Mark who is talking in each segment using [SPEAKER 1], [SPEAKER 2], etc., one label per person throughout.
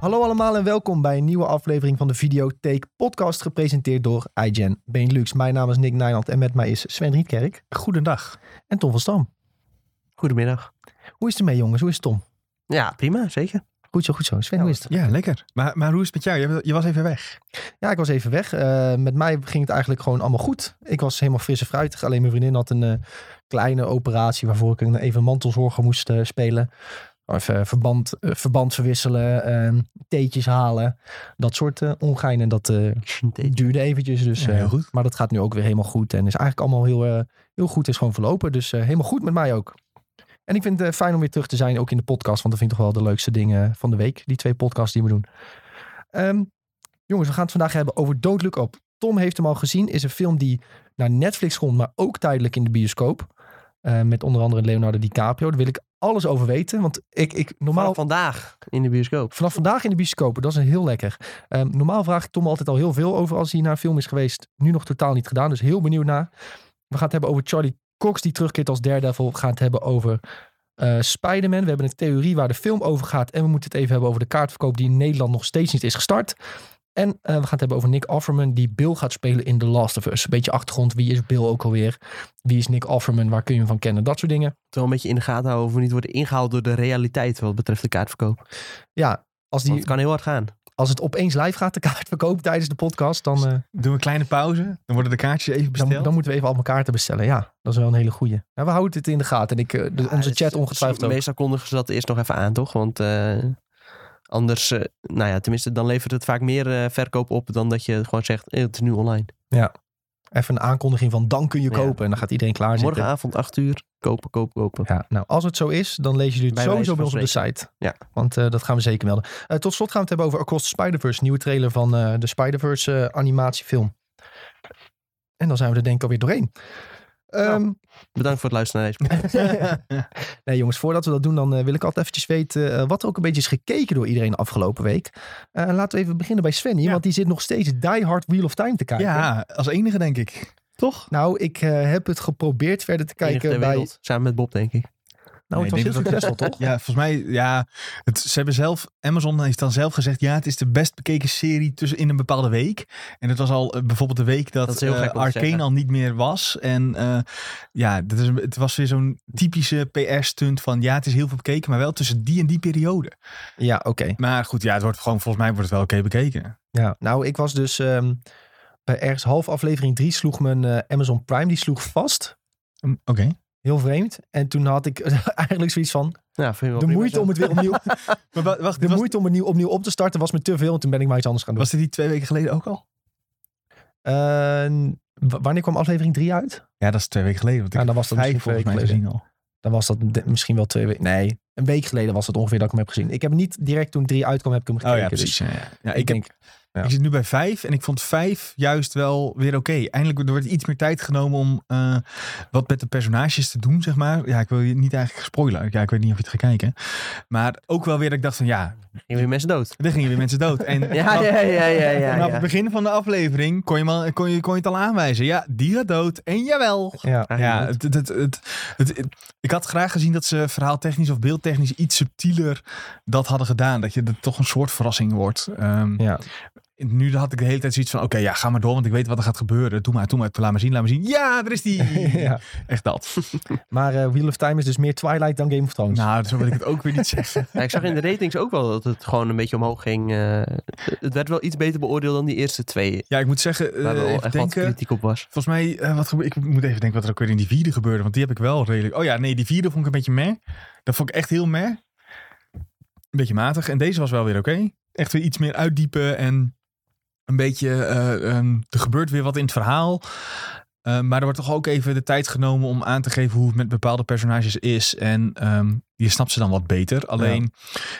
[SPEAKER 1] Hallo allemaal en welkom bij een nieuwe aflevering van de Videotheek podcast, gepresenteerd door iGen Benelux. Mijn naam is Nick Nijland en met mij is Sven Rietkerk
[SPEAKER 2] Goedendag.
[SPEAKER 1] en Tom van Stam.
[SPEAKER 3] Goedemiddag.
[SPEAKER 1] Hoe is het ermee jongens? Hoe is het Tom?
[SPEAKER 3] Ja, prima, zeker.
[SPEAKER 1] Goed zo, goed zo. Sven, hoe is het?
[SPEAKER 2] Ja, lekker. Maar, maar hoe is het met jou? Je, je was even weg.
[SPEAKER 1] Ja, ik was even weg. Eh, met mij ging het eigenlijk gewoon allemaal goed. Ik was helemaal fris en fruitig. Alleen mijn vriendin had een eh, kleine operatie waarvoor ik een, even mantelzorger moest eh, spelen. Even verband, eh, verband verwisselen, ehm, theetjes halen. Dat soort eh ongein. En dat eh, duurde eventjes. Dus,
[SPEAKER 2] Ja,
[SPEAKER 1] eh,
[SPEAKER 2] heel goed.
[SPEAKER 1] Maar dat gaat nu ook weer helemaal goed. En is eigenlijk allemaal heel, eh, heel goed. Is gewoon verlopen. Dus eh, helemaal goed met mij ook. En ik vind het eh, fijn om weer terug te zijn. Ook in de podcast. Want dat vind ik toch wel de leukste dingen van de week. Die twee podcasts die we doen. Ehm, jongens, we gaan het vandaag hebben over Don't Look Up. Tom heeft hem al gezien. Is een film die naar Netflix komt. Maar ook tijdelijk in de bioscoop. Eh, met onder andere Leonardo DiCaprio. Daar wil ik alles over weten. Want ik, ik normaal...
[SPEAKER 3] Normaal vandaag in de bioscoop.
[SPEAKER 1] Vanaf vandaag in de bioscopen, dat is een heel lekker. Ehm, normaal vraag ik Tom altijd al heel veel over als hij naar een film is geweest. Nu nog totaal niet gedaan, dus heel benieuwd naar. We gaan het hebben over Charlie Cox die terugkeert als Daredevil. We gaan het hebben over eh Spider-Man. We hebben een theorie waar de film over gaat. En we moeten het even hebben over de kaartverkoop die in Nederland nog steeds niet is gestart. En eh, we gaan het hebben over Nick Offerman die Bill gaat spelen in The Last of Us. Een beetje achtergrond, wie is Bill ook alweer? Wie is Nick Offerman? Waar kun je hem van kennen? Dat soort dingen.
[SPEAKER 3] Terwijl een beetje in de gaten houden of we niet worden ingehaald door de realiteit wat betreft de kaartverkoop. Want
[SPEAKER 1] Ja, als, die,
[SPEAKER 3] het kan heel hard gaan.
[SPEAKER 1] als het opeens live gaat, de kaartverkoop tijdens de podcast, dan... eh,
[SPEAKER 2] Doen we een kleine pauze. Dan worden de kaartjes
[SPEAKER 1] Dan,
[SPEAKER 2] even besteld.
[SPEAKER 1] dan moeten we even al elkaar te bestellen. Ja, dat is wel een hele goeie. Ja, we houden het in de gaten. En ik, eh, de-
[SPEAKER 3] Ja,
[SPEAKER 1] onze
[SPEAKER 3] het-
[SPEAKER 1] chat ongetwijfeld ook.
[SPEAKER 3] Meestal kondigen ze dat eerst nog even aan, toch? Want eh, anders, eh, nou ja, tenminste, dan levert het vaak meer eh, verkoop op dan dat je gewoon zegt, eh, het is nu online.
[SPEAKER 1] Even een aankondiging van dan kun je
[SPEAKER 3] Ja.
[SPEAKER 1] kopen. En dan gaat iedereen klaar zitten.
[SPEAKER 3] Morgenavond 8 uur, kopen, kopen, kopen.
[SPEAKER 1] Ja, nou, als het zo is, dan lezen jullie het
[SPEAKER 3] Bij
[SPEAKER 1] sowieso
[SPEAKER 3] wijze
[SPEAKER 1] bij ons
[SPEAKER 3] van
[SPEAKER 1] op de site.
[SPEAKER 3] Ja.
[SPEAKER 1] Want eh, dat gaan we zeker melden. Eh, tot slot gaan we het hebben over Across the Spider-Verse. Nieuwe trailer van eh, de Spider-Verse eh, animatiefilm. En dan zijn we er denk ik alweer doorheen.
[SPEAKER 3] Nou,
[SPEAKER 1] Ehm,
[SPEAKER 3] Bedankt voor het luisteren naar deze
[SPEAKER 1] Nee jongens, voordat we dat doen, dan eh, wil ik altijd eventjes weten eh, wat er ook een beetje is gekeken door iedereen de afgelopen week. Eh, laten we even beginnen bij Sven hier,
[SPEAKER 2] Ja.
[SPEAKER 1] want die zit nog steeds Die Hard Wheel of Time te kijken.
[SPEAKER 2] ja, als enige denk ik.
[SPEAKER 3] Toch?
[SPEAKER 1] Nou, ik eh, heb het geprobeerd verder te kijken
[SPEAKER 3] Enige ter
[SPEAKER 1] bij...
[SPEAKER 3] wereld. Samen met Bob, denk ik.
[SPEAKER 1] Nou, het
[SPEAKER 2] Nee,
[SPEAKER 1] was
[SPEAKER 2] ik
[SPEAKER 1] heel
[SPEAKER 2] denk dat
[SPEAKER 1] succesvol, toch?
[SPEAKER 2] Ja, volgens mij, ja. Het, ze hebben zelf, Amazon heeft dan zelf gezegd, ja, het is de best bekeken serie tussen in een bepaalde week. En het was al eh, bijvoorbeeld de week dat,
[SPEAKER 3] Dat is heel
[SPEAKER 2] eh,
[SPEAKER 3] gek om te
[SPEAKER 2] Arcane
[SPEAKER 3] zeggen.
[SPEAKER 2] al niet meer was. En eh, ja, dat is, een- het was weer zo'n typische PR-stunt van, ja, het is heel veel bekeken, maar wel tussen die en die periode.
[SPEAKER 1] Ja, oké.
[SPEAKER 2] Maar goed, ja, het wordt gewoon, volgens mij wordt het wel oké bekeken.
[SPEAKER 1] Ja, nou, ik was dus ehm, bij ergens half aflevering 3 sloeg mijn eh, Amazon Prime, die sloeg vast.
[SPEAKER 2] Mm, Oké.
[SPEAKER 1] Heel vreemd. En toen had ik eigenlijk zoiets van,
[SPEAKER 3] Ja, Nou, vind ik wel
[SPEAKER 1] de
[SPEAKER 3] prima
[SPEAKER 1] moeite
[SPEAKER 3] zo.
[SPEAKER 1] om het weer opnieuw,
[SPEAKER 2] Maar wa- wacht,
[SPEAKER 1] de
[SPEAKER 2] was,
[SPEAKER 1] moeite om het nieuw- opnieuw op te starten was me te veel. En toen ben ik maar iets anders gaan doen.
[SPEAKER 2] was dit die twee weken geleden ook al?
[SPEAKER 1] Eh, w- wanneer kwam aflevering 3 uit?
[SPEAKER 2] Ja, dat is twee weken geleden. Want ik
[SPEAKER 1] Ja, Nou, dan was
[SPEAKER 2] heb
[SPEAKER 1] dat
[SPEAKER 2] vijf
[SPEAKER 1] misschien twee
[SPEAKER 2] volgens mij
[SPEAKER 1] weken
[SPEAKER 2] gezien al.
[SPEAKER 1] Dan was dat de- misschien wel twee weken. Nee, een week geleden was het ongeveer dat ik hem heb gezien. Ik heb hem niet direct toen drie uitkwam, heb ik hem gekeken.
[SPEAKER 2] Oh ja,
[SPEAKER 1] dus
[SPEAKER 2] precies. Ja, ja. Ja,
[SPEAKER 1] ik
[SPEAKER 2] ik, heb,
[SPEAKER 1] denk, ja.
[SPEAKER 2] ik zit nu bij vijf en ik vond vijf juist wel weer oké. Eindelijk er wordt iets meer tijd genomen om eh, wat met de personages te doen, zeg maar. Ja, ik wil je niet eigenlijk spoilen. Ja, ik weet niet of je het gaat kijken. Maar ook wel weer dat ik dacht van ja,
[SPEAKER 3] Gingen weer mensen dood.
[SPEAKER 2] er gingen weer mensen dood. En
[SPEAKER 3] Ja, ja, ja, ja, ja.
[SPEAKER 2] Vanaf
[SPEAKER 3] ja.
[SPEAKER 2] het begin van de aflevering kon je, maar, kon, je, kon je het al aanwijzen. Ja, die gaat dood. En jawel.
[SPEAKER 1] ja.
[SPEAKER 2] Ja,
[SPEAKER 3] Ja,
[SPEAKER 2] het, het, het, het- het- het- ik had graag gezien dat ze verhaaltechnisch of beeldtechnisch iets subtieler dat hadden gedaan. Dat je er toch een soort verrassing wordt. Ehm,
[SPEAKER 1] Ja.
[SPEAKER 2] Nu had ik de hele tijd zoiets van, oké, ja, ga maar door, want ik weet wat er gaat gebeuren. Doe maar, doe maar, laat maar zien, laat maar zien. Ja, er is die.
[SPEAKER 1] Ja.
[SPEAKER 2] Echt dat.
[SPEAKER 1] Maar eh, Wheel of Time is dus meer Twilight dan Game of Thrones.
[SPEAKER 2] Nou, zo wil ik het ook weer niet zeggen.
[SPEAKER 3] Ja, ik zag in de ratings ook wel dat het gewoon een beetje omhoog ging. eh, het werd wel iets beter beoordeeld dan die eerste twee.
[SPEAKER 2] Ja, ik moet zeggen, eh,
[SPEAKER 3] Waar wel
[SPEAKER 2] even
[SPEAKER 3] echt wat
[SPEAKER 2] denken.
[SPEAKER 3] kritiek op was.
[SPEAKER 2] Volgens mij, eh, wat gebe- ik moet even denken wat er ook weer in die vierde gebeurde. Want die heb ik wel redelijk. Oh ja, nee, die vierde vond ik een beetje meh. Dat vond ik echt heel meh. Een beetje matig. En deze was wel weer oké. Echt weer iets meer uitdiepen en een beetje. eh, ehm, er gebeurt weer wat in het verhaal. Eh, maar er wordt toch ook even de tijd genomen om aan te geven hoe het met bepaalde personages is. En ehm, je snapt ze dan wat beter. Alleen,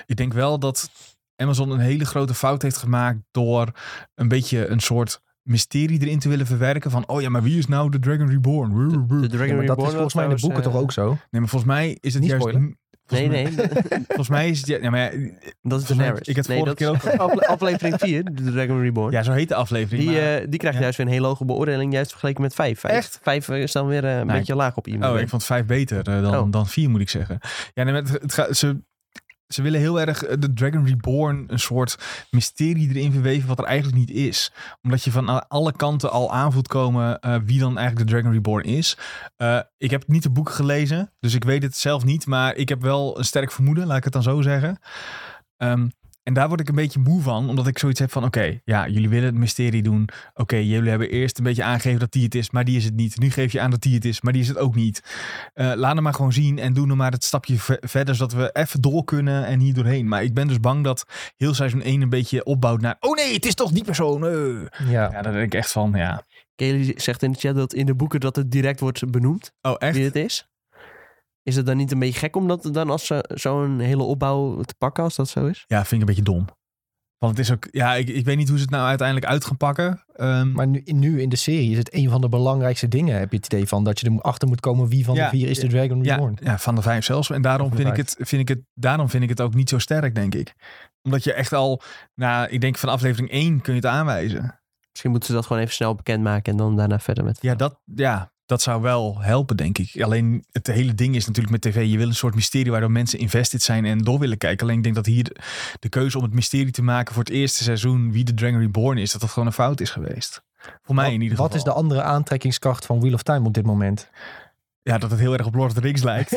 [SPEAKER 2] ik denk wel dat Amazon een hele grote fout heeft gemaakt door een beetje een soort mysterie erin te willen verwerken. Van, oh ja, maar wie is nou de Dragon Reborn? Wuh, wuh, wuh.
[SPEAKER 3] De
[SPEAKER 1] Ja,
[SPEAKER 3] Dragon
[SPEAKER 1] maar dat is
[SPEAKER 3] Reborn was
[SPEAKER 1] volgens mij in de boeken
[SPEAKER 3] trouwens,
[SPEAKER 1] toch
[SPEAKER 3] eh,
[SPEAKER 1] ook zo?
[SPEAKER 2] Nee, maar volgens mij is het
[SPEAKER 1] Niet
[SPEAKER 2] juist...
[SPEAKER 1] spoilen.
[SPEAKER 2] Volgens mij-
[SPEAKER 3] Nee, nee.
[SPEAKER 2] Volgens mij is het... ju- Ja, maar ja,
[SPEAKER 3] Dat is de
[SPEAKER 2] Volgens mij-
[SPEAKER 3] Daenerys.
[SPEAKER 2] ik had
[SPEAKER 3] nee,
[SPEAKER 2] vorige
[SPEAKER 3] dat
[SPEAKER 2] keer
[SPEAKER 3] is afle- aflevering 4, de Dragon Reborn.
[SPEAKER 2] ja, zo heet de aflevering.
[SPEAKER 3] die,
[SPEAKER 2] maar-
[SPEAKER 3] eh, die krijgt
[SPEAKER 2] Ja.
[SPEAKER 3] juist weer een hele hoge beoordeling, juist vergeleken met 5.
[SPEAKER 2] Echt?
[SPEAKER 3] 5 is dan weer eh, een
[SPEAKER 2] Nee.
[SPEAKER 3] beetje laag op iemand.
[SPEAKER 2] Oh, ik vond vijf beter eh, dan,
[SPEAKER 3] Oh.
[SPEAKER 2] dan vier, moet ik zeggen. Ja, nee, maar het, het gaat, ze, Ze willen heel erg eh, de Dragon Reborn een soort mysterie erin verweven wat er eigenlijk niet is. Omdat je van a- alle kanten al aan voelt komen eh, wie dan eigenlijk de Dragon Reborn is. Eh, ik heb niet de boeken gelezen, dus ik weet het zelf niet. Maar ik heb wel een sterk vermoeden, laat ik het dan zo zeggen. Ehm, en daar word ik een beetje moe van, omdat ik zoiets heb van: oké, ja, jullie willen het mysterie doen. Oké, jullie hebben eerst een beetje aangegeven dat die het is, maar die is het niet. Nu geef je aan dat die het is, maar die is het ook niet. Eh, laat hem maar gewoon zien en doe hem maar het stapje ver- verder, zodat we even door kunnen en hier doorheen. Maar ik ben dus bang dat heel seizoen 1 een beetje opbouwt naar: oh nee, het is toch die persoon. eh."
[SPEAKER 1] Ja.
[SPEAKER 2] Ja, daar denk ik echt van, ja.
[SPEAKER 3] Kelly zegt in de chat dat in de boeken dat het direct wordt benoemd
[SPEAKER 2] Oh, echt?
[SPEAKER 3] wie het is. Is het dan niet een beetje gek om dat dan als zo- zo'n hele opbouw te pakken als dat zo is?
[SPEAKER 2] Ja, vind ik een beetje dom. Want het is ook, ja, ik, ik weet niet hoe ze het nou uiteindelijk uit gaan pakken. Ehm,
[SPEAKER 1] Maar nu, nu in de serie is het een van de belangrijkste dingen, heb je het idee van. Dat je er achter moet komen wie van
[SPEAKER 2] Ja,
[SPEAKER 1] de vier is de Dragon
[SPEAKER 2] Ja,
[SPEAKER 1] Reborn.
[SPEAKER 2] ja, van de vijf zelfs. En daarom
[SPEAKER 1] Van de
[SPEAKER 2] vind ik, het, vind ik het, daarom vind ik het ook niet zo sterk, denk ik. Omdat je echt al, nou, ik denk van aflevering 1 kun je het aanwijzen.
[SPEAKER 3] Misschien moeten ze dat gewoon even snel bekendmaken en dan daarna verder met.
[SPEAKER 2] Ja, dat, ja, dat zou wel helpen, denk ik. Alleen het hele ding is natuurlijk met tv, je wil een soort mysterie waardoor mensen invested zijn en door willen kijken. Alleen ik denk dat hier de keuze om het mysterie te maken voor het eerste seizoen wie de Dragon Reborn is, dat dat gewoon een fout is geweest. Voor mij
[SPEAKER 1] Wat-
[SPEAKER 2] in ieder
[SPEAKER 1] Wat
[SPEAKER 2] geval.
[SPEAKER 1] is de andere aantrekkingskracht van Wheel of Time op dit moment?
[SPEAKER 2] Ja, dat het heel erg op Lord of the Rings lijkt.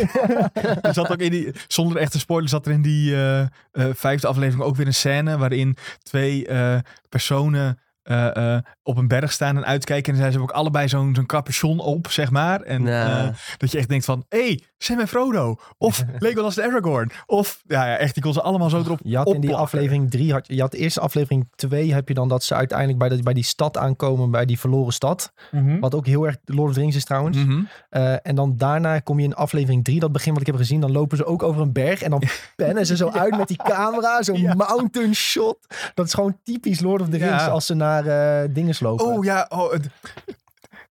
[SPEAKER 2] er zat ook in die, zonder echte spoiler zat er in die eh, eh, vijfde aflevering ook weer een scène waarin twee eh, personen eh, eh, op een berg staan en uitkijken. En zij hebben ook allebei zo'n zo'n capuchon op, zeg maar. En
[SPEAKER 3] Nou.
[SPEAKER 2] eh, dat je echt denkt van, hé, hey, Sam en Frodo. Of Legolas de Aragorn. Of, ja, ja echt, die kon ze allemaal zo erop
[SPEAKER 1] Je had in die
[SPEAKER 2] opplakken.
[SPEAKER 1] aflevering 3, had, je had de eerste aflevering 2, heb je dan dat ze uiteindelijk bij, dat, bij die stad aankomen, bij die verloren stad.
[SPEAKER 2] Mhm.
[SPEAKER 1] Wat ook heel erg Lord of the Rings is trouwens.
[SPEAKER 2] Mhm.
[SPEAKER 1] Eh, en dan daarna kom je in aflevering 3, dat begin wat ik heb gezien, dan lopen ze ook over een berg en dan pennen ze zo uit met die camera, zo'n
[SPEAKER 2] Ja.
[SPEAKER 1] mountain shot. Dat is gewoon typisch Lord of the
[SPEAKER 2] Ja.
[SPEAKER 1] Rings als ze naar eh, dingen lopen.
[SPEAKER 2] Oh ja, oh, het-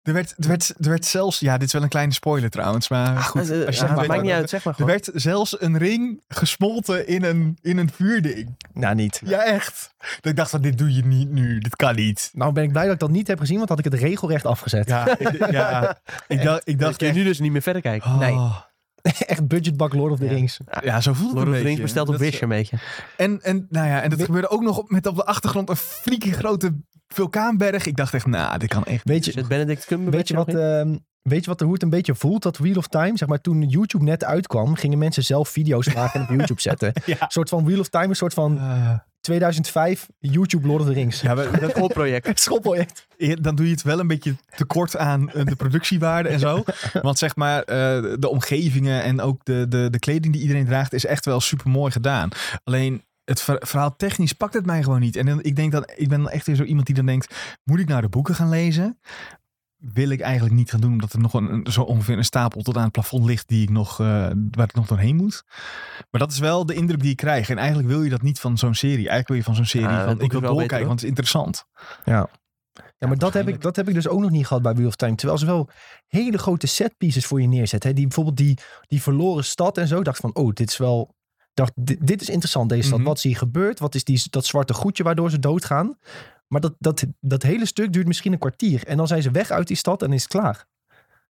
[SPEAKER 2] er, werd, er, werd, er werd zelfs, ja, dit is wel een kleine spoiler trouwens, maar goed.
[SPEAKER 3] Eh, eh,
[SPEAKER 2] als je
[SPEAKER 3] ah,
[SPEAKER 2] zegt, weet
[SPEAKER 3] maakt
[SPEAKER 2] je
[SPEAKER 3] niet
[SPEAKER 2] wat-
[SPEAKER 3] uit, zeg maar
[SPEAKER 2] Er
[SPEAKER 3] gewoon.
[SPEAKER 2] werd zelfs een ring gesmolten in een, in een vuurding.
[SPEAKER 1] Nou, niet.
[SPEAKER 2] Ja, echt. Dat ik dacht van, dit doe je niet nu. Dit kan niet.
[SPEAKER 1] Nou ben ik blij dat ik dat niet heb gezien, want had ik het regelrecht afgezet.
[SPEAKER 2] Ja, ik, ja. ik dacht, ik
[SPEAKER 3] Dat
[SPEAKER 2] dacht
[SPEAKER 3] kun je
[SPEAKER 2] echt...
[SPEAKER 3] nu dus niet meer verder kijken.
[SPEAKER 2] oh.
[SPEAKER 3] Nee.
[SPEAKER 1] Echt budgetbak Lord of the
[SPEAKER 3] Ja.
[SPEAKER 1] Rings.
[SPEAKER 2] Ja, zo voelt het
[SPEAKER 3] Lord of
[SPEAKER 2] een
[SPEAKER 3] the
[SPEAKER 2] beetje.
[SPEAKER 3] Rings besteld op
[SPEAKER 2] Dat is-
[SPEAKER 3] Wish een beetje.
[SPEAKER 2] En, en, nou ja, en dat
[SPEAKER 1] We-
[SPEAKER 2] gebeurde ook nog op, met op de achtergrond een freaky grote vulkaanberg. Ik dacht echt, nou, dit kan echt
[SPEAKER 1] Weet je,
[SPEAKER 3] Zit Benedict Cumberbatch
[SPEAKER 1] Weet je,
[SPEAKER 3] er
[SPEAKER 1] wat,
[SPEAKER 3] nog
[SPEAKER 2] eh,
[SPEAKER 3] in?
[SPEAKER 1] ehm, weet je wat hoe het een beetje voelt? Dat Wheel of Time, zeg maar, toen YouTube net uitkwam, gingen mensen zelf video's maken en op YouTube zetten.
[SPEAKER 2] Ja.
[SPEAKER 1] Een soort van Wheel of Time, een soort van
[SPEAKER 2] Eh,
[SPEAKER 1] 2005 YouTube Lord of the Rings.
[SPEAKER 2] ja, maar dat-
[SPEAKER 3] schoolproject.
[SPEAKER 1] Schoolproject.
[SPEAKER 2] Ja, Eh, dan doe je het wel een beetje tekort aan eh, de productiewaarde en zo. Want zeg maar, eh, de omgevingen en ook de, de, de kleding die iedereen draagt is echt wel super mooi gedaan. Alleen het ver- verhaal technisch pakt het mij gewoon niet. En dan, ik denk dat ik ben dan echt weer zo iemand die dan denkt: moet ik nou de boeken gaan lezen? Wil ik eigenlijk niet gaan doen, omdat er nog een, een- zo ongeveer een stapel tot aan het plafond ligt die ik nog, eh, waar ik nog doorheen moet. Maar dat is wel de indruk die ik krijg. En eigenlijk wil je dat niet van zo'n serie. Eigenlijk wil je van zo'n serie
[SPEAKER 3] Ja, dat
[SPEAKER 2] van
[SPEAKER 3] boek
[SPEAKER 2] ik
[SPEAKER 3] is
[SPEAKER 2] wil
[SPEAKER 3] wel beter,
[SPEAKER 2] doorkijken,
[SPEAKER 3] hoor.
[SPEAKER 2] want het is interessant.
[SPEAKER 1] Ja, maar dat heb, ik,
[SPEAKER 2] waarschijnlijk.
[SPEAKER 1] dat heb ik dus ook nog niet gehad bij Wheel of Time. Terwijl ze wel hele grote setpieces voor je neerzetten. Hè? Die bijvoorbeeld die, die verloren stad en zo. Ik Dacht van, oh, dit is wel... Dacht, dit, dit is interessant, deze stad.
[SPEAKER 2] Mhm.
[SPEAKER 1] Wat is hier gebeurd? Wat is die, dat zwarte goedje waardoor ze doodgaan? Maar dat, dat, dat hele stuk duurt misschien een kwartier. En dan zijn ze weg uit die stad en is het klaar.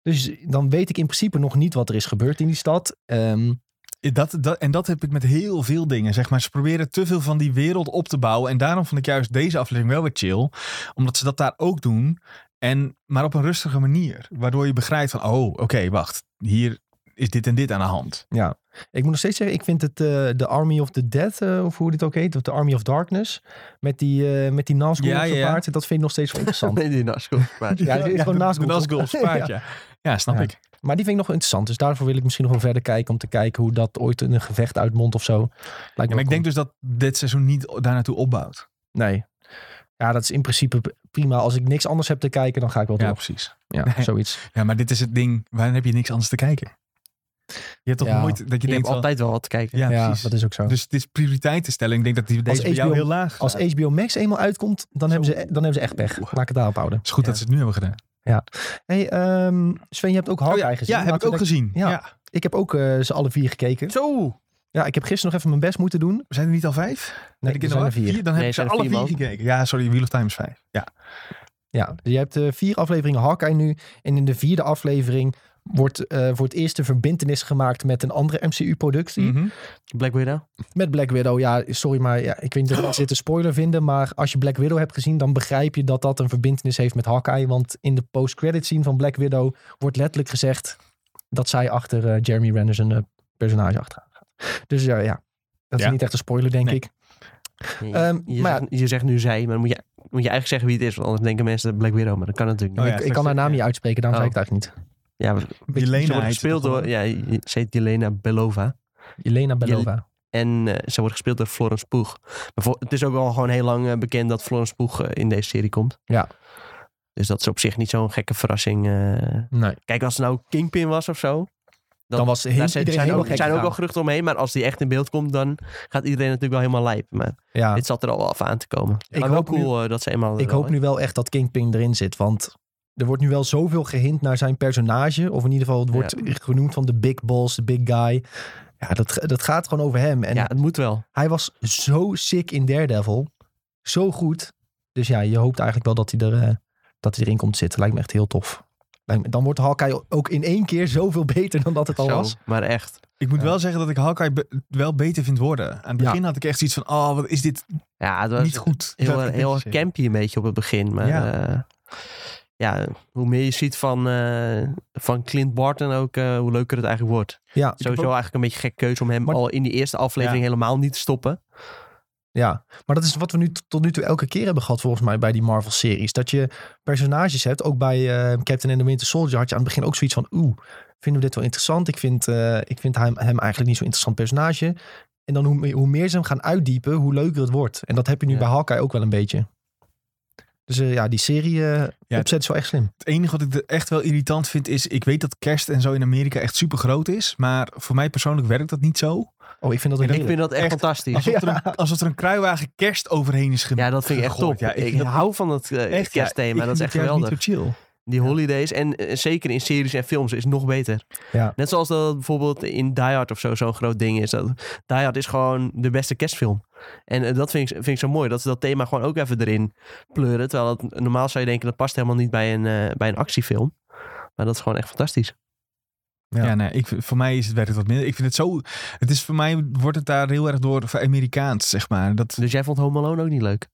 [SPEAKER 1] Dus dan weet ik in principe nog niet wat er is gebeurd in die stad. Ehm,
[SPEAKER 2] Eh, Dat, dat, en dat heb ik met heel veel dingen, zeg maar. Ze proberen te veel van die wereld op te bouwen. En daarom vond ik juist deze aflevering wel weer chill. Omdat ze dat daar ook doen. En, maar op een rustige manier. Waardoor je begrijpt van, oh, oké, wacht. Hier is dit en dit aan de hand.
[SPEAKER 1] Ja, ik moet nog steeds zeggen, ik vind het eh The Army of the Dead, eh, of hoe dit ook heet, of The Army of Darkness, met die, eh, met die Nazgul
[SPEAKER 2] Ja,
[SPEAKER 1] op zijn
[SPEAKER 2] ja, ja.
[SPEAKER 1] paard, dat vind ik nog steeds wel interessant.
[SPEAKER 3] Nee, die naast schoolproject.
[SPEAKER 1] Ja, dit is gewoon naast
[SPEAKER 2] de
[SPEAKER 1] Google.
[SPEAKER 2] naast Google spaart, ja. Ja, snap
[SPEAKER 1] Ja.
[SPEAKER 2] ik.
[SPEAKER 1] Maar die vind ik nog interessant, dus daarvoor wil ik misschien nog wel verder kijken om te kijken hoe dat ooit in een gevecht uitmondt of zo. Lijkt me
[SPEAKER 2] En ik
[SPEAKER 1] wel
[SPEAKER 2] denk dus dat dit seizoen niet daar naartoe opbouwt.
[SPEAKER 1] cool. Nee. Ja, dat is in principe p- prima. Als ik niks anders heb te kijken, dan ga ik wel
[SPEAKER 2] Ja,
[SPEAKER 1] door.
[SPEAKER 2] precies.
[SPEAKER 1] Ja, zoiets.
[SPEAKER 2] Ja, maar dit is het ding. Waarom heb je niks anders te kijken? Je hebt toch
[SPEAKER 1] Ja.
[SPEAKER 2] nooit dat je,
[SPEAKER 3] Je hebt
[SPEAKER 2] denkt van...
[SPEAKER 3] altijd wel wat te kijken.
[SPEAKER 2] Ja,
[SPEAKER 1] Ja,
[SPEAKER 2] precies.
[SPEAKER 1] dat is ook zo.
[SPEAKER 2] Dus het is prioriteitenstelling. Ik denk dat die deze bij jou
[SPEAKER 1] HBO
[SPEAKER 2] heel laag
[SPEAKER 1] Als
[SPEAKER 2] staat.
[SPEAKER 1] HBO Max eenmaal uitkomt, dan hebben, ze, dan hebben ze echt pech. Laat ik het daarop houden.
[SPEAKER 2] Het is goed
[SPEAKER 3] Ja.
[SPEAKER 2] dat ze het nu hebben gedaan.
[SPEAKER 1] hey, ehm, Sven, je hebt ook Hawkeye gezien.
[SPEAKER 2] Oh Ja, heb
[SPEAKER 1] Laten
[SPEAKER 2] ik
[SPEAKER 1] we
[SPEAKER 2] ook
[SPEAKER 1] denk-
[SPEAKER 2] gezien.
[SPEAKER 1] Ja.
[SPEAKER 2] Ja.
[SPEAKER 1] Ik heb ook eh, ze alle vier gekeken.
[SPEAKER 3] Zo!
[SPEAKER 1] Ja, ik heb gisteren nog even mijn best moeten doen.
[SPEAKER 2] Zijn er niet al vijf?
[SPEAKER 1] Nee,
[SPEAKER 2] ik
[SPEAKER 1] er zijn er vier.
[SPEAKER 2] Dan
[SPEAKER 3] Nee,
[SPEAKER 2] heb ik
[SPEAKER 3] er
[SPEAKER 2] ze
[SPEAKER 3] zijn
[SPEAKER 2] alle
[SPEAKER 3] er
[SPEAKER 2] vier
[SPEAKER 3] vier,
[SPEAKER 2] gekeken. Ja, sorry, Wheel of Time is vijf. Ja.
[SPEAKER 1] Ja, dus je hebt eh, vier afleveringen Hawkeye nu. En in de vierde aflevering wordt eh, voor het eerst een verbindenis gemaakt met een andere MCU-productie.
[SPEAKER 2] Mhm.
[SPEAKER 3] Black Widow.
[SPEAKER 1] Met Black Widow, ja, sorry, maar ja, ik weet niet of we dit een spoiler vinden. Maar als je Black Widow hebt gezien, dan begrijp je dat dat een verbindenis heeft met Hawkeye. Want in de post-credit scene van Black Widow wordt letterlijk gezegd dat zij achter eh, Jeremy Renner zijn eh, personage achteraan gaat. Dus ja, ja. Dat is
[SPEAKER 2] Ja.
[SPEAKER 1] niet echt een spoiler, denk
[SPEAKER 2] Nee.
[SPEAKER 1] ik.
[SPEAKER 3] Je,
[SPEAKER 1] Ehm,
[SPEAKER 3] je
[SPEAKER 1] maar ja.
[SPEAKER 3] zegt, je zegt nu zij, maar dan moet je, moet je eigenlijk zeggen wie het is. Want anders denken mensen dat Black Widow, maar dat kan natuurlijk
[SPEAKER 2] Oh
[SPEAKER 3] niet.
[SPEAKER 2] ja,
[SPEAKER 1] ik kan haar naam niet uitspreken, daarom
[SPEAKER 3] Oh.
[SPEAKER 1] zei ik het eigenlijk niet.
[SPEAKER 3] ja.
[SPEAKER 2] Jelena
[SPEAKER 3] ze wordt
[SPEAKER 2] heet ze
[SPEAKER 3] gespeeld
[SPEAKER 2] toch
[SPEAKER 3] door,
[SPEAKER 2] wel?
[SPEAKER 3] ja, je- ze heet Jelena Belova.
[SPEAKER 1] Jelena Belova.
[SPEAKER 3] En eh, ze wordt gespeeld door Florence Poeg. Maar voor- het is ook al gewoon heel lang eh, bekend dat Florence Poeg eh, in deze serie komt.
[SPEAKER 1] Ja.
[SPEAKER 3] Dus dat is op zich niet zo'n gekke verrassing. eh.
[SPEAKER 1] Nee.
[SPEAKER 3] Kijk, als het nou Kingpin was of zo.
[SPEAKER 1] Dan,
[SPEAKER 3] Dan-
[SPEAKER 1] was heel,
[SPEAKER 3] Daar
[SPEAKER 1] iedereen
[SPEAKER 3] zijn, zijn,
[SPEAKER 1] helemaal
[SPEAKER 3] ook,
[SPEAKER 1] gek
[SPEAKER 3] zijn ook wel
[SPEAKER 1] gegaan.
[SPEAKER 3] geruchten omheen. Maar als die echt in beeld komt, dan gaat iedereen natuurlijk wel helemaal lijp. Maar
[SPEAKER 1] Ja.
[SPEAKER 3] dit zat er al wel af aan te komen.
[SPEAKER 1] Ik
[SPEAKER 3] maar wel
[SPEAKER 1] hoop nu-
[SPEAKER 3] cool eh, dat ze eenmaal...
[SPEAKER 1] Ik hoop nu wel echt dat Kingpin erin zit. Want er wordt nu wel zoveel gehint naar zijn personage. Of in ieder geval, het wordt genoemd van de big boss, de big guy. Ja, dat, dat gaat gewoon over hem. En
[SPEAKER 3] Ja, het moet wel.
[SPEAKER 1] hij was zo sick in Daredevil. Zo goed. Dus ja, je hoopt eigenlijk wel dat hij, er, eh, dat hij erin komt zitten. Lijkt me echt heel tof. Lijkt me- Dan wordt Hawkeye ook in één keer zoveel beter dan dat het al
[SPEAKER 3] Zo,
[SPEAKER 1] was.
[SPEAKER 3] Maar echt.
[SPEAKER 2] Ik moet
[SPEAKER 1] Ja.
[SPEAKER 2] wel zeggen dat ik Hawkeye be- wel beter vind worden. Aan het
[SPEAKER 1] Ja.
[SPEAKER 2] begin had ik echt zoiets van, oh, wat is dit
[SPEAKER 3] Ja, het was
[SPEAKER 2] niet goed.
[SPEAKER 3] heel, eh,
[SPEAKER 2] Laat ik
[SPEAKER 3] heel,
[SPEAKER 2] het netjes zeggen.
[SPEAKER 3] campy een beetje op het begin. Maar
[SPEAKER 2] Ja.
[SPEAKER 3] ja, ja hoe meer je ziet van, eh, van Clint Barton ook, eh, hoe leuker het eigenlijk wordt.
[SPEAKER 1] Ja,
[SPEAKER 3] Sowieso eigenlijk een beetje gek keuze om hem
[SPEAKER 1] Maar-
[SPEAKER 3] al in die eerste aflevering
[SPEAKER 2] Ja.
[SPEAKER 3] helemaal niet te stoppen.
[SPEAKER 1] Ja, maar dat is wat we nu t- tot nu toe elke keer hebben gehad, volgens mij, bij die Marvel-series. Dat je personages hebt, ook bij eh, Captain and the Winter Soldier had je aan het begin ook zoiets van, oeh, vinden we dit wel interessant? Ik vind, eh, ik vind hem, hem eigenlijk niet zo'n interessant personage. En dan hoe, me- hoe meer ze hem gaan uitdiepen, hoe leuker het wordt. En dat heb je nu
[SPEAKER 3] Ja.
[SPEAKER 1] bij Hawkeye ook wel een beetje. Dus eh, ja, die serie eh,
[SPEAKER 2] Ja,
[SPEAKER 1] opzet is wel echt slim.
[SPEAKER 2] Het enige wat ik er echt wel irritant vind is, ik weet dat kerst en zo in Amerika echt super groot is. Maar voor mij persoonlijk werkt dat niet zo.
[SPEAKER 1] Oh, ik vind dat
[SPEAKER 2] En
[SPEAKER 1] een
[SPEAKER 2] dat
[SPEAKER 3] ik
[SPEAKER 1] hele...
[SPEAKER 3] vind dat echt,
[SPEAKER 2] Echt.
[SPEAKER 3] fantastisch.
[SPEAKER 2] Alsof, er een, alsof er een kruiwagen kerst overheen is ge-
[SPEAKER 3] Ja, dat vind ik echt
[SPEAKER 2] gegooid.
[SPEAKER 3] top.
[SPEAKER 2] Ja, ik
[SPEAKER 3] ik
[SPEAKER 2] vind dat
[SPEAKER 3] hou van dat eh,
[SPEAKER 2] echt, ja,
[SPEAKER 3] kerstthema.
[SPEAKER 2] ik
[SPEAKER 3] dat is echt
[SPEAKER 2] vind het juist
[SPEAKER 3] geweldig.
[SPEAKER 2] niet zo chill.
[SPEAKER 3] Die holidays. En eh, zeker in series en films is het nog beter.
[SPEAKER 1] Ja.
[SPEAKER 3] Net zoals dat het bijvoorbeeld in Die Hard of zo zo'n groot ding is. Dat, Die Hard is gewoon de beste kerstfilm. En eh, dat vind ik, vind ik zo mooi. Dat ze dat thema gewoon ook even erin pleuren. Terwijl het, normaal zou je denken dat past helemaal niet bij een, eh, bij een actiefilm. Maar dat is gewoon echt fantastisch.
[SPEAKER 1] Ja.
[SPEAKER 2] Ja, nee, ik, vind- voor mij is het, werkt het wat minder. Ik vind het zo, het is voor mij, wordt het daar heel erg door voor Amerikaans, zeg maar. Dat,
[SPEAKER 3] Dus jij vond Home Alone ook niet leuk?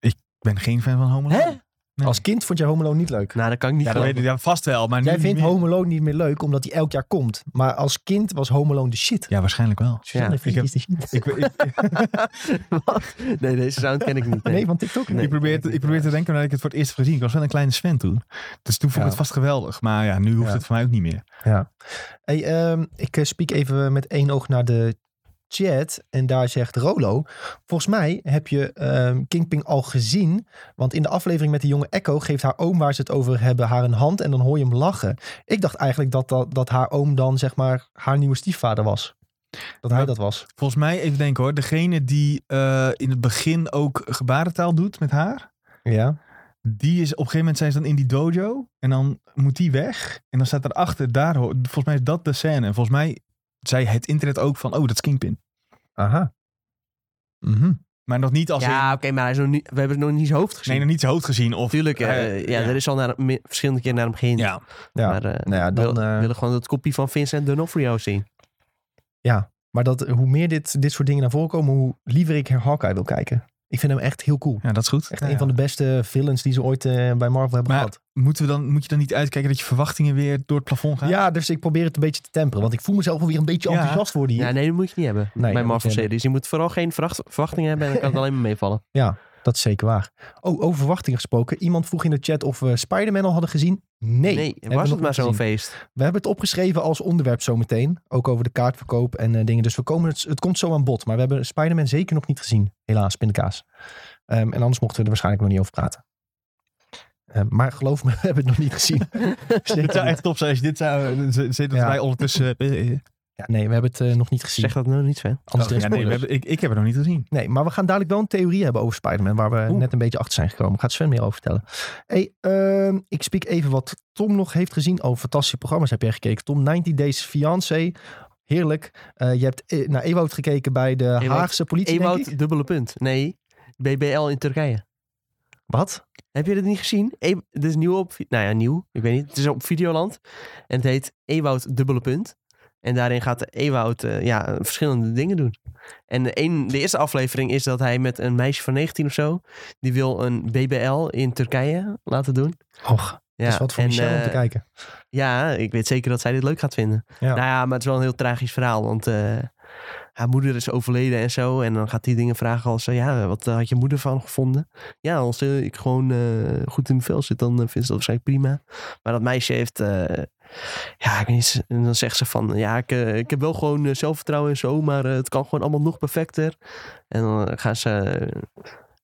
[SPEAKER 2] ik ben geen fan van Home Alone.
[SPEAKER 3] Hè?
[SPEAKER 2] Nee.
[SPEAKER 1] Als kind vond jij Home Alone niet leuk?
[SPEAKER 3] Nou, dat kan ik niet
[SPEAKER 2] Ja, dat
[SPEAKER 3] geloven.
[SPEAKER 2] weet ik ja, vast wel, maar
[SPEAKER 1] Jij
[SPEAKER 2] nu
[SPEAKER 1] vindt
[SPEAKER 2] niet meer.
[SPEAKER 1] Home Alone niet meer leuk, omdat hij elk jaar komt. Maar als kind was Home Alone de shit.
[SPEAKER 2] Ja, waarschijnlijk wel.
[SPEAKER 1] Suzanne
[SPEAKER 3] Ja,
[SPEAKER 1] vindt
[SPEAKER 2] ik
[SPEAKER 1] iets de shit.
[SPEAKER 2] Ik, ik,
[SPEAKER 3] Wat? nee, deze sound ken ik niet. nee.
[SPEAKER 1] Oh, Nee, van TikTok
[SPEAKER 3] Nee.
[SPEAKER 1] niet.
[SPEAKER 2] ik probeer, te, ik probeer te denken nadat ik het voor het eerst heb gezien. Ik was wel een kleine Sven toen. Dus toen vond ik
[SPEAKER 1] Ja.
[SPEAKER 2] het vast geweldig. Maar ja, nu hoeft
[SPEAKER 1] Ja.
[SPEAKER 2] het voor mij ook niet meer.
[SPEAKER 1] Hey, ehm, ik eh, spiek even met één oog naar de chat. En daar zegt Rolo. Volgens mij heb je ehm Kingpin al gezien. Want in de aflevering met de jonge Echo geeft haar oom waar ze het over hebben haar een hand. En dan hoor je hem lachen. Ik dacht eigenlijk dat, dat, dat haar oom dan zeg maar haar nieuwe stiefvader was. Dat hij
[SPEAKER 2] Ja.
[SPEAKER 1] dat was.
[SPEAKER 2] Volgens mij, even denken hoor. Degene die eh, in het begin ook gebarentaal doet met haar.
[SPEAKER 1] Ja.
[SPEAKER 2] Die is op een gegeven moment zijn ze dan in die dojo. En dan moet die weg. En dan staat daarachter, daar, ho- volgens mij is dat de scène. En volgens mij zei het internet ook van, oh dat is Kingpin.
[SPEAKER 1] Aha. Mhm.
[SPEAKER 2] Maar nog niet als
[SPEAKER 3] Ja,
[SPEAKER 2] in,
[SPEAKER 3] oké, maar hij is nog niet, we hebben het nog niet zijn hoofd gezien.
[SPEAKER 2] nee nog niet zijn hoofd gezien. Of,
[SPEAKER 3] Tuurlijk, eh,
[SPEAKER 2] Eh,
[SPEAKER 3] ja,
[SPEAKER 2] ja.
[SPEAKER 3] er is al naar, me- verschillende keer naar hem gehind.
[SPEAKER 2] ja.
[SPEAKER 1] Ja.
[SPEAKER 3] Maar eh,
[SPEAKER 1] nou ja,
[SPEAKER 3] wil-
[SPEAKER 1] dan, eh,
[SPEAKER 3] willen gewoon dat kopie van Vincent D'Onofrio zien.
[SPEAKER 1] maar dat, hoe meer dit, dit soort dingen naar voren komen, hoe liever ik Hawkeye wil kijken. Ik vind hem echt heel cool.
[SPEAKER 2] ja, dat is goed.
[SPEAKER 1] Echt
[SPEAKER 2] Ja,
[SPEAKER 1] een van
[SPEAKER 2] ja.
[SPEAKER 1] de beste villains die ze ooit eh, bij Marvel hebben
[SPEAKER 2] Maar-
[SPEAKER 1] gehad.
[SPEAKER 2] Moeten we dan, moet je dan niet uitkijken dat je verwachtingen weer door het plafond gaan?
[SPEAKER 1] Ja, dus ik probeer het een beetje te temperen. Want ik voel mezelf alweer een beetje
[SPEAKER 2] Ja.
[SPEAKER 1] enthousiast worden hier.
[SPEAKER 3] Ja, nee, dat moet je niet hebben
[SPEAKER 1] Nee, dat
[SPEAKER 3] bij
[SPEAKER 1] moet je
[SPEAKER 3] Marvel
[SPEAKER 1] hebben.
[SPEAKER 3] series. Je moet vooral geen verwacht- verwachtingen hebben en dan kan het alleen maar meevallen.
[SPEAKER 1] Dat is zeker waar. Oh, over verwachtingen gesproken. Iemand vroeg in de chat of we Spider-Man al hadden gezien. Nee. hebben we
[SPEAKER 3] was
[SPEAKER 1] nog
[SPEAKER 3] het maar
[SPEAKER 1] niet
[SPEAKER 3] zo'n
[SPEAKER 1] gezien.
[SPEAKER 3] feest.
[SPEAKER 1] We hebben het opgeschreven als onderwerp zometeen. Ook over de kaartverkoop en eh, dingen. Dus we komen, het, het komt zo aan bod. Maar we hebben Spider-Man zeker nog niet gezien. Helaas, pindakaas. Ehm, en anders mochten we er waarschijnlijk nog niet over praten. Ehm, maar geloof me, we hebben het nog niet gezien. Zeker
[SPEAKER 2] Dit zou
[SPEAKER 1] niet.
[SPEAKER 2] echt top zijn als je dit zou... dan z- Zitten
[SPEAKER 1] Ja.
[SPEAKER 2] wij ondertussen... eh, eh,
[SPEAKER 1] Ja, nee, we hebben het eh, nog niet gezien.
[SPEAKER 3] Zeg dat nou niet, Sven.
[SPEAKER 1] Anders
[SPEAKER 2] oh,
[SPEAKER 1] is het
[SPEAKER 2] ja, nee, we
[SPEAKER 1] spoilers.
[SPEAKER 2] hebben, ik, ik heb het nog niet gezien.
[SPEAKER 1] Nee, maar we gaan dadelijk wel een theorie hebben over Spider-Man, waar we
[SPEAKER 2] Oeh.
[SPEAKER 1] net een beetje achter zijn gekomen. Gaat Sven meer over vertellen. Hey, ehm, ik spreek even wat Tom nog heeft gezien. Oh, fantastische programma's heb jij gekeken. Tom, 90 Days Fiancé. Heerlijk. Eh, je hebt eh, naar Ewout gekeken bij de Haagse politie, denk ik.
[SPEAKER 3] Ewout, dubbele punt. Nee, BBL in Turkije.
[SPEAKER 1] Wat?
[SPEAKER 3] Heb je dit niet gezien? E- dit is nieuw op... vi- Nou ja, nieuw. Ik weet niet. Het is op Videoland. En het heet Ewoud dubbele punt. En daarin gaat Ewoud eh, ja, verschillende dingen doen. En de, een, de eerste aflevering is dat hij met een meisje van 19 of zo... die wil een BBL in Turkije laten doen.
[SPEAKER 1] Och,
[SPEAKER 3] Ja,
[SPEAKER 1] dat is wat voor
[SPEAKER 3] en,
[SPEAKER 1] Michel om
[SPEAKER 3] eh,
[SPEAKER 1] te kijken.
[SPEAKER 3] Ja, ik weet zeker dat zij dit leuk gaat vinden.
[SPEAKER 1] Ja.
[SPEAKER 3] Nou ja, maar het is wel een heel tragisch verhaal. Want eh, haar moeder is overleden en zo. En dan gaat hij dingen vragen als... eh, ja, wat eh, had je moeder van gevonden? Ja, als eh, ik gewoon eh, goed in mijn vel zit, dan eh, vindt ze dat waarschijnlijk prima. Maar dat meisje heeft... eh, ja, ik weet niet, en dan zegt ze van... Ja, ik, eh, ik heb wel gewoon eh, zelfvertrouwen en zo. Maar eh, het kan gewoon allemaal nog perfecter. En dan eh, gaan ze...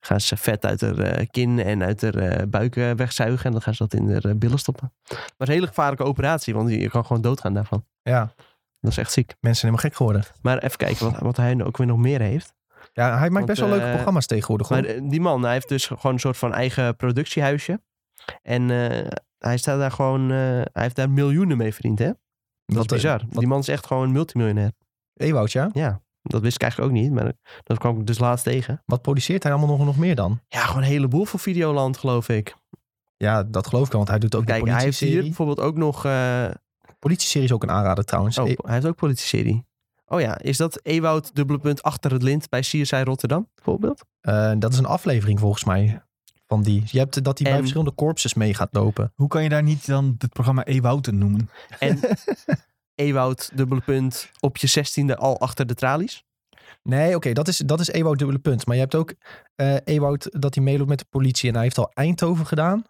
[SPEAKER 3] gaan ze vet uit haar eh, kin en uit haar eh, buik eh, wegzuigen. En dan gaan ze dat in haar eh, billen stoppen. Maar het is een hele gevaarlijke operatie, want je je kan gewoon doodgaan daarvan.
[SPEAKER 1] Ja,
[SPEAKER 3] Dat is echt ziek.
[SPEAKER 1] mensen zijn helemaal gek geworden.
[SPEAKER 3] Maar even kijken wat, wat hij nou ook weer nog meer heeft.
[SPEAKER 1] Ja, hij maakt
[SPEAKER 3] Want,
[SPEAKER 1] best wel leuke
[SPEAKER 3] eh,
[SPEAKER 1] programma's tegenwoordig. hoor.
[SPEAKER 3] Maar eh, die man, hij heeft dus gewoon een soort van eigen productiehuisje. En eh, hij staat daar gewoon, eh, hij heeft daar miljoenen mee verdiend, hè? Dat
[SPEAKER 1] Wat,
[SPEAKER 3] is bizar.
[SPEAKER 1] eh,
[SPEAKER 3] Die man is echt gewoon multimiljonair.
[SPEAKER 1] Ewout, ja?
[SPEAKER 3] Dat wist ik eigenlijk ook niet, maar dat kwam ik dus laatst tegen.
[SPEAKER 1] Wat produceert hij allemaal nog, nog meer dan?
[SPEAKER 3] Ja, gewoon een heleboel voor Videoland, geloof ik.
[SPEAKER 1] Ja, dat geloof ik wel, want hij doet ook
[SPEAKER 3] Kijk,
[SPEAKER 1] de
[SPEAKER 3] hij heeft hier
[SPEAKER 1] politie-serie.
[SPEAKER 3] bijvoorbeeld ook nog... eh,
[SPEAKER 1] Politie-serie is ook een aanrader trouwens.
[SPEAKER 3] oh,
[SPEAKER 1] E-
[SPEAKER 3] hij heeft ook politie-serie. Oh ja, is dat Ewout dubbele punt achter het lint bij CSI Rotterdam, bijvoorbeeld?
[SPEAKER 1] eh, dat is een aflevering volgens mij van die. Je hebt eh, dat hij bij
[SPEAKER 3] En-
[SPEAKER 1] verschillende korpses mee gaat lopen.
[SPEAKER 2] Hoe kan je daar niet dan het programma Ewouten noemen?
[SPEAKER 3] En Ewout, dubbele punt, op je zestiende al achter de tralies.
[SPEAKER 1] Nee, oké, dat, is, dat is Ewout dubbele punt. Maar je hebt ook eh Ewout dat hij meeloopt met de politie. En hij heeft al Eindhoven gedaan.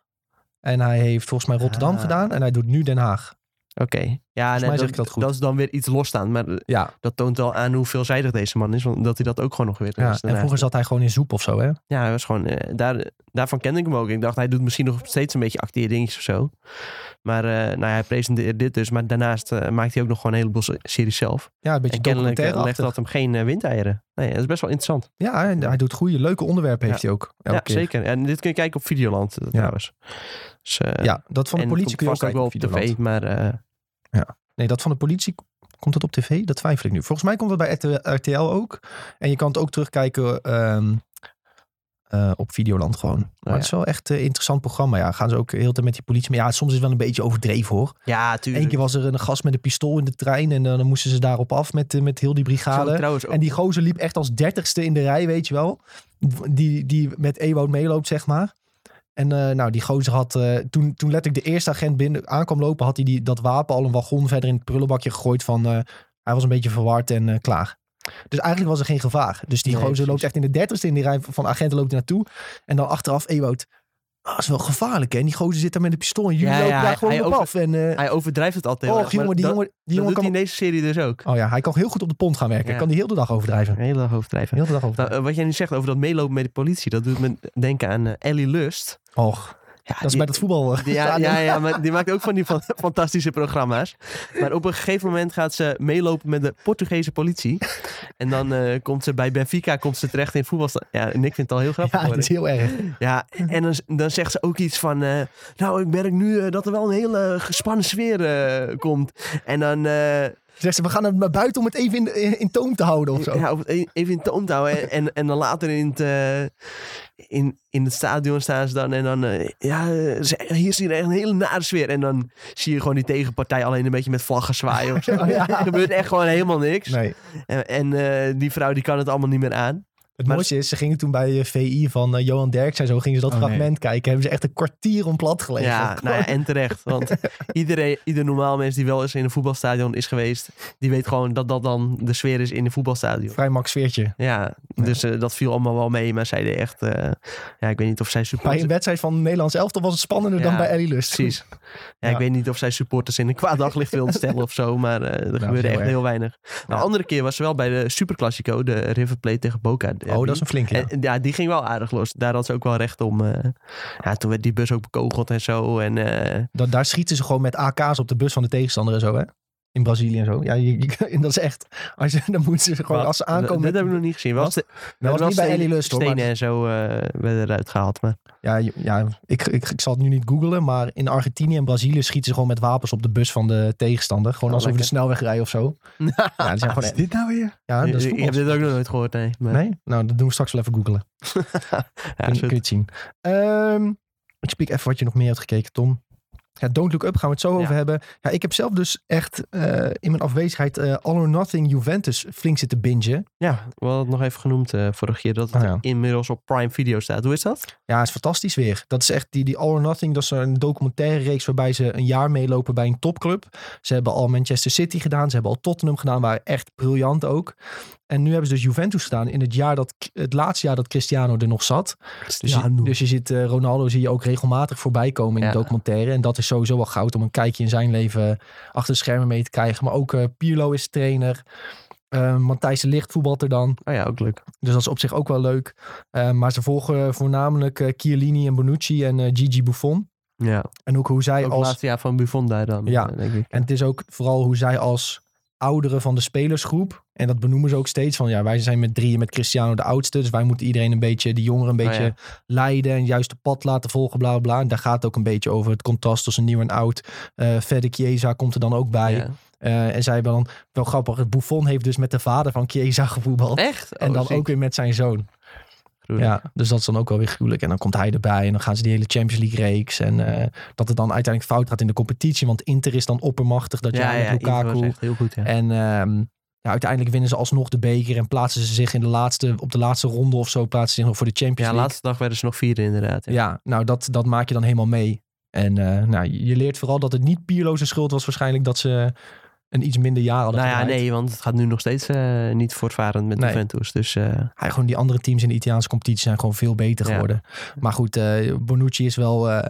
[SPEAKER 1] En hij heeft volgens mij Rotterdam
[SPEAKER 3] Ah.
[SPEAKER 1] gedaan. En hij doet nu Den Haag.
[SPEAKER 3] Oké. Ja,
[SPEAKER 1] mij
[SPEAKER 3] nee,
[SPEAKER 1] zeg ik dat goed.
[SPEAKER 3] is dan weer iets losstaand. Maar eh,
[SPEAKER 1] Ja,
[SPEAKER 3] dat toont wel aan hoe veelzijdig deze man is. Want dat hij dat ook gewoon nog weer eh,
[SPEAKER 1] ja.
[SPEAKER 3] is.
[SPEAKER 1] en vroeger zat hij gewoon in Zoep of zo, hè?
[SPEAKER 3] Ja, hij was gewoon... eh, daar, daarvan kende ik hem ook. Ik dacht, hij doet misschien nog steeds een beetje acteerdingetjes of zo. Maar eh, nou, ja, hij presenteert dit dus. Maar daarnaast eh, maakt hij ook nog gewoon een heleboel se- series zelf.
[SPEAKER 1] Ja, een beetje
[SPEAKER 3] en kennelijk eh,
[SPEAKER 1] documentaire
[SPEAKER 3] legt dat hem geen eh, windeieren. Nee, dat is best wel interessant.
[SPEAKER 1] Ja, en hij doet goede, leuke onderwerpen heeft hij ook. Elke
[SPEAKER 3] ja,
[SPEAKER 1] keer.
[SPEAKER 3] zeker. En dit kun je kijken op Videoland eh,
[SPEAKER 1] Ja.
[SPEAKER 3] trouwens. Dus, eh,
[SPEAKER 1] Ja, dat van de
[SPEAKER 3] en
[SPEAKER 1] politie kun je ook
[SPEAKER 3] komt vast
[SPEAKER 1] kijken op
[SPEAKER 3] wel op
[SPEAKER 1] Videoland.
[SPEAKER 3] tv, maar... eh,
[SPEAKER 1] Nee, dat van de politie. Komt dat op tv? Dat twijfel ik nu. Volgens mij komt dat bij RT- RTL ook. En je kan het ook terugkijken ehm, eh, op Videoland gewoon. maar
[SPEAKER 3] Oh ja.
[SPEAKER 1] het is wel echt een interessant programma. Ja, gaan ze ook heel de tijd met die politie. Maar ja, soms is het wel een beetje overdreven hoor.
[SPEAKER 3] ja, tuurlijk.
[SPEAKER 1] Eén keer was er een gast met een pistool in de trein. En eh, dan moesten ze daarop af met, eh, met heel die
[SPEAKER 3] Zo,
[SPEAKER 1] brigade.
[SPEAKER 3] trouwens, ook-
[SPEAKER 1] En die gozer liep echt als dertigste in de rij, weet je wel. Die, die met Ewout meeloopt, zeg maar. En eh, nou, die gozer had... eh, toen, toen letterlijk de eerste agent binnen aankwam lopen... had hij die, dat wapen al een wagon verder in het prullenbakje gegooid van... eh, hij was een beetje verward en eh, klaar. Dus eigenlijk was er geen gevaar. Dus die
[SPEAKER 3] Nee,
[SPEAKER 1] gozer loopt
[SPEAKER 3] precies.
[SPEAKER 1] echt in de dertigste in die rij van agenten loopt hij naartoe. En dan achteraf Ewout... Ah, dat is wel gevaarlijk, hè? En die gozer zit daar met een pistool en jullie
[SPEAKER 3] Ja,
[SPEAKER 1] lopen
[SPEAKER 3] ja,
[SPEAKER 1] daar
[SPEAKER 3] hij-
[SPEAKER 1] gewoon
[SPEAKER 3] hij
[SPEAKER 1] op
[SPEAKER 3] over-
[SPEAKER 1] af. En, eh
[SPEAKER 3] Hij overdrijft het altijd. heel
[SPEAKER 1] oh,
[SPEAKER 3] erg, maar
[SPEAKER 1] jongen, die
[SPEAKER 3] dat-
[SPEAKER 1] jongen, die
[SPEAKER 3] dat
[SPEAKER 1] jongen
[SPEAKER 3] doet
[SPEAKER 1] kan...
[SPEAKER 3] hij in deze serie dus ook.
[SPEAKER 1] Oh ja, hij kan heel goed op de pont gaan werken.
[SPEAKER 3] Ja.
[SPEAKER 1] Kan die heel de dag overdrijven.
[SPEAKER 3] Heel erg overdrijven.
[SPEAKER 1] Heel de dag overdrijven.
[SPEAKER 3] Nou, eh, wat jij nu zegt over dat meelopen met de politie, dat doet me denken aan eh, Ellie Lust.
[SPEAKER 1] Och.
[SPEAKER 3] Ja,
[SPEAKER 1] Dat is
[SPEAKER 3] die-
[SPEAKER 1] bij dat voetbal. eh,
[SPEAKER 3] die- ja,
[SPEAKER 1] stadion.
[SPEAKER 3] ja, ja, maar die maakt ook van die fan- fantastische programma's. Maar op een gegeven moment gaat ze meelopen met de Portugese politie. En dan eh, komt ze bij Benfica komt ze terecht in voetbal. Ja, en ik vind het al heel grappig.
[SPEAKER 1] Ja, dat
[SPEAKER 3] worden.
[SPEAKER 1] is heel erg.
[SPEAKER 3] Ja, en dan, dan zegt ze ook iets van... eh, nou, ik merk nu eh, dat er wel een hele gespannen sfeer eh, komt. En dan... eh,
[SPEAKER 1] Zegt ze, we gaan het maar buiten om het even in, in, in toom te houden of zo.
[SPEAKER 3] Ja, of e- even in toom te houden. En, en, en dan later in het, eh, in, in het stadion staan ze dan. En dan, eh, ja, eh, ze- hier zie je echt een hele nare sfeer. En dan zie je gewoon die tegenpartij alleen een beetje met vlaggen zwaaien of zo.
[SPEAKER 1] Oh, ja.
[SPEAKER 3] Er gebeurt echt gewoon helemaal niks.
[SPEAKER 1] Nee.
[SPEAKER 3] En, en eh, die vrouw die kan het allemaal niet meer aan.
[SPEAKER 1] Het
[SPEAKER 3] Maar-
[SPEAKER 1] mooiste is, ze gingen toen bij eh, VI van eh, Johan Derks en zo, gingen ze dat
[SPEAKER 2] Oh, nee.
[SPEAKER 1] fragment kijken. Hebben ze echt een kwartier om plat gelegen.
[SPEAKER 3] Ja, nou ja, en terecht. Want iedereen, ieder normaal mens die wel eens in een voetbalstadion is geweest... die weet gewoon dat dat dan de sfeer is in een voetbalstadion.
[SPEAKER 1] Vrij max sfeertje.
[SPEAKER 3] Ja, dus eh, dat viel allemaal wel mee. Maar zij deed echt... eh, ja, ik weet niet of zij
[SPEAKER 1] Bij
[SPEAKER 3] supporters
[SPEAKER 1] een wedstrijd van het Nederlands elftal was het spannender dan
[SPEAKER 3] Ja,
[SPEAKER 1] bij Ellie Lust.
[SPEAKER 3] Precies. Ja,
[SPEAKER 1] Ja.
[SPEAKER 3] Ik weet niet of zij supporters in een kwaad daglicht wilden stellen of zo, maar eh, er
[SPEAKER 1] Nou, heel
[SPEAKER 3] gebeurde echt
[SPEAKER 1] erg.
[SPEAKER 3] heel weinig. Nou,
[SPEAKER 1] Ja.
[SPEAKER 3] andere keer was ze wel bij de Superclásico, de River Plate tegen Boca. derby.
[SPEAKER 1] Oh, dat is een flinke. ja.
[SPEAKER 3] En- en ja, die Eh, ging wel aardig los. Daar had ze ook wel recht om. eh, ja, toen werd die bus ook bekogeld en zo. En, eh,
[SPEAKER 1] Da- daar schieten ze gewoon met AK's op de bus van de tegenstander en zo, hè? In Brazilië en zo. Ja, je- je- en dat is echt. Als je, dan moeten ze gewoon,
[SPEAKER 3] wat-
[SPEAKER 1] als ze aankomen.
[SPEAKER 3] Dit
[SPEAKER 1] met-
[SPEAKER 3] heb ik nog niet gezien. Wel
[SPEAKER 1] Wat?
[SPEAKER 3] ste-
[SPEAKER 1] dat was
[SPEAKER 3] wel
[SPEAKER 1] niet bij
[SPEAKER 3] stenen-
[SPEAKER 1] Ellie Lust hoor. maar-
[SPEAKER 3] e- Stenen en zo eh, werden eruit gehaald. Maar
[SPEAKER 1] Ja, je- ja ik, ik, ik zal het nu niet googlen, maar in Argentinië en Brazilië schieten ze gewoon met wapens op de bus van de tegenstander. Gewoon
[SPEAKER 3] Oh,
[SPEAKER 1] alsof we de
[SPEAKER 3] lekker.
[SPEAKER 1] snelweg rijden of zo. ja, dat zijn
[SPEAKER 2] Wat is
[SPEAKER 1] gewoon,
[SPEAKER 2] dit nou weer?
[SPEAKER 1] ja, Ah, dat is
[SPEAKER 3] ik, ik heb
[SPEAKER 1] voetbal.
[SPEAKER 3] dit ook nog nooit gehoord. Nee, maar,
[SPEAKER 1] Nee? Nou, dat doen we straks wel even googlen.
[SPEAKER 3] ja,
[SPEAKER 1] kun,
[SPEAKER 3] zo-
[SPEAKER 1] kun je het zien. Ehm, Ik spreek even wat je nog meer hebt gekeken, Tom. Ja, Don't Look Up gaan we het zo
[SPEAKER 3] Ja.
[SPEAKER 1] over hebben. Ja, ik heb zelf dus echt eh, in mijn afwezigheid eh All or Nothing Juventus flink zitten bingen.
[SPEAKER 3] Ja, we hadden het nog even genoemd eh vorige keer dat het
[SPEAKER 1] Ah, ja.
[SPEAKER 3] inmiddels op Prime Video staat. Hoe is dat?
[SPEAKER 1] Ja, is fantastisch weer. Dat is echt die, die All or Nothing. Dat is een documentaire reeks waarbij ze een jaar meelopen bij een topclub. Ze hebben al Manchester City gedaan. Ze hebben al Tottenham gedaan. Waren echt briljant ook. En nu hebben ze dus Juventus gedaan in het, jaar dat, het laatste jaar dat Cristiano er nog zat. Dus, je, dus je ziet eh, Ronaldo zie je ook regelmatig voorbij komen in
[SPEAKER 3] Ja.
[SPEAKER 1] de documentaire. En dat is sowieso wel goud om een kijkje in zijn leven eh, achter de schermen mee te krijgen. Maar ook eh, Pirlo is trainer. Eh Matthijs de Ligt voetbalt er dan.
[SPEAKER 3] oh ja, ook leuk.
[SPEAKER 1] Dus dat is op zich ook wel leuk. Eh, maar ze volgen voornamelijk eh, Chiellini en Bonucci en eh, Gigi Buffon.
[SPEAKER 3] Ja,
[SPEAKER 1] En ook hoe zij
[SPEAKER 3] ook
[SPEAKER 1] als...
[SPEAKER 3] laatste jaar van Buffon daar dan,
[SPEAKER 1] Ja.
[SPEAKER 3] eh, denk ik.
[SPEAKER 1] En het is ook vooral hoe zij als ouderen van de spelersgroep... en dat benoemen ze ook steeds van... ja, wij zijn met drieën met Cristiano de oudste... dus wij moeten iedereen een beetje, de jongeren een
[SPEAKER 3] Ah,
[SPEAKER 1] beetje leiden... en het juiste pad laten volgen, bla, bla, bla. En daar gaat het ook een beetje over. Het contrast tussen nieuw en oud. Eh Fede Chiesa komt er dan ook bij.
[SPEAKER 3] Ja.
[SPEAKER 1] Eh, en zij hebben dan, wel grappig... Buffon heeft dus met de vader van Chiesa gevoetbald...
[SPEAKER 3] Echt?
[SPEAKER 1] en
[SPEAKER 3] Oh,
[SPEAKER 1] dan
[SPEAKER 3] ziek.
[SPEAKER 1] ook weer met zijn zoon.
[SPEAKER 3] Gruwelijk.
[SPEAKER 1] Ja, dus dat is dan ook wel weer gruwelijk. En dan komt hij erbij en dan gaan ze die hele Champions League reeks. En eh, dat het dan uiteindelijk fout gaat in de competitie. Want Inter is dan oppermachtig. Dat jaar met
[SPEAKER 3] Inter was
[SPEAKER 1] Lukaku.
[SPEAKER 3] echt heel goed, ja.
[SPEAKER 1] En ehm, ja, uiteindelijk winnen ze alsnog de beker. En plaatsen ze zich in de laatste, op de laatste ronde of zo. Plaatsen ze zich nog voor de Champions
[SPEAKER 3] Ja,
[SPEAKER 1] League.
[SPEAKER 3] laatste dag werden ze nog vierde inderdaad. Ja.
[SPEAKER 1] Ja, nou dat, dat maak je dan helemaal mee. En eh, nou, je je leert vooral dat het niet Pirlo's schuld was waarschijnlijk. Dat ze een iets minder jaar hadden
[SPEAKER 3] nou ja,
[SPEAKER 1] gedraaid.
[SPEAKER 3] nee, want het gaat nu nog steeds eh, niet voortvarend met
[SPEAKER 1] Nee.
[SPEAKER 3] Juventus. Dus eh,
[SPEAKER 1] Hij, gewoon die andere teams in de Italiaanse competitie zijn gewoon veel beter
[SPEAKER 3] Ja.
[SPEAKER 1] geworden. Maar goed, eh, Bonucci is wel eh,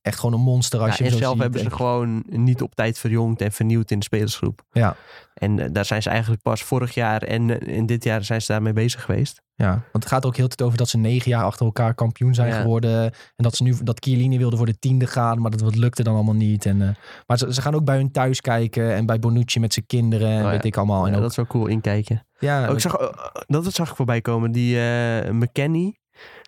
[SPEAKER 1] echt gewoon een monster als
[SPEAKER 3] ja,
[SPEAKER 1] je
[SPEAKER 3] en
[SPEAKER 1] hem zo
[SPEAKER 3] zelf
[SPEAKER 1] ziet,
[SPEAKER 3] Nou, hebben ze
[SPEAKER 1] denk ik.
[SPEAKER 3] gewoon niet op tijd verjongd en vernieuwd in de spelersgroep.
[SPEAKER 1] Ja.
[SPEAKER 3] En eh, daar zijn ze eigenlijk pas vorig jaar en eh, in dit jaar zijn ze daarmee bezig geweest.
[SPEAKER 1] Ja, want het gaat ook heel de tijd over dat ze negen jaar achter elkaar kampioen zijn
[SPEAKER 3] Ja.
[SPEAKER 1] geworden. En dat ze nu dat Chiellini wilde voor de tiende gaan, maar dat, dat lukte dan allemaal niet. En, eh, maar ze, ze gaan ook bij hun thuis kijken en bij Bonucci met zijn kinderen en
[SPEAKER 3] Oh ja.
[SPEAKER 1] weet ik allemaal. En
[SPEAKER 3] Ja,
[SPEAKER 1] ook,
[SPEAKER 3] dat is wel cool inkijken.
[SPEAKER 1] ja,
[SPEAKER 3] Ook zag, eh, dat zag ik voorbij komen. Die eh McKenny.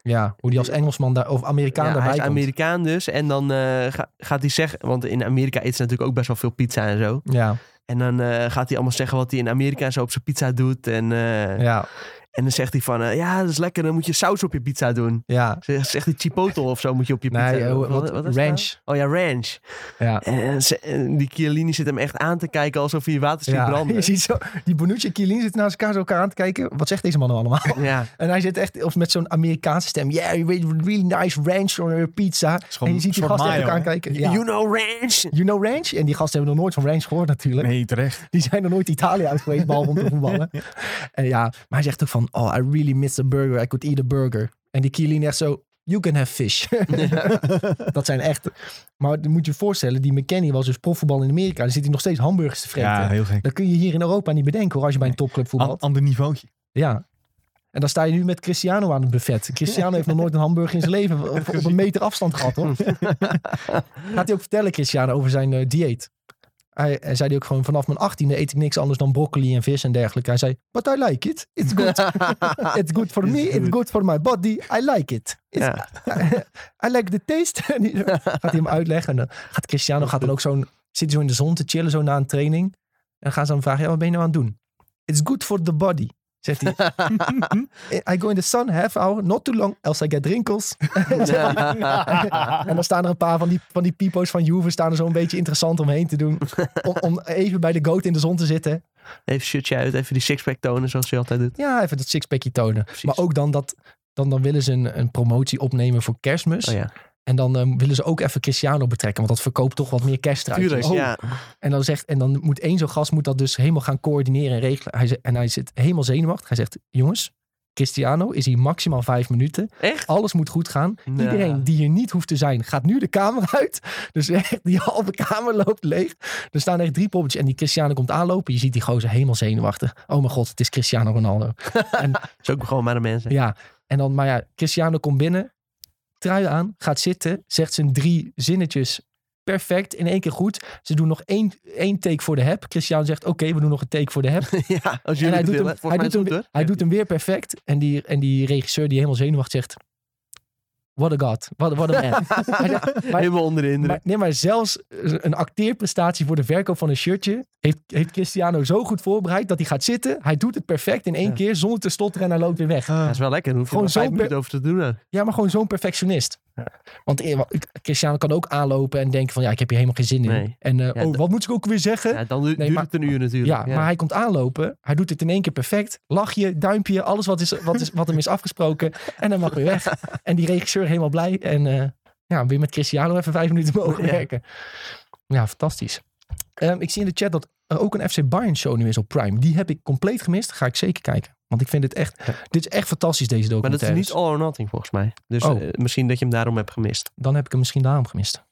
[SPEAKER 1] ja, hoe die als Engelsman daar, of Amerikaan
[SPEAKER 3] hij
[SPEAKER 1] daarbij
[SPEAKER 3] is
[SPEAKER 1] komt.
[SPEAKER 3] Amerikaan dus. En dan eh, ga- gaat hij zeggen... Want in Amerika eet ze natuurlijk ook best wel veel pizza en zo.
[SPEAKER 1] ja,
[SPEAKER 3] En dan eh, gaat hij allemaal zeggen wat hij in Amerika zo op zijn pizza doet. En, eh,
[SPEAKER 1] ja,
[SPEAKER 3] en dan zegt hij van... eh, ja, dat is lekker. Dan moet je saus op je pizza doen.
[SPEAKER 1] ja.
[SPEAKER 3] Zegt zegt hij chipotle of zo moet je op je pizza
[SPEAKER 1] Nee,
[SPEAKER 3] doen.
[SPEAKER 1] eh,
[SPEAKER 3] Of
[SPEAKER 1] wat,
[SPEAKER 3] is het nou?
[SPEAKER 1] ranch.
[SPEAKER 3] Oh ja, ranch.
[SPEAKER 1] Ja.
[SPEAKER 3] En, ze- en die Chiellini zit hem echt aan te kijken alsof hij water ziet
[SPEAKER 1] Ja, je
[SPEAKER 3] branden.
[SPEAKER 1] ziet zo, die Bonucci en Chiellini zitten naast elkaar zo elkaar aan te kijken. Wat zegt deze man nou allemaal?
[SPEAKER 3] Ja,
[SPEAKER 1] En hij zit echt op- met zo'n Amerikaanse stem. Yeah, you made a really nice ranch on your pizza.
[SPEAKER 2] is gewoon
[SPEAKER 1] En je ziet die
[SPEAKER 2] een soort
[SPEAKER 1] gasten echt
[SPEAKER 2] mayo,
[SPEAKER 1] elkaar
[SPEAKER 2] hè?
[SPEAKER 1] kijken. Ja.
[SPEAKER 3] You know ranch.
[SPEAKER 1] You know ranch? En die gasten hebben nog nooit van ranch gehoord natuurlijk.
[SPEAKER 2] Nee, terecht.
[SPEAKER 1] Die zijn nog nooit Italië uit geweest, behalve om te voetballen. En ja, maar hij zegt ook van, oh, I really miss a burger. I could eat a burger. En die Chiellini echt zo, you can have fish. dat zijn echt... Maar dan moet je je voorstellen, die McKennie was dus profvoetbal in Amerika. Dan zit hij nog steeds hamburgers te vreten.
[SPEAKER 2] Ja, heel gek.
[SPEAKER 1] Dat kun je hier in Europa niet bedenken hoor, als je bij een topclub
[SPEAKER 2] An-
[SPEAKER 1] voetbalt.
[SPEAKER 2] ander niveautje.
[SPEAKER 1] Ja. En dan sta je nu met Cristiano aan het buffet. Cristiano heeft nog nooit een hamburger in zijn leven op, op een meter afstand gehad, hoor. Gaat hij ook vertellen, Cristiano, over zijn eh, dieet? Hij, hij zei hij ook gewoon, vanaf mijn achttiende eet ik niks anders dan broccoli en vis en dergelijke. Hij zei, but I like it. It's good. It's good for me. It's good for my body. I like it. It's-
[SPEAKER 3] Ja.
[SPEAKER 1] I like the taste. En die- gaat hij hem uitleggen. En dan gaat Cristiano gaat dan ook zo'n, zit hij zo in de zon te chillen, zo na een training. En dan gaan ze hem vragen, ja, wat ben je nou aan het doen? It's good for the body, zegt hij. I go in the sun half hour, not too long, else I get wrinkles.
[SPEAKER 3] Ah.
[SPEAKER 1] en dan staan er een paar van die, van die pipo's van Juve staan er zo een beetje interessant omheen te doen. Om, om even bij de goat in de zon te zitten.
[SPEAKER 3] Even shirtje uit, even die sixpack tonen zoals je altijd doet.
[SPEAKER 1] Ja, even dat sixpackje tonen.
[SPEAKER 3] Precies.
[SPEAKER 1] Maar ook dan dat... Dan, dan willen ze een, een promotie opnemen voor kerstmis.
[SPEAKER 3] Oh ja,
[SPEAKER 1] En dan ehm, willen ze ook even Cristiano betrekken. Want dat verkoopt toch wat meer kerstruitjes.
[SPEAKER 3] tuurlijk.
[SPEAKER 1] Oh.
[SPEAKER 3] Ja.
[SPEAKER 1] En, dan zegt, en dan moet één zo'n gast moet dat dus helemaal gaan coördineren en regelen. Hij, ze- en hij zit helemaal zenuwachtig. Hij zegt, jongens, Cristiano is hier maximaal vijf minuten.
[SPEAKER 3] Echt?
[SPEAKER 1] Alles moet goed gaan.
[SPEAKER 3] Nou,
[SPEAKER 1] Iedereen die hier niet hoeft te zijn, gaat nu de kamer uit. Dus echt, die halve kamer loopt leeg. Er staan echt drie poppetjes. En die Cristiano komt aanlopen. Je ziet die gozer helemaal zenuwachtig. Oh mijn god, het is Cristiano Ronaldo.
[SPEAKER 3] is ook gewoon maar een mens. hè.
[SPEAKER 1] Ja, en dan, maar ja, Cristiano komt binnen. Trui aan, gaat zitten. Zegt zijn drie zinnetjes perfect. In één keer goed. Ze doen nog één, één take voor de heb. Cristiano zegt, oké, we doen nog een take voor de heb.
[SPEAKER 3] Ja, als
[SPEAKER 1] En
[SPEAKER 3] jullie
[SPEAKER 1] hij
[SPEAKER 3] het
[SPEAKER 1] doet, hem,
[SPEAKER 3] willen.
[SPEAKER 1] hij, doet hem,
[SPEAKER 3] hem,
[SPEAKER 1] hij doet hem weer perfect. En die, en die regisseur die helemaal zenuwachtig zegt... What a god. What, what a man. Hij zegt, maar-
[SPEAKER 3] Helemaal onder de
[SPEAKER 1] Maar,
[SPEAKER 3] indruk.
[SPEAKER 1] nee, maar zelfs een acteerprestatie voor de verkoop van een shirtje heeft, heeft Cristiano zo goed voorbereid dat hij gaat zitten. Hij doet het perfect in één
[SPEAKER 3] Ja.
[SPEAKER 1] keer zonder te stotteren en hij loopt weer weg.
[SPEAKER 2] Eh.
[SPEAKER 3] Dat is wel lekker. Dan hoef je
[SPEAKER 1] Gewoon
[SPEAKER 3] er maar
[SPEAKER 1] zo
[SPEAKER 3] vijf minuten over te doen. hè.
[SPEAKER 1] Ja, maar gewoon zo'n perfectionist. Want eh, wa- ik- Cristiano kan ook aanlopen en denken van ja, ik heb hier helemaal geen zin in.
[SPEAKER 3] Nee.
[SPEAKER 1] En eh,
[SPEAKER 3] Ja,
[SPEAKER 1] oh,
[SPEAKER 3] d-
[SPEAKER 1] wat moet ik ook weer zeggen? Ja,
[SPEAKER 3] Ja, dan du- duurt
[SPEAKER 1] maar-
[SPEAKER 3] het een uur natuurlijk.
[SPEAKER 1] maar hij komt aanlopen. Hij doet het in één keer perfect. Lachje, duimpje, alles wat, is, wat, is, wat hem is afgesproken. En dan mag hij weg. En die regisseur helemaal blij. En eh, ja, weer met Cristiano even vijf minuten mogen
[SPEAKER 3] Ja.
[SPEAKER 1] werken. Ja, fantastisch. Ehm, ik zie in de chat dat er ook een FC Bayern show nu is op Prime. Die heb ik compleet gemist. Ga ik zeker kijken. Want ik vind het echt... Dit is echt fantastisch, deze
[SPEAKER 3] maar dat
[SPEAKER 1] documentaire.
[SPEAKER 3] is niet all or nothing volgens mij. Dus
[SPEAKER 1] Oh.
[SPEAKER 3] eh, misschien dat je hem daarom hebt gemist.
[SPEAKER 1] dan heb ik hem misschien daarom gemist.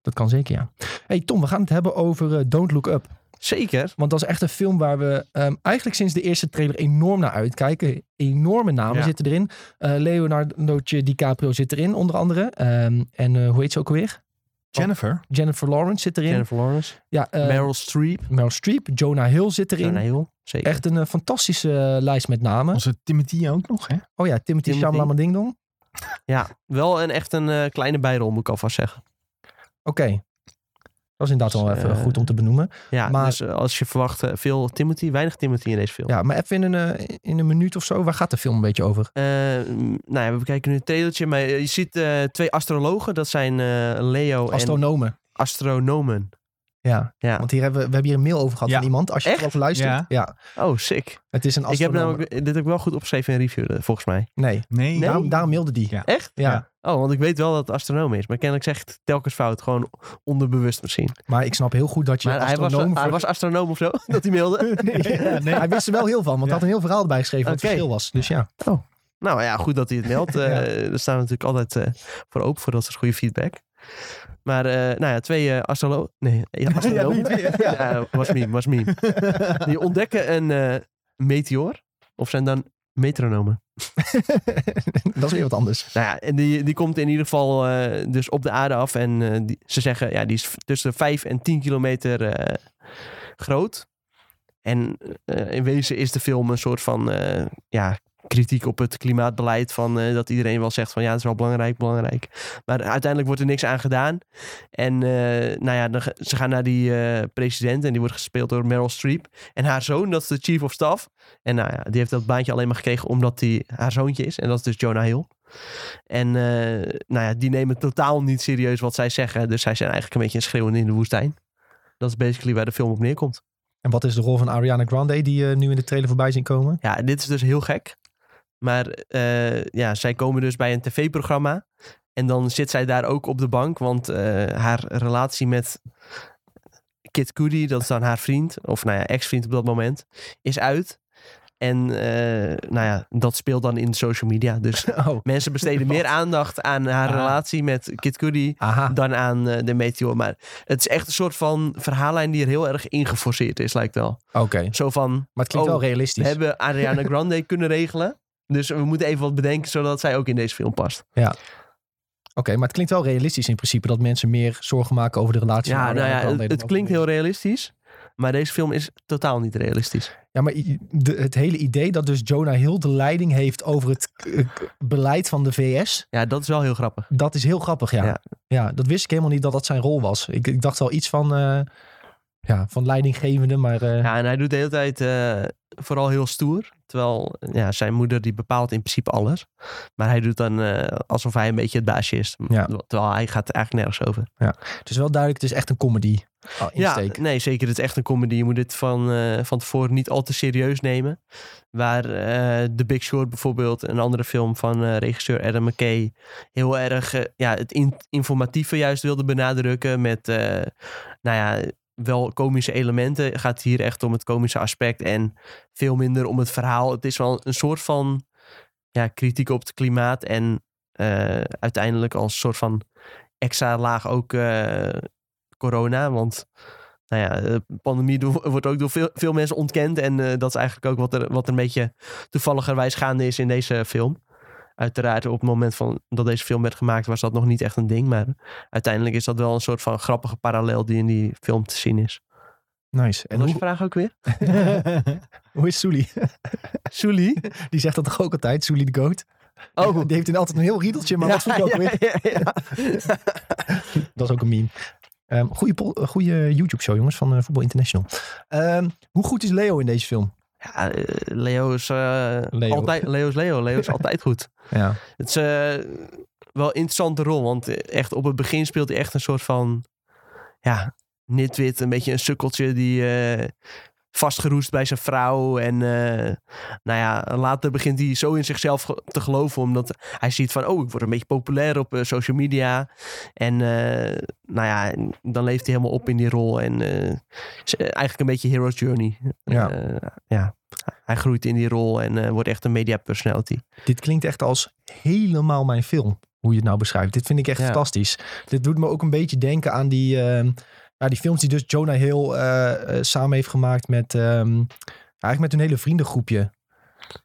[SPEAKER 1] Dat kan zeker, ja. hey Tom, we gaan het hebben over eh, Don't Look Up.
[SPEAKER 3] Zeker.
[SPEAKER 1] Want dat is echt een film waar we ehm, eigenlijk sinds de eerste trailer enorm naar uitkijken. Enorme namen
[SPEAKER 3] Ja.
[SPEAKER 1] zitten erin. Eh Leonardo DiCaprio zit erin, onder andere. Ehm, en eh, hoe heet ze ook alweer?
[SPEAKER 2] Jennifer.
[SPEAKER 1] Jennifer Lawrence zit erin.
[SPEAKER 3] Jennifer Lawrence.
[SPEAKER 1] ja, eh,
[SPEAKER 3] Meryl Streep.
[SPEAKER 1] Meryl Streep. Jonah Hill zit erin.
[SPEAKER 3] Jonah Hill. Zeker.
[SPEAKER 1] Echt een eh, fantastische eh, lijst met namen.
[SPEAKER 2] Onze Timothy ook nog, hè?
[SPEAKER 1] Oh ja, Timothy,
[SPEAKER 3] Timothy.
[SPEAKER 1] Shyamalan Ding Dong.
[SPEAKER 3] Ja, wel een, echt een eh, kleine bijrol moet ik alvast zeggen.
[SPEAKER 1] Oké. Dat is inderdaad wel
[SPEAKER 3] Dus,
[SPEAKER 1] even
[SPEAKER 3] eh,
[SPEAKER 1] goed om te benoemen.
[SPEAKER 3] Ja,
[SPEAKER 1] Maar-
[SPEAKER 3] dus eh, als je verwacht eh, veel Timothy, weinig Timothy in deze film.
[SPEAKER 1] Ja, maar even in een, eh, in een minuut of zo. Waar gaat de film een beetje over?
[SPEAKER 3] Eh, m, nou ja, we bekijken nu het trailertje. Maar je ziet eh, twee astrologen. Dat zijn eh, Leo en
[SPEAKER 1] Astronomen.
[SPEAKER 3] astronomen.
[SPEAKER 1] Ja.
[SPEAKER 3] Ja.
[SPEAKER 1] want hier hebben we, we hebben hier een mail over gehad
[SPEAKER 2] Ja.
[SPEAKER 1] van iemand. Als je
[SPEAKER 3] Echt?
[SPEAKER 1] erover luistert. Ja.
[SPEAKER 2] Ja.
[SPEAKER 3] Oh, sick.
[SPEAKER 1] het is een
[SPEAKER 3] Ik heb
[SPEAKER 1] astronoom.
[SPEAKER 3] namelijk, dit heb ik wel goed opgeschreven in een review, eh, volgens mij.
[SPEAKER 1] Nee,
[SPEAKER 2] Nee.
[SPEAKER 1] Daarom, daarom mailde die. Ja.
[SPEAKER 2] Ja.
[SPEAKER 3] Echt? Oh, want ik weet wel dat het astronoom is. Maar kennelijk zegt het telkens fout. Gewoon onderbewust misschien.
[SPEAKER 1] Maar ik snap heel goed dat je
[SPEAKER 3] Maar hij was,
[SPEAKER 1] astronoom...
[SPEAKER 3] hij
[SPEAKER 1] voor-
[SPEAKER 3] was astronoom of zo, dat hij mailde.
[SPEAKER 2] Ja, nee.
[SPEAKER 1] Hij wist er wel heel van, want hij
[SPEAKER 2] Ja.
[SPEAKER 1] had een heel verhaal erbij geschreven wat
[SPEAKER 3] Oké.
[SPEAKER 1] het verschil was. Dus ja.
[SPEAKER 3] nou ja, goed dat hij het meldt. Eh Daar staan we natuurlijk altijd eh, voor open voor dat soort goede feedback. Maar eh, nou ja, twee eh, astrolo Nee, ja, astronomen.
[SPEAKER 2] die twee,
[SPEAKER 3] ja, was meme, was meme. Die ontdekken een eh, meteoor. Of zijn dan metronomen?
[SPEAKER 1] dat is weer wat anders.
[SPEAKER 3] Nou ja, en die, die komt in ieder geval eh, dus op de aarde af. En eh, die, ze zeggen, ja, die is v- tussen de 5 en 10 kilometer eh, groot. En eh, in wezen is de film een soort van eh, ja, kritiek op het klimaatbeleid. Van, eh, dat iedereen wel zegt van ja, het is wel belangrijk, belangrijk. Maar uiteindelijk wordt er niks aan gedaan. En eh, nou ja, dan ga- ze gaan naar die eh, president en die wordt gespeeld door Meryl Streep. En haar zoon, dat is de chief of staff. En nou ja, die heeft dat baantje alleen maar gekregen omdat hij haar zoontje is. En dat is dus Jonah Hill. En eh, nou ja, die nemen totaal niet serieus wat zij zeggen. Dus zij zijn eigenlijk een beetje een schreeuwende in de woestijn. Dat is basically waar de film op neerkomt.
[SPEAKER 1] En wat is de rol van Ariana Grande die je nu in de trailer voorbij zien komen?
[SPEAKER 3] Ja, dit is dus heel gek. Maar eh, ja, zij komen dus bij een tv-programma. En dan zit zij daar ook op de bank. Want eh, haar relatie met Kid Cudi, dat is dan haar vriend. Of nou ja, ex-vriend op dat moment. Is uit. En eh, nou ja, dat speelt dan in social media. Dus
[SPEAKER 1] Oh,
[SPEAKER 3] mensen besteden meer aandacht aan haar
[SPEAKER 1] Ah.
[SPEAKER 3] relatie met Kid Cudi.
[SPEAKER 1] aha.
[SPEAKER 3] dan aan eh, de meteor. Maar het is echt een soort van verhaallijn die er heel erg ingeforceerd is, lijkt wel.
[SPEAKER 1] Oké.
[SPEAKER 3] Zo van,
[SPEAKER 1] Maar het klinkt
[SPEAKER 3] Oh,
[SPEAKER 1] wel realistisch.
[SPEAKER 3] we hebben Ariana Grande kunnen regelen. Dus we moeten even wat bedenken, zodat zij ook in deze film past.
[SPEAKER 1] Oké, maar het klinkt wel realistisch in principe dat mensen meer zorgen maken over de relatie. van
[SPEAKER 3] Ja, nou
[SPEAKER 1] Ariana
[SPEAKER 3] ja,
[SPEAKER 1] Grande
[SPEAKER 3] het,
[SPEAKER 1] dan
[SPEAKER 3] het
[SPEAKER 1] over
[SPEAKER 3] klinkt
[SPEAKER 1] de-
[SPEAKER 3] heel realistisch. Maar deze film is totaal niet realistisch.
[SPEAKER 1] Ja, maar i- de- het hele idee dat dus Jonah Hill de leiding heeft over het eh, k- beleid van de VS,
[SPEAKER 3] Ja, dat is wel heel grappig.
[SPEAKER 1] dat is heel grappig, ja. ja.
[SPEAKER 3] Ja.
[SPEAKER 1] dat wist ik helemaal niet dat dat zijn rol was. Ik, ik dacht wel iets van, eh, ja, van leidinggevende, maar eh,
[SPEAKER 3] Ja, en hij doet de hele tijd eh, vooral heel stoer. Terwijl ja, zijn moeder die bepaalt in principe alles. Maar hij doet dan eh, alsof hij een beetje het baasje is.
[SPEAKER 1] Ja.
[SPEAKER 3] Terwijl hij gaat er eigenlijk nergens over.
[SPEAKER 1] het is wel duidelijk, het is echt een comedy ah, insteek.
[SPEAKER 3] Ja, nee, zeker. Het is echt een comedy. Je moet dit van, eh, van tevoren niet al te serieus nemen. Waar eh The Big Short bijvoorbeeld, een andere film van eh, regisseur Adam McKay, heel erg eh, ja, het in- informatieve juist wilde benadrukken met, eh, nou ja, wel komische elementen. Gaat hier echt om het komische aspect en veel minder om het verhaal. Het is wel een soort van ja, kritiek op het klimaat en eh, uiteindelijk als soort van extra laag ook eh, corona, want nou ja, de pandemie do- wordt ook door veel, veel mensen ontkend. En eh, dat is eigenlijk ook wat er, wat er een beetje toevalligerwijs gaande is in deze film. Uiteraard op het moment van dat deze film werd gemaakt was dat nog niet echt een ding. Maar uiteindelijk is dat wel een soort van grappige parallel die in die film te zien is.
[SPEAKER 1] Nice.
[SPEAKER 3] En
[SPEAKER 1] En
[SPEAKER 3] was je
[SPEAKER 1] hoe,
[SPEAKER 3] vraag ook weer?
[SPEAKER 1] hoe is Soelie?
[SPEAKER 3] Sully?
[SPEAKER 1] Die zegt dat toch ook altijd, Soelie de Goat?
[SPEAKER 3] Oh.
[SPEAKER 1] Die heeft in altijd een heel riedeltje, maar wat zoek je ook weer?
[SPEAKER 3] ja, ja.
[SPEAKER 1] Dat is ook een meme. Ehm goede YouTube-show, jongens, van eh Voetbal International. Ehm, hoe goed is Leo in deze film?
[SPEAKER 3] Ja, eh, Leo is eh,
[SPEAKER 1] Leo.
[SPEAKER 3] altijd... Leo is Leo. Leo is altijd goed.
[SPEAKER 1] Ja.
[SPEAKER 3] Het is, eh, wel interessante rol. Want echt op het begin speelt hij echt een soort van... Ja, nitwit. Een beetje een sukkeltje die... eh, vastgeroest bij zijn vrouw. En eh, nou ja, later begint hij zo in zichzelf ge- te geloven. Omdat hij ziet van... Oh, ik word een beetje populair op eh, social media. En eh, nou ja, en dan leeft hij helemaal op in die rol. En eh, is, eh, eigenlijk een beetje hero's journey.
[SPEAKER 1] Ja.
[SPEAKER 3] Eh, ja. Hij groeit in die rol en eh, wordt echt een media personality.
[SPEAKER 1] Dit klinkt echt als helemaal mijn film. Hoe je het nou beschrijft. Dit vind ik echt
[SPEAKER 3] Ja.
[SPEAKER 1] fantastisch. Dit doet me ook een beetje denken aan die, ehm, ja, die films die dus Jonah Hill eh, eh, samen heeft gemaakt met... ehm, eigenlijk met hun hele vriendengroepje.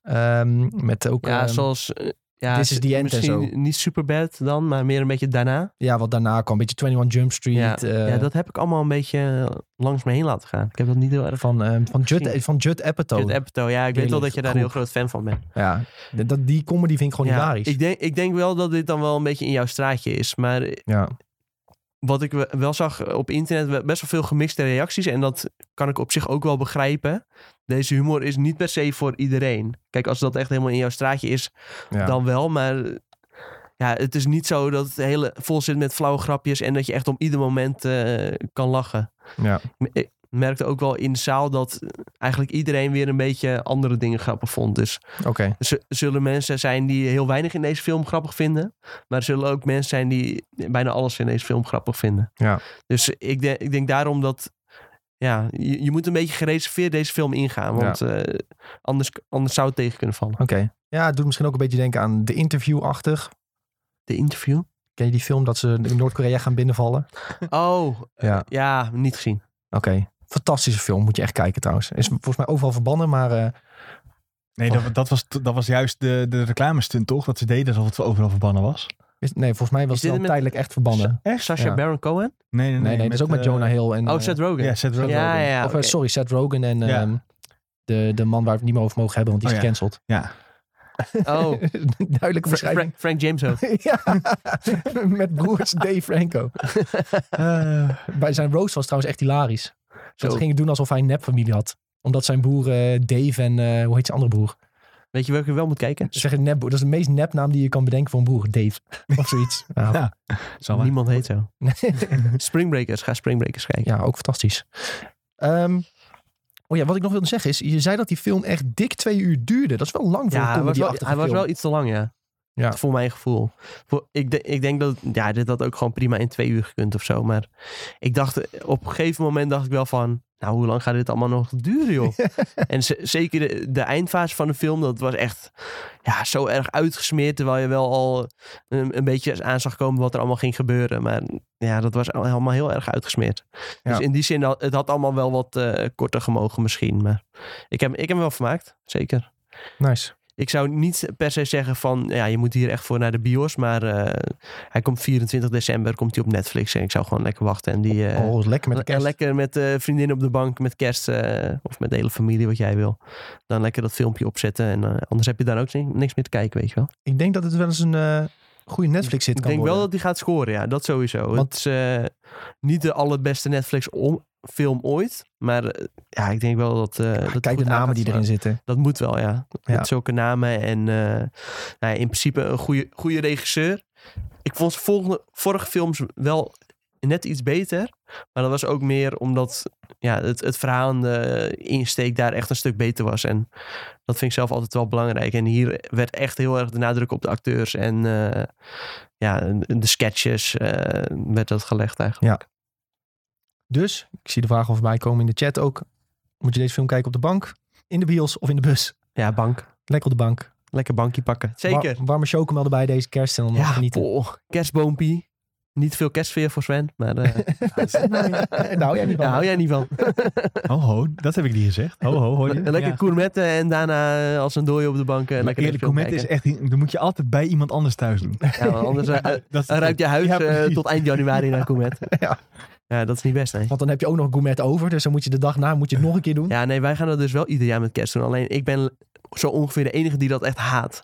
[SPEAKER 1] Ehm, met ook...
[SPEAKER 3] Ja,
[SPEAKER 1] ehm,
[SPEAKER 3] zoals... eh, ja,
[SPEAKER 1] This is the end en
[SPEAKER 3] misschien
[SPEAKER 1] zo.
[SPEAKER 3] niet super bad dan, maar meer een beetje daarna.
[SPEAKER 1] ja, wat daarna kwam. Een beetje 21 Jump Street.
[SPEAKER 3] ja.
[SPEAKER 1] eh,
[SPEAKER 3] ja, dat heb ik allemaal een beetje eh, langs me heen laten gaan. Ik heb dat niet heel erg...
[SPEAKER 1] van, ehm, van, Judd,
[SPEAKER 3] Misschien.
[SPEAKER 1] van Judd Apatow.
[SPEAKER 3] Judd Apatow, ja, ik
[SPEAKER 1] Die
[SPEAKER 3] weet wel dat je daar een heel
[SPEAKER 1] groep.
[SPEAKER 3] groot fan van bent.
[SPEAKER 1] ja, d- dat, die comedy vind ik gewoon
[SPEAKER 3] ja,
[SPEAKER 1] hilarisch.
[SPEAKER 3] ik, denk, ik denk wel dat dit dan wel een beetje in jouw straatje is. Maar eh,
[SPEAKER 1] ja.
[SPEAKER 3] wat ik we- wel zag eh, op internet, we- best wel veel gemixte reacties. En dat kan ik op zich ook wel begrijpen. Deze humor is niet per se voor iedereen. Kijk, als dat echt helemaal in jouw straatje is,
[SPEAKER 1] Ja.
[SPEAKER 3] dan wel. Maar eh, ja, het is niet zo dat het hele vol zit met flauwe grapjes. En dat je echt op ieder moment eh, kan lachen.
[SPEAKER 1] Ja.
[SPEAKER 3] M- Ik merkte ook wel in de zaal dat eh, eigenlijk iedereen weer een beetje andere dingen grappig vond. Dus
[SPEAKER 1] Oké.
[SPEAKER 3] Z- zullen mensen zijn die heel weinig in deze film grappig vinden. Maar er zullen ook mensen zijn die bijna alles in deze film grappig vinden.
[SPEAKER 1] Ja.
[SPEAKER 3] Dus ik, de- ik denk daarom dat. Ja, je, je moet een beetje gereserveerd deze film ingaan. Want eh, anders, anders zou het tegen kunnen vallen.
[SPEAKER 1] Oké. Ja, het doet misschien ook een beetje denken aan de interview-achtig.
[SPEAKER 3] De interview?
[SPEAKER 1] Ken je die film dat ze in Noord-Korea gaan binnenvallen?
[SPEAKER 3] Oh,
[SPEAKER 1] Ja.
[SPEAKER 3] ja, niet gezien.
[SPEAKER 1] Oké. Fantastische film, moet je echt kijken trouwens. Is volgens mij overal verbannen, maar eh,
[SPEAKER 2] Nee, dat, dat, was, dat was juist de, de reclamestunt, toch? Dat ze deden alsof het overal verbannen was.
[SPEAKER 1] is- nee, volgens mij was
[SPEAKER 3] Is
[SPEAKER 1] het
[SPEAKER 3] dit
[SPEAKER 1] wel
[SPEAKER 3] met-
[SPEAKER 1] tijdelijk echt verbannen.
[SPEAKER 2] Echt?
[SPEAKER 3] Sasha
[SPEAKER 1] Ja.
[SPEAKER 3] Baron Cohen?
[SPEAKER 2] Nee, nee,
[SPEAKER 1] Nee, nee, dat is ook met
[SPEAKER 2] eh,
[SPEAKER 1] Jonah Hill en...
[SPEAKER 3] Oh,
[SPEAKER 1] eh,
[SPEAKER 3] Seth Rogen.
[SPEAKER 2] Ja, Seth Rogen.
[SPEAKER 3] Ja, ja, ja,
[SPEAKER 1] of, eh,
[SPEAKER 3] oké.
[SPEAKER 1] Sorry, Seth Rogen en
[SPEAKER 2] Ja.
[SPEAKER 1] ehm, de, de man waar we het niet meer over mogen hebben, want die is
[SPEAKER 2] Oh, ja.
[SPEAKER 1] gecanceld.
[SPEAKER 2] Ja.
[SPEAKER 3] Oh,
[SPEAKER 1] Duidelijke
[SPEAKER 3] Fra-
[SPEAKER 1] beschrijving.
[SPEAKER 3] Frank, Frank James ook.
[SPEAKER 1] ja, met broers Dave Franco.
[SPEAKER 2] Eh,
[SPEAKER 1] Bij zijn roast was trouwens echt hilarisch.
[SPEAKER 3] Zo.
[SPEAKER 1] Dat ging doen alsof hij een nepfamilie had. Omdat zijn broer eh, Dave en, eh, hoe heet zijn andere broer?
[SPEAKER 3] Weet je welke je wel moet kijken?
[SPEAKER 1] Ze zeggen nepbroer. Dat is de meest nepnaam die je kan bedenken voor een broer. Dave. Of zoiets. Nou,
[SPEAKER 2] Ja. zal maar.
[SPEAKER 3] Niemand heet zo. Springbreakers, ga Springbreakers kijken.
[SPEAKER 1] ja, ook fantastisch. Ehm, oh ja, wat ik nog wilde zeggen is, je zei dat die film echt dik twee uur duurde. Dat is wel lang voor
[SPEAKER 3] Ja,
[SPEAKER 1] een
[SPEAKER 3] hij was, wel,
[SPEAKER 1] comedyachtige
[SPEAKER 3] hij was
[SPEAKER 1] film.
[SPEAKER 3] wel iets te lang, ja.
[SPEAKER 1] Ja.
[SPEAKER 3] Voor mijn gevoel. Voor, ik, de- ik denk dat, ja, dit had ook gewoon prima in twee uur gekund of zo. Maar ik dacht, op een gegeven moment dacht ik wel van, nou, hoe lang gaat dit allemaal nog duren, joh? en ze- zeker de, de eindfase van de film, dat was echt ja, zo erg uitgesmeerd. Terwijl je wel al een, een beetje aan zag komen wat er allemaal ging gebeuren. Maar ja, dat was al- allemaal heel erg uitgesmeerd. Dus
[SPEAKER 1] Ja.
[SPEAKER 3] in die zin, had- het had allemaal wel wat eh, korter gemogen misschien. Maar ik heb, ik heb hem wel vermaakt, zeker
[SPEAKER 1] Nice.
[SPEAKER 3] ik zou niet per se zeggen van ja, je moet hier echt voor naar de bios. Maar eh, hij komt 24 december komt hij op Netflix. En ik zou gewoon lekker wachten. En die eh,
[SPEAKER 1] oh, was lekker met de
[SPEAKER 3] le-
[SPEAKER 1] kerst.
[SPEAKER 3] lekker met eh vriendinnen op de bank, met kerst eh, of met de hele familie, wat jij wil. Dan lekker dat filmpje opzetten. En eh, anders heb je daar ook ni- niks meer te kijken, weet je wel.
[SPEAKER 1] Ik denk dat het wel eens een eh, goede Netflix hit
[SPEAKER 3] ik
[SPEAKER 1] kan
[SPEAKER 3] denk wel
[SPEAKER 1] worden.
[SPEAKER 3] dat die gaat scoren, ja, dat sowieso.
[SPEAKER 1] Want-
[SPEAKER 3] Het is eh, niet de allerbeste Netflix om- film ooit. Maar eh, ja, ik denk wel dat. eh, dat het
[SPEAKER 1] Ah, Kijk de
[SPEAKER 3] goed aan
[SPEAKER 1] namen
[SPEAKER 3] gaat
[SPEAKER 1] die
[SPEAKER 3] slaan.
[SPEAKER 1] erin zitten.
[SPEAKER 3] Dat moet wel, ja.
[SPEAKER 1] Ja.
[SPEAKER 3] Met zulke namen en eh, nou ja, in principe een goede, goede regisseur. Ik vond zijn volgende, vorige films wel net iets beter. Maar dat was ook meer omdat ja, het, het verhaal en de insteek daar echt een stuk beter was. En dat vind ik zelf altijd wel belangrijk. En hier werd echt heel erg de nadruk op de acteurs en eh, ja, de sketches eh, werd dat gelegd eigenlijk.
[SPEAKER 1] Dus, ik zie de vraag al voorbij komen in de chat ook. Moet je deze film kijken op de bank, in de bios of in de bus?
[SPEAKER 3] Ja, bank.
[SPEAKER 1] Lekker op de bank.
[SPEAKER 3] Lekker bankje pakken. Zeker.
[SPEAKER 1] Wa- warme chocomel erbij deze kerst en dan
[SPEAKER 3] Ja,
[SPEAKER 1] genieten.
[SPEAKER 3] boh, kerstboompie. Niet veel kerstsfeer voor Sven, maar eh,
[SPEAKER 1] Daar hou jij niet van.
[SPEAKER 3] daar hou jij niet van.
[SPEAKER 2] Ho, ho, dat heb ik niet gezegd. Ho, ho, hoor je?
[SPEAKER 3] lekker
[SPEAKER 2] Ja.
[SPEAKER 3] gourmetten en daarna eh, als een dooi op de bank. eh,
[SPEAKER 2] Maar
[SPEAKER 3] lekker
[SPEAKER 2] eerlijk,
[SPEAKER 3] film
[SPEAKER 2] gourmet is
[SPEAKER 3] kijken.
[SPEAKER 2] echt... i- Dat moet je altijd bij iemand anders thuis doen.
[SPEAKER 3] Ja, want anders eh, eh,
[SPEAKER 2] Dat is
[SPEAKER 3] dan ruikt je huis
[SPEAKER 2] Ja,
[SPEAKER 3] eh,
[SPEAKER 2] precies.
[SPEAKER 3] tot eind januari naar gourmet.
[SPEAKER 1] Ja.
[SPEAKER 3] ja, dat is niet best, nee.
[SPEAKER 1] Want dan heb je ook nog gourmet over. Dus dan moet je de dag na moet je het nog een keer doen.
[SPEAKER 3] Ja, nee, wij gaan dat dus wel ieder jaar met kerst doen. Alleen ik ben zo ongeveer de enige die dat echt haat.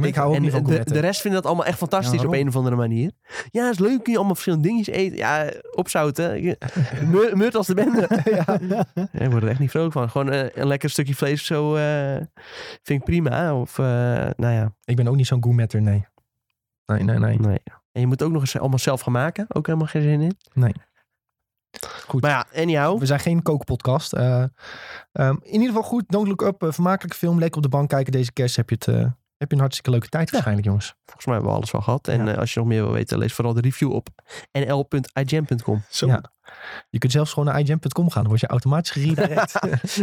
[SPEAKER 1] ik hou ook
[SPEAKER 3] en
[SPEAKER 1] niet van
[SPEAKER 3] de,
[SPEAKER 1] gourmetten.
[SPEAKER 3] de rest vinden dat allemaal echt fantastisch
[SPEAKER 2] Ja,
[SPEAKER 3] op
[SPEAKER 2] waarom?
[SPEAKER 3] een of andere manier. Ja, is leuk, kun je allemaal verschillende dingetjes eten. Ja, opzouten. Je- Meur, meurt als de bende. Ja, ik word er echt niet vrolijk van. Gewoon eh, een lekker stukje vlees of zo eh, vind ik prima. Of eh, nou ja,
[SPEAKER 1] Ik ben ook niet zo'n gourmetter, nee. Nee, nee, nee.
[SPEAKER 3] Nee. En je moet ook nog eens allemaal zelf gaan maken. Ook helemaal geen zin in.
[SPEAKER 1] Nee. Goed.
[SPEAKER 3] Maar ja, anyhow.
[SPEAKER 1] We zijn geen kookpodcast. Eh, ehm, in ieder geval goed. Don't Look Up. eh, vermakelijke film. Lekker op de bank kijken. Deze kerst heb je, het, eh, heb je een hartstikke leuke tijd waarschijnlijk, jongens.
[SPEAKER 3] Volgens mij hebben we alles wel gehad. En
[SPEAKER 1] Ja.
[SPEAKER 3] eh, als je nog meer wil weten, lees vooral de review op nl.igem.com.
[SPEAKER 2] Zo.
[SPEAKER 1] Ja. Je kunt zelfs gewoon naar iGem.com gaan. Dan word je automatisch geredirect.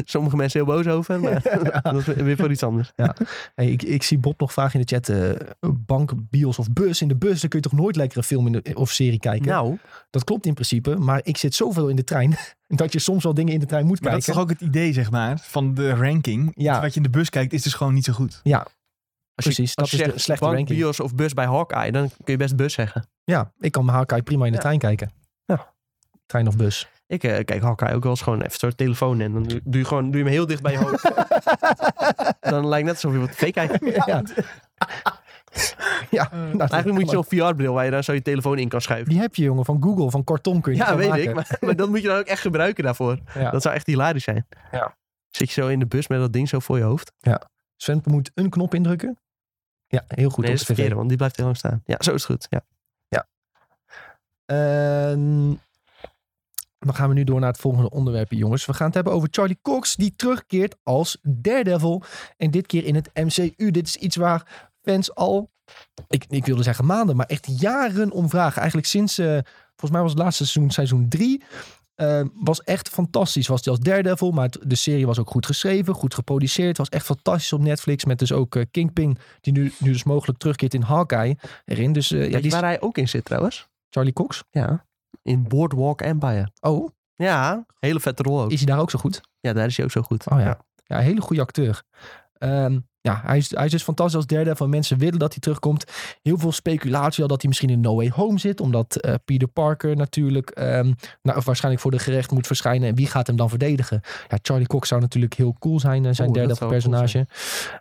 [SPEAKER 3] Sommige mensen heel boos over, maar dat is weer voor iets anders.
[SPEAKER 1] hey, ik, ik zie Bob nog vragen in de chat. eh, bank, bios of bus. In de bus dan kun je toch nooit lekkere film in de, of serie kijken?
[SPEAKER 3] Nou,
[SPEAKER 1] Dat klopt in principe. Maar ik zit zoveel in de trein. dat je soms wel dingen in de trein moet
[SPEAKER 2] Maar dat is
[SPEAKER 1] kijken.
[SPEAKER 2] toch ook het idee, zeg maar, van de ranking.
[SPEAKER 1] Ja.
[SPEAKER 2] Wat je in de bus kijkt, is dus gewoon niet zo goed.
[SPEAKER 3] als
[SPEAKER 1] Precies,
[SPEAKER 3] je,
[SPEAKER 1] dat
[SPEAKER 3] als je
[SPEAKER 1] is de
[SPEAKER 3] zegt
[SPEAKER 1] slechte
[SPEAKER 3] bank,
[SPEAKER 1] ranking.
[SPEAKER 3] bios of bus bij Hawkeye, dan kun je best bus zeggen.
[SPEAKER 1] Ja, ik kan mijn Hawkeye prima in de
[SPEAKER 3] Ja.
[SPEAKER 1] trein kijken.
[SPEAKER 3] Ja.
[SPEAKER 1] Trein of bus.
[SPEAKER 3] Ik eh, kijk Hawkeye ook wel eens gewoon even door de telefoon en dan doe doe je, gewoon, doe je hem heel dicht bij je hoofd. dan lijkt net alsof je wat tv
[SPEAKER 1] Ja.
[SPEAKER 3] kijkt.
[SPEAKER 1] ja. nou, dat
[SPEAKER 3] Eigenlijk moet
[SPEAKER 1] kan
[SPEAKER 3] je zo'n VR-bril waar je dan zo je telefoon in kan schuiven.
[SPEAKER 1] Die heb je, jongen, van Google, van Kortom kun je
[SPEAKER 3] Ja,
[SPEAKER 1] het wel
[SPEAKER 3] weet
[SPEAKER 1] maken.
[SPEAKER 3] ik. Maar, maar dat moet je dan ook echt gebruiken daarvoor.
[SPEAKER 1] Ja.
[SPEAKER 3] Dat zou echt hilarisch zijn.
[SPEAKER 1] Ja.
[SPEAKER 3] Zit je zo in de bus met dat ding zo voor je hoofd?
[SPEAKER 1] Sven moet een knop indrukken. Ja, heel goed
[SPEAKER 3] nee,
[SPEAKER 1] op
[SPEAKER 3] dat is
[SPEAKER 1] de
[SPEAKER 3] het
[SPEAKER 1] tv.
[SPEAKER 3] verkeerde, want die blijft heel lang staan. Ja, zo is het goed. Ja.
[SPEAKER 1] Ehm, dan gaan we nu door naar het volgende onderwerp, jongens. We gaan het hebben over Charlie Cox, die terugkeert als Daredevil. En dit keer in het MCU. Dit is iets waar fans al, ik, ik wilde zeggen maanden, maar echt jaren om vragen. Eigenlijk sinds, eh, volgens mij was het laatste seizoen, seizoen 3. was echt fantastisch. Was hij als Daredevil, maar het- de serie was ook goed geschreven, goed geproduceerd. Was echt fantastisch op Netflix. Met dus ook eh, Kingpin, die nu, nu dus mogelijk terugkeert in Hawkeye erin. Dus eh, ja,
[SPEAKER 3] Weet je
[SPEAKER 1] die is
[SPEAKER 3] waar hij ook in zit trouwens?
[SPEAKER 1] Charlie Cox.
[SPEAKER 3] Ja. In Boardwalk Empire.
[SPEAKER 1] Oh,
[SPEAKER 3] Ja, hele vette rol ook.
[SPEAKER 1] Is hij daar ook zo goed?
[SPEAKER 3] Ja, daar is hij ook zo goed.
[SPEAKER 1] Oh ja. Ja, een hele goede acteur. Ehm, ja, hij is, hij is dus fantastisch als derde. Van mensen willen dat hij terugkomt. Heel veel speculatie al dat hij misschien in No Way Home zit. Omdat eh, Peter Parker natuurlijk ehm, nou, of waarschijnlijk voor de gerecht moet verschijnen. En wie gaat hem dan verdedigen? Ja, Charlie Cox zou natuurlijk heel cool zijn. eh, Zijn
[SPEAKER 3] Oeh,
[SPEAKER 1] derde
[SPEAKER 3] dat zou cool
[SPEAKER 1] personage.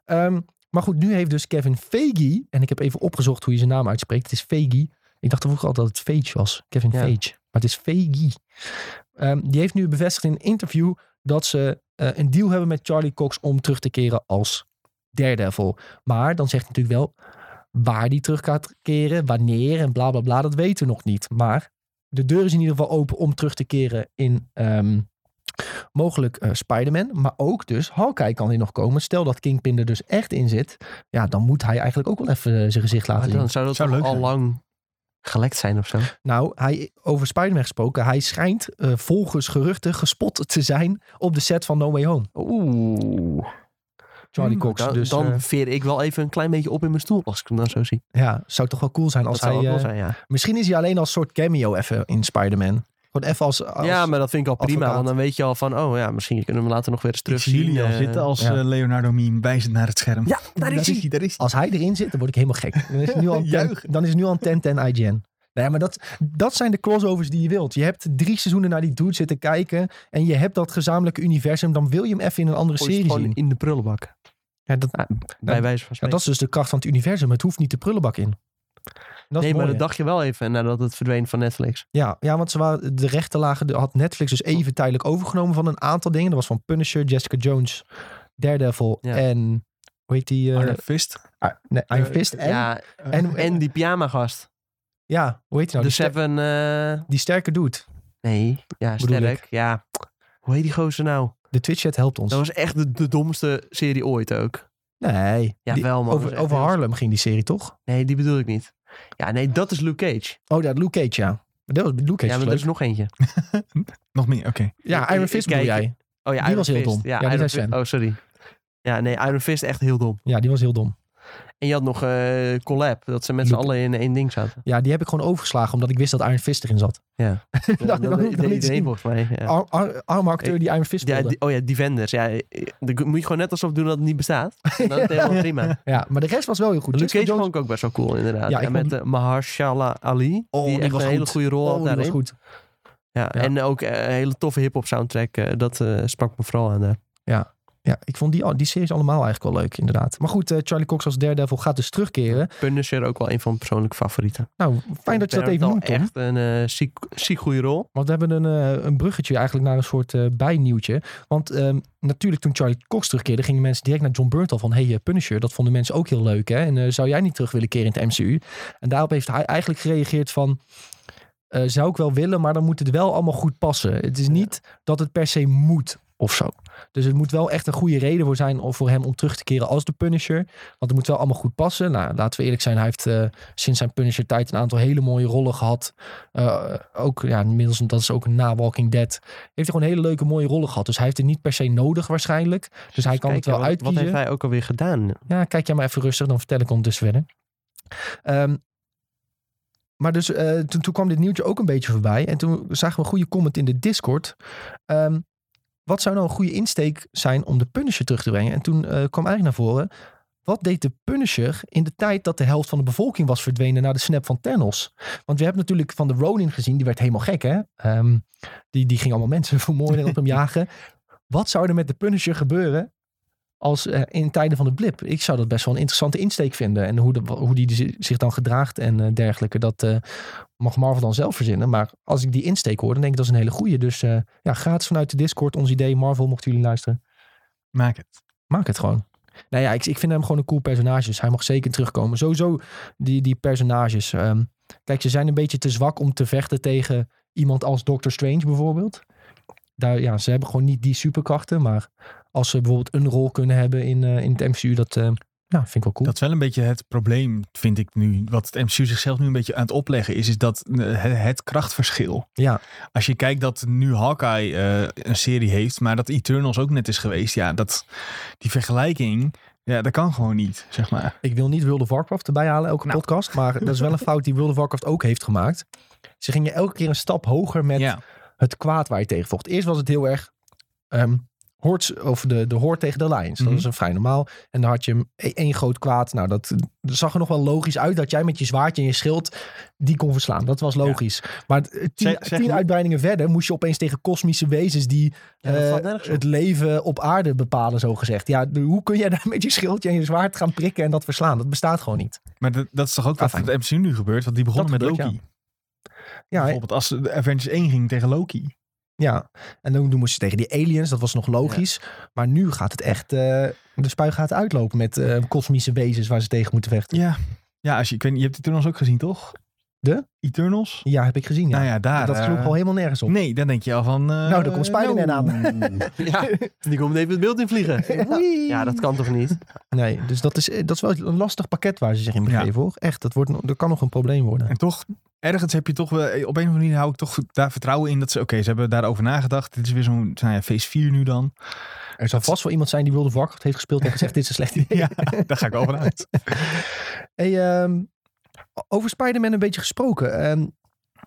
[SPEAKER 1] Ehm, maar goed, nu heeft dus Kevin Feige... En ik heb even opgezocht hoe je zijn naam uitspreekt. Het is Feige. Ik dacht vroeger altijd dat het Feige was. Kevin
[SPEAKER 3] Ja.
[SPEAKER 1] Feige. Maar het is Feige. Ehm, die heeft nu bevestigd in een interview dat ze eh, een deal hebben met Charlie Cox om terug te keren als Daredevil. Maar dan zegt hij natuurlijk wel waar die terug gaat keren, wanneer en bla bla bla, dat weten we nog niet. Maar de deur is in ieder geval open om terug te keren in ehm, mogelijk eh, Spider-Man, maar ook dus Hawkeye kan hier nog komen. Stel dat Kingpin er dus echt in zit, ja, dan moet hij eigenlijk ook wel even eh, zijn gezicht laten
[SPEAKER 3] Maar
[SPEAKER 1] zien.
[SPEAKER 3] dan zou dat
[SPEAKER 2] Zou
[SPEAKER 3] toch
[SPEAKER 2] leuk
[SPEAKER 3] al
[SPEAKER 2] zijn.
[SPEAKER 3] lang gelekt zijn of zo.
[SPEAKER 1] Nou, hij, over Spider-Man gesproken, hij schijnt eh, volgens geruchten gespot te zijn op de set van No Way Home.
[SPEAKER 3] Oeh.
[SPEAKER 1] Charlie Cox.
[SPEAKER 3] Hm, Hmm, Dan,
[SPEAKER 1] dus
[SPEAKER 3] dan
[SPEAKER 1] eh,
[SPEAKER 3] veer ik wel even een klein beetje op in mijn stoel als ik hem dan zo zie.
[SPEAKER 1] ja, zou toch wel cool zijn als
[SPEAKER 3] dat zou
[SPEAKER 1] hij...
[SPEAKER 3] ook wel
[SPEAKER 1] eh,
[SPEAKER 3] zijn, ja.
[SPEAKER 1] Misschien is hij alleen als soort cameo even in Spider-Man. Gewoon even als... als
[SPEAKER 3] ja, maar dat vind ik al prima.
[SPEAKER 1] advocaat.
[SPEAKER 3] Want dan weet je al van, oh ja, misschien kunnen we hem later nog weer eens
[SPEAKER 2] Ik
[SPEAKER 3] terug
[SPEAKER 2] zie jullie al zitten als
[SPEAKER 1] ja.
[SPEAKER 2] eh, Leonardo Miem wijzend naar het scherm.
[SPEAKER 3] Ja, daar is hij.
[SPEAKER 2] daar is hij.
[SPEAKER 1] Als hij erin zit, dan word ik helemaal gek. Dan is het nu al een ten,
[SPEAKER 2] Juichen.
[SPEAKER 1] dan is het nu al een 10 10 IGN. Nee, Nou maar dat, dat zijn de crossovers die je wilt. Je hebt drie seizoenen naar die dude zitten kijken. En je hebt dat gezamenlijke universum. Dan wil je hem even in een andere
[SPEAKER 3] Gooi je
[SPEAKER 1] serie
[SPEAKER 3] gewoon
[SPEAKER 1] zien.
[SPEAKER 3] in de prullenbak.
[SPEAKER 1] Ja, dat,
[SPEAKER 3] Bij wijze van
[SPEAKER 1] ja,
[SPEAKER 3] spreken.
[SPEAKER 1] dat is dus de kracht van het universum. Het hoeft niet de prullenbak in. En Dat
[SPEAKER 3] nee,
[SPEAKER 1] is
[SPEAKER 3] maar
[SPEAKER 1] mooi,
[SPEAKER 3] dat
[SPEAKER 1] hè?
[SPEAKER 3] dacht je wel even eh, nadat het verdween van Netflix.
[SPEAKER 1] Ja, ja, want ze waren, de rechten lagen, de- had Netflix dus even tijdelijk overgenomen van een aantal dingen. Dat was van Punisher, Jessica Jones, Daredevil
[SPEAKER 3] Ja.
[SPEAKER 1] en hoe heet die? eh,
[SPEAKER 2] Iron Fist.
[SPEAKER 1] Ah, nee, Iron
[SPEAKER 2] Eh,
[SPEAKER 1] Fist en, ja.
[SPEAKER 3] ja,
[SPEAKER 1] en, en,
[SPEAKER 3] en die pyjama-gast.
[SPEAKER 1] ja, hoe heet die nou?
[SPEAKER 3] de
[SPEAKER 1] Die, ster-
[SPEAKER 3] Seven... eh,
[SPEAKER 1] die sterke dude.
[SPEAKER 3] nee, ja,
[SPEAKER 1] Bedoel
[SPEAKER 3] sterk. Ja, hoe heet die gozer nou?
[SPEAKER 1] De Twitch chat helpt ons.
[SPEAKER 3] Dat was echt de, de domste serie ooit ook.
[SPEAKER 1] Nee.
[SPEAKER 3] Ja,
[SPEAKER 1] Die-
[SPEAKER 3] wel man. Dat
[SPEAKER 1] over
[SPEAKER 3] was echt
[SPEAKER 1] over
[SPEAKER 3] heel-
[SPEAKER 1] Harlem ging die serie toch?
[SPEAKER 3] Nee, die bedoel ik niet. Ja, nee, dat is Luke Cage.
[SPEAKER 1] Oh, dat Luke Cage, ja. Maar Dat was Luke Cage.
[SPEAKER 3] ja,
[SPEAKER 1] was
[SPEAKER 3] maar er
[SPEAKER 1] leuk.
[SPEAKER 3] is nog eentje.
[SPEAKER 2] Nog meer, oké.
[SPEAKER 1] ja,
[SPEAKER 3] ik-
[SPEAKER 1] Iron
[SPEAKER 3] ik
[SPEAKER 1] Fist bedoel
[SPEAKER 3] kijk-
[SPEAKER 1] jij.
[SPEAKER 3] Oh ja,
[SPEAKER 1] Die
[SPEAKER 3] Iron
[SPEAKER 1] was heel
[SPEAKER 3] Fist.
[SPEAKER 1] dom. Ja, die zei
[SPEAKER 3] Iron Fi-
[SPEAKER 1] Sven.
[SPEAKER 3] Oh, sorry. Ja, nee, Iron Fist echt heel dom.
[SPEAKER 1] Ja, die was heel dom.
[SPEAKER 3] En je had nog eh, Collab, dat ze met z'n
[SPEAKER 1] Luke-
[SPEAKER 3] allen in één ding zaten.
[SPEAKER 1] Ja, die heb ik gewoon overgeslagen omdat ik wist dat Iron Fist erin zat.
[SPEAKER 3] Ja.
[SPEAKER 1] dat dat moet ik
[SPEAKER 3] deed
[SPEAKER 1] dan niet
[SPEAKER 3] iedereen
[SPEAKER 1] zien.
[SPEAKER 3] volgens mij. Ja.
[SPEAKER 1] Ar- ar- arme acteur die Iron Fist
[SPEAKER 3] Ja,
[SPEAKER 1] speelde.
[SPEAKER 3] die- oh ja, Defenders. Ja, eh, dat moet je gewoon net alsof doen dat het niet bestaat. En Dan is het helemaal prima.
[SPEAKER 1] Ja, maar de rest was wel heel goed.
[SPEAKER 3] Luke
[SPEAKER 1] Jessica
[SPEAKER 3] Cage
[SPEAKER 1] Jones-
[SPEAKER 3] vond ik ook best wel cool, inderdaad.
[SPEAKER 1] Ja,
[SPEAKER 3] Ja,
[SPEAKER 1] ik
[SPEAKER 3] met
[SPEAKER 1] vond-
[SPEAKER 3] eh, Mahershala Ali.
[SPEAKER 1] Oh,
[SPEAKER 3] die
[SPEAKER 1] die
[SPEAKER 3] echt
[SPEAKER 1] was
[SPEAKER 3] een hele
[SPEAKER 1] goed.
[SPEAKER 3] goede rol had
[SPEAKER 1] Oh, die was
[SPEAKER 3] daarin.
[SPEAKER 1] goed.
[SPEAKER 3] Ja,
[SPEAKER 1] Ja.
[SPEAKER 3] En ook eh, een hele toffe hip-hop soundtrack. eh, dat eh, sprak me vooral aan daar.
[SPEAKER 1] Ja, ik vond die, al- die series allemaal eigenlijk wel leuk, inderdaad. Maar goed, eh, Charlie Cox als Daredevil gaat dus terugkeren.
[SPEAKER 3] Punisher ook wel een van mijn persoonlijke favorieten.
[SPEAKER 1] Nou, fijn dat je dat even noemt, Tom.
[SPEAKER 3] Echt een eh, ziek, ziek goede rol.
[SPEAKER 1] Want we hebben een, eh, een bruggetje eigenlijk naar een soort eh, bijnieuwtje. Want ehm, natuurlijk toen Charlie Cox terugkeerde, gingen mensen direct naar John Bernthal van... hey, eh, Punisher, dat vonden mensen ook heel leuk, hè? En eh, zou jij niet terug willen keren in het MCU? En daarop heeft hij eigenlijk gereageerd van... eh, zou ik wel willen, maar dan moet het wel allemaal goed passen. Het is niet dat het per se moet of zo. Dus het moet wel echt een goede reden voor zijn om- voor hem om terug te keren als de Punisher. Want het moet wel allemaal goed passen. Nou, laten we eerlijk zijn, hij heeft eh, sinds zijn Punisher-tijd een aantal hele mooie rollen gehad. Eh, ook, ja, inmiddels, dat is ook na Walking Dead. Heeft hij gewoon hele leuke, mooie rollen gehad. Dus hij heeft het niet per se nodig waarschijnlijk. Dus hij kan
[SPEAKER 3] Kijk,
[SPEAKER 1] het wel
[SPEAKER 3] ja, wat,
[SPEAKER 1] uitkiezen.
[SPEAKER 3] Wat heeft hij ook alweer gedaan?
[SPEAKER 1] Ja, kijk jij maar even rustig, dan vertel ik hem dus verder. Ehm, maar dus eh, toen, toen kwam dit nieuwtje ook een beetje voorbij. En toen zagen we een goede comment in de Discord. Ehm, wat zou nou een goede insteek zijn om de Punisher terug te brengen? En toen eh, kwam eigenlijk naar voren. Wat deed de Punisher in de tijd dat de helft van de bevolking was verdwenen na de snap van Thanos? Want we hebben natuurlijk van de Ronin gezien, die werd helemaal gek hè. Ehm, die, die ging allemaal mensen vermoorden en op hem jagen. Wat zou er met de Punisher gebeuren als eh, in tijden van de blip. Ik zou dat best wel een interessante insteek vinden. En hoe, de, hoe die zi- zich dan gedraagt en eh, dergelijke. Dat eh, mag Marvel dan zelf verzinnen. Maar als ik die insteek hoor, dan denk ik dat is een hele goeie. Dus eh, ja, gratis vanuit de Discord ons idee. Marvel, mochten jullie luisteren.
[SPEAKER 2] Maak het.
[SPEAKER 1] Maak het gewoon. Nou ja, ik, ik vind hem gewoon een cool personage. Dus hij mag zeker terugkomen. Sowieso die, die personages. ehm, kijk, ze zijn een beetje te zwak om te vechten tegen iemand als Doctor Strange bijvoorbeeld. Daar, ja, ze hebben gewoon niet die superkrachten. Maar als ze bijvoorbeeld een rol kunnen hebben in, eh, in het MCU, dat eh, ja, vind ik wel cool.
[SPEAKER 2] Dat is wel een beetje het probleem, vind ik nu. Wat het MCU zichzelf nu een beetje aan het opleggen is, is dat eh, het- het krachtverschil.
[SPEAKER 1] Ja.
[SPEAKER 2] Als je kijkt dat nu Hawkeye eh, een serie heeft, maar dat Eternals ook net is geweest. Ja, dat, die vergelijking, ja, dat kan gewoon niet, zeg maar.
[SPEAKER 1] Ik wil niet World of Warcraft erbij halen, elke
[SPEAKER 2] Nou.
[SPEAKER 1] podcast. Maar dat is wel een fout die World of Warcraft ook heeft gemaakt. Ze gingen elke keer een stap hoger met
[SPEAKER 2] ja.
[SPEAKER 1] het kwaad waar je tegen vocht. Eerst was het heel erg ehm hordes, of de, de hoort tegen de lions. Dat
[SPEAKER 2] Mhm.
[SPEAKER 1] was een vrij normaal. En dan had je e- één groot kwaad. Nou, dat zag er nog wel logisch uit dat jij met je zwaardje en je schild die kon verslaan. Dat was logisch. Maar t- eh, tien,
[SPEAKER 2] Zeg- zeg
[SPEAKER 1] tien
[SPEAKER 2] niet-
[SPEAKER 1] uitbreidingen verder moest je opeens tegen kosmische wezens die
[SPEAKER 3] Ja, dat
[SPEAKER 1] eh,
[SPEAKER 3] valt nergens op.
[SPEAKER 1] het leven op aarde bepalen, zo gezegd. Ja, de- hoe kun jij daar met je schildje en je zwaard gaan prikken en dat verslaan? Dat bestaat gewoon niet.
[SPEAKER 2] Maar dat, dat is toch ook
[SPEAKER 1] Ah,
[SPEAKER 2] wat
[SPEAKER 1] fijn.
[SPEAKER 2] het MCU nu gebeurt? Want die begonnen
[SPEAKER 1] Dat
[SPEAKER 2] met
[SPEAKER 1] gebeurt,
[SPEAKER 2] Loki.
[SPEAKER 1] Ja,
[SPEAKER 2] Bijvoorbeeld als de Avengers 1 ging tegen Loki.
[SPEAKER 1] Ja, en toen, toen moest je tegen die aliens, dat was nog logisch. Maar nu gaat het echt, eh, de spui gaat uitlopen met eh, kosmische wezens waar ze tegen moeten vechten. Ja,
[SPEAKER 2] Ja, ja als je, ik weet, niet, je hebt Eternals ook gezien, toch?
[SPEAKER 1] De?
[SPEAKER 2] Eternals?
[SPEAKER 1] heb ik gezien. Ja.
[SPEAKER 2] Nou ja, daar...
[SPEAKER 1] dat sloeg
[SPEAKER 2] eh,
[SPEAKER 1] al helemaal nergens op.
[SPEAKER 2] Nee, dan denk je al van... eh,
[SPEAKER 1] Nou, daar komt Spider-Man
[SPEAKER 2] nou.
[SPEAKER 3] Ja, die komt even het beeld in vliegen.
[SPEAKER 1] Wee!
[SPEAKER 3] Ja, dat kan toch niet?
[SPEAKER 1] Nee, dus dat is, eh, dat is wel een lastig pakket waar ze zich in begeven, hoor. Echt, dat, wordt, no- dat kan nog een probleem worden.
[SPEAKER 2] En toch, ergens heb je toch wel, op een of andere manier hou ik toch daar vertrouwen in dat ze, oké, ze hebben daarover nagedacht. Dit is weer zo'n, nou ja, phase 4 nu dan.
[SPEAKER 1] Er zal vast wel iemand zijn die World of Warcraft heeft gespeeld en gezegd, dit is een slecht idee.
[SPEAKER 2] Ja, daar ga ik over uit.
[SPEAKER 1] Hey, ehm, over Spider-Man een beetje gesproken. Ehm,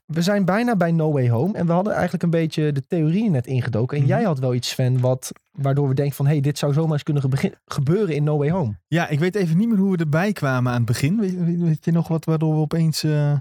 [SPEAKER 1] we zijn bijna bij No Way Home. En we hadden eigenlijk een beetje de theorieën net ingedoken. En
[SPEAKER 2] Mhm.
[SPEAKER 1] jij had wel iets, Sven, wat, waardoor we denken van... hé, hey, dit zou zomaar eens kunnen gebe- gebeuren in No Way Home.
[SPEAKER 2] Ja, ik weet even niet meer hoe we erbij kwamen aan het begin. Weet, weet- weet je nog wat, waardoor we opeens... eh,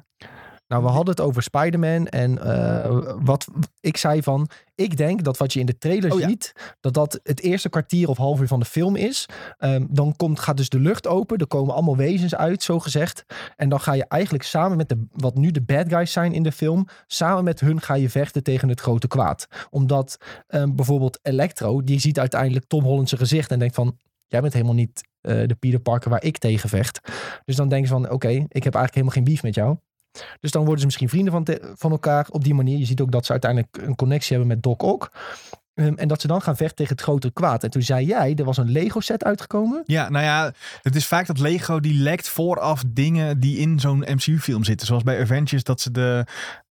[SPEAKER 1] Nou, we hadden het over Spider-Man. En eh, wat ik zei van... ik denk dat wat je in de trailer
[SPEAKER 2] Oh ja.
[SPEAKER 1] ziet... dat dat het eerste kwartier of half uur van de film is. Ehm, dan komt, gaat dus de lucht open. Er komen allemaal wezens uit, zo gezegd. En dan ga je eigenlijk samen met de, wat nu de bad guys zijn in de film, samen met hun ga je vechten tegen het grote kwaad. Omdat ehm, bijvoorbeeld Electro, die ziet uiteindelijk Tom Holland zijn gezicht en denkt van, jij bent helemaal niet eh, de Peter Parker waar ik tegen vecht. Dus dan denken ze van, oké, ik heb eigenlijk helemaal geen beef met jou. Dus dan worden ze misschien vrienden van, te- van elkaar op die manier. Je ziet ook dat ze uiteindelijk een connectie hebben met Doc Ock. Ehm, en dat ze dan gaan vechten tegen het grote kwaad. En toen zei jij, er was een Lego set uitgekomen.
[SPEAKER 2] Ja, nou ja, het is vaak dat Lego die lekt vooraf dingen die in zo'n MCU-film zitten. Zoals bij Avengers dat ze de,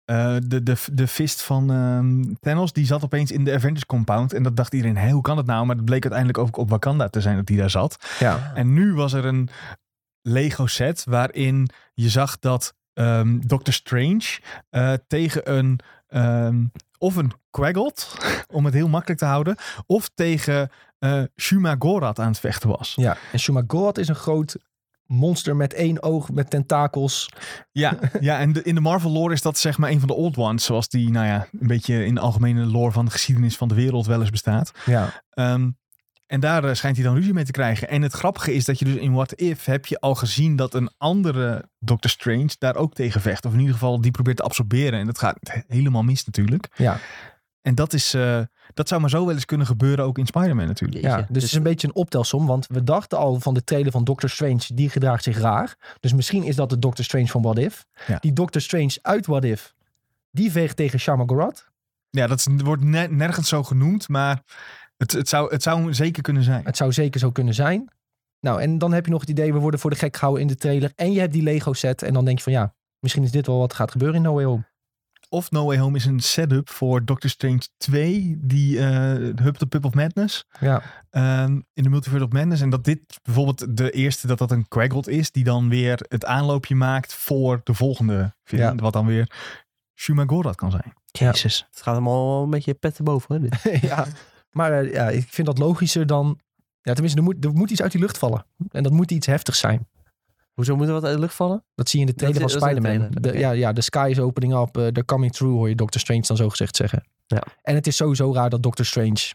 [SPEAKER 2] eh, de, de, de fist van ehm, Thanos, die zat opeens in de Avengers compound. En dat dacht iedereen, hé, hoe kan dat nou? Maar het bleek uiteindelijk ook op Wakanda te zijn dat die daar zat.
[SPEAKER 1] Ja.
[SPEAKER 2] En nu was er een Lego-set waarin je zag dat ehm Doctor Strange eh, tegen een... ehm, of een Quaggot, om het heel makkelijk te houden. Of tegen eh Shuma Gorath aan het vechten was.
[SPEAKER 1] Ja, en Shumagorat is een groot monster met één oog, met tentakels.
[SPEAKER 2] Ja, ja en de- in de Marvel lore is dat zeg maar een van de old ones. Zoals die, nou ja, een beetje in de algemene lore van de geschiedenis van de wereld wel eens bestaat.
[SPEAKER 1] Ja.
[SPEAKER 2] Ehm, En daar eh, schijnt hij dan ruzie mee te krijgen. En het grappige is dat je dus in What If heb je al gezien dat een andere Doctor Strange daar ook tegen vecht. Of in ieder geval die probeert te absorberen. En dat gaat he- helemaal mis natuurlijk.
[SPEAKER 1] Ja.
[SPEAKER 2] En dat, is, eh, dat zou maar zo wel eens kunnen gebeuren ook in Spider-Man natuurlijk.
[SPEAKER 1] Ja, dus, het is een beetje een optelsom. Want we dachten al van de trailer van Doctor Strange, die gedraagt zich raar. Dus misschien is dat de Doctor Strange van What If.
[SPEAKER 2] Ja.
[SPEAKER 1] Die Doctor Strange uit What If, die veegt tegen Shama Gorath.
[SPEAKER 2] Ja, dat is- wordt ne- nergens zo genoemd. Maar het, het, zou, het zou zeker kunnen zijn.
[SPEAKER 1] Het zou zeker zo kunnen zijn. Nou, en dan heb je nog het idee, we worden voor de gek gehouden in de trailer. En je hebt die Lego set. En dan denk je van ja, misschien is dit wel wat gaat gebeuren in No Way Home.
[SPEAKER 2] Of No Way Home is een setup voor Doctor Strange 2. Die eh Hub the Pub of Madness.
[SPEAKER 1] Ja,
[SPEAKER 2] Ehm, in de Multiverse of Madness. En dat dit bijvoorbeeld de eerste, dat dat een Quaggot is. Die dan weer het aanloopje maakt voor de volgende film.
[SPEAKER 1] Ja.
[SPEAKER 2] Wat dan weer Shumagorat kan zijn.
[SPEAKER 3] Jezus. Het gaat allemaal wel een beetje pet te boven. Hè, dit.
[SPEAKER 1] ja. Maar eh, ja, ik vind dat logischer dan... Ja, tenminste, er moet, er moet iets uit die lucht vallen. En dat moet iets heftigs zijn.
[SPEAKER 3] Hoezo moet er wat uit de lucht vallen?
[SPEAKER 1] Dat zie je in de
[SPEAKER 3] Dat
[SPEAKER 1] trailer
[SPEAKER 3] is-
[SPEAKER 1] van
[SPEAKER 3] dat is in de
[SPEAKER 1] Spider-Man.
[SPEAKER 3] trailer,
[SPEAKER 1] De-
[SPEAKER 3] oké.
[SPEAKER 1] ja, ja, the sky is opening up, eh, they're coming through, hoor je Doctor Strange dan zo gezegd zeggen.
[SPEAKER 3] Ja.
[SPEAKER 1] En het is sowieso raar dat Doctor Strange,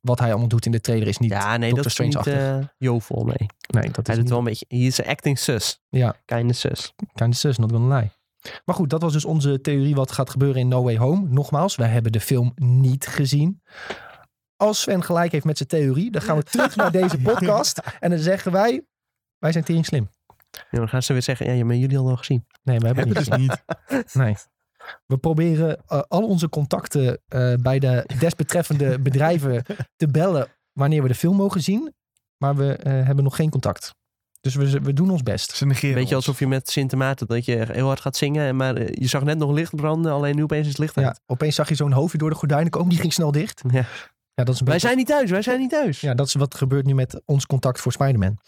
[SPEAKER 1] wat hij allemaal doet in de trailer, is niet
[SPEAKER 3] ja, nee,
[SPEAKER 1] Doctor
[SPEAKER 3] dat is niet
[SPEAKER 1] Strange-achtig.
[SPEAKER 3] eh jovel, nee.
[SPEAKER 1] nee, dat is
[SPEAKER 3] Hij doet
[SPEAKER 1] niet
[SPEAKER 3] wel een beetje... Hier is acting sus.
[SPEAKER 1] Ja.
[SPEAKER 3] Keine sus.
[SPEAKER 1] kind of sus, not gonna lie. Maar goed, dat was dus onze theorie wat gaat gebeuren in No Way Home. Nogmaals, wij hebben de film niet gezien. Als Sven gelijk heeft met zijn theorie, dan gaan we terug naar deze podcast. En dan zeggen wij, wij zijn tering slim.
[SPEAKER 3] Ja, dan gaan ze weer zeggen, ja, maar jullie hadden al gezien.
[SPEAKER 1] Nee, we hebben
[SPEAKER 2] Hebben
[SPEAKER 1] het
[SPEAKER 2] we
[SPEAKER 1] niet.
[SPEAKER 2] dus niet.
[SPEAKER 1] Nee. We proberen eh, al onze contacten eh, bij de desbetreffende bedrijven te bellen wanneer we de film mogen zien. Maar we eh, hebben nog geen contact. Dus we, we doen ons best.
[SPEAKER 2] Ze negeren
[SPEAKER 3] Beetje
[SPEAKER 2] ons.
[SPEAKER 3] alsof je met Sint Maarten, dat je heel hard gaat zingen. en Maar eh, je zag net nog licht branden, alleen nu opeens is het licht
[SPEAKER 1] Ja,
[SPEAKER 3] uit.
[SPEAKER 1] opeens zag je zo'n hoofdje door de gordijnen komen. Die ging snel dicht.
[SPEAKER 3] Ja.
[SPEAKER 1] Ja, dat is een
[SPEAKER 3] Wij
[SPEAKER 1] beetje,
[SPEAKER 3] zijn niet thuis, wij zijn niet thuis.
[SPEAKER 1] ja, dat is wat gebeurt nu met ons contact voor Spider-Man.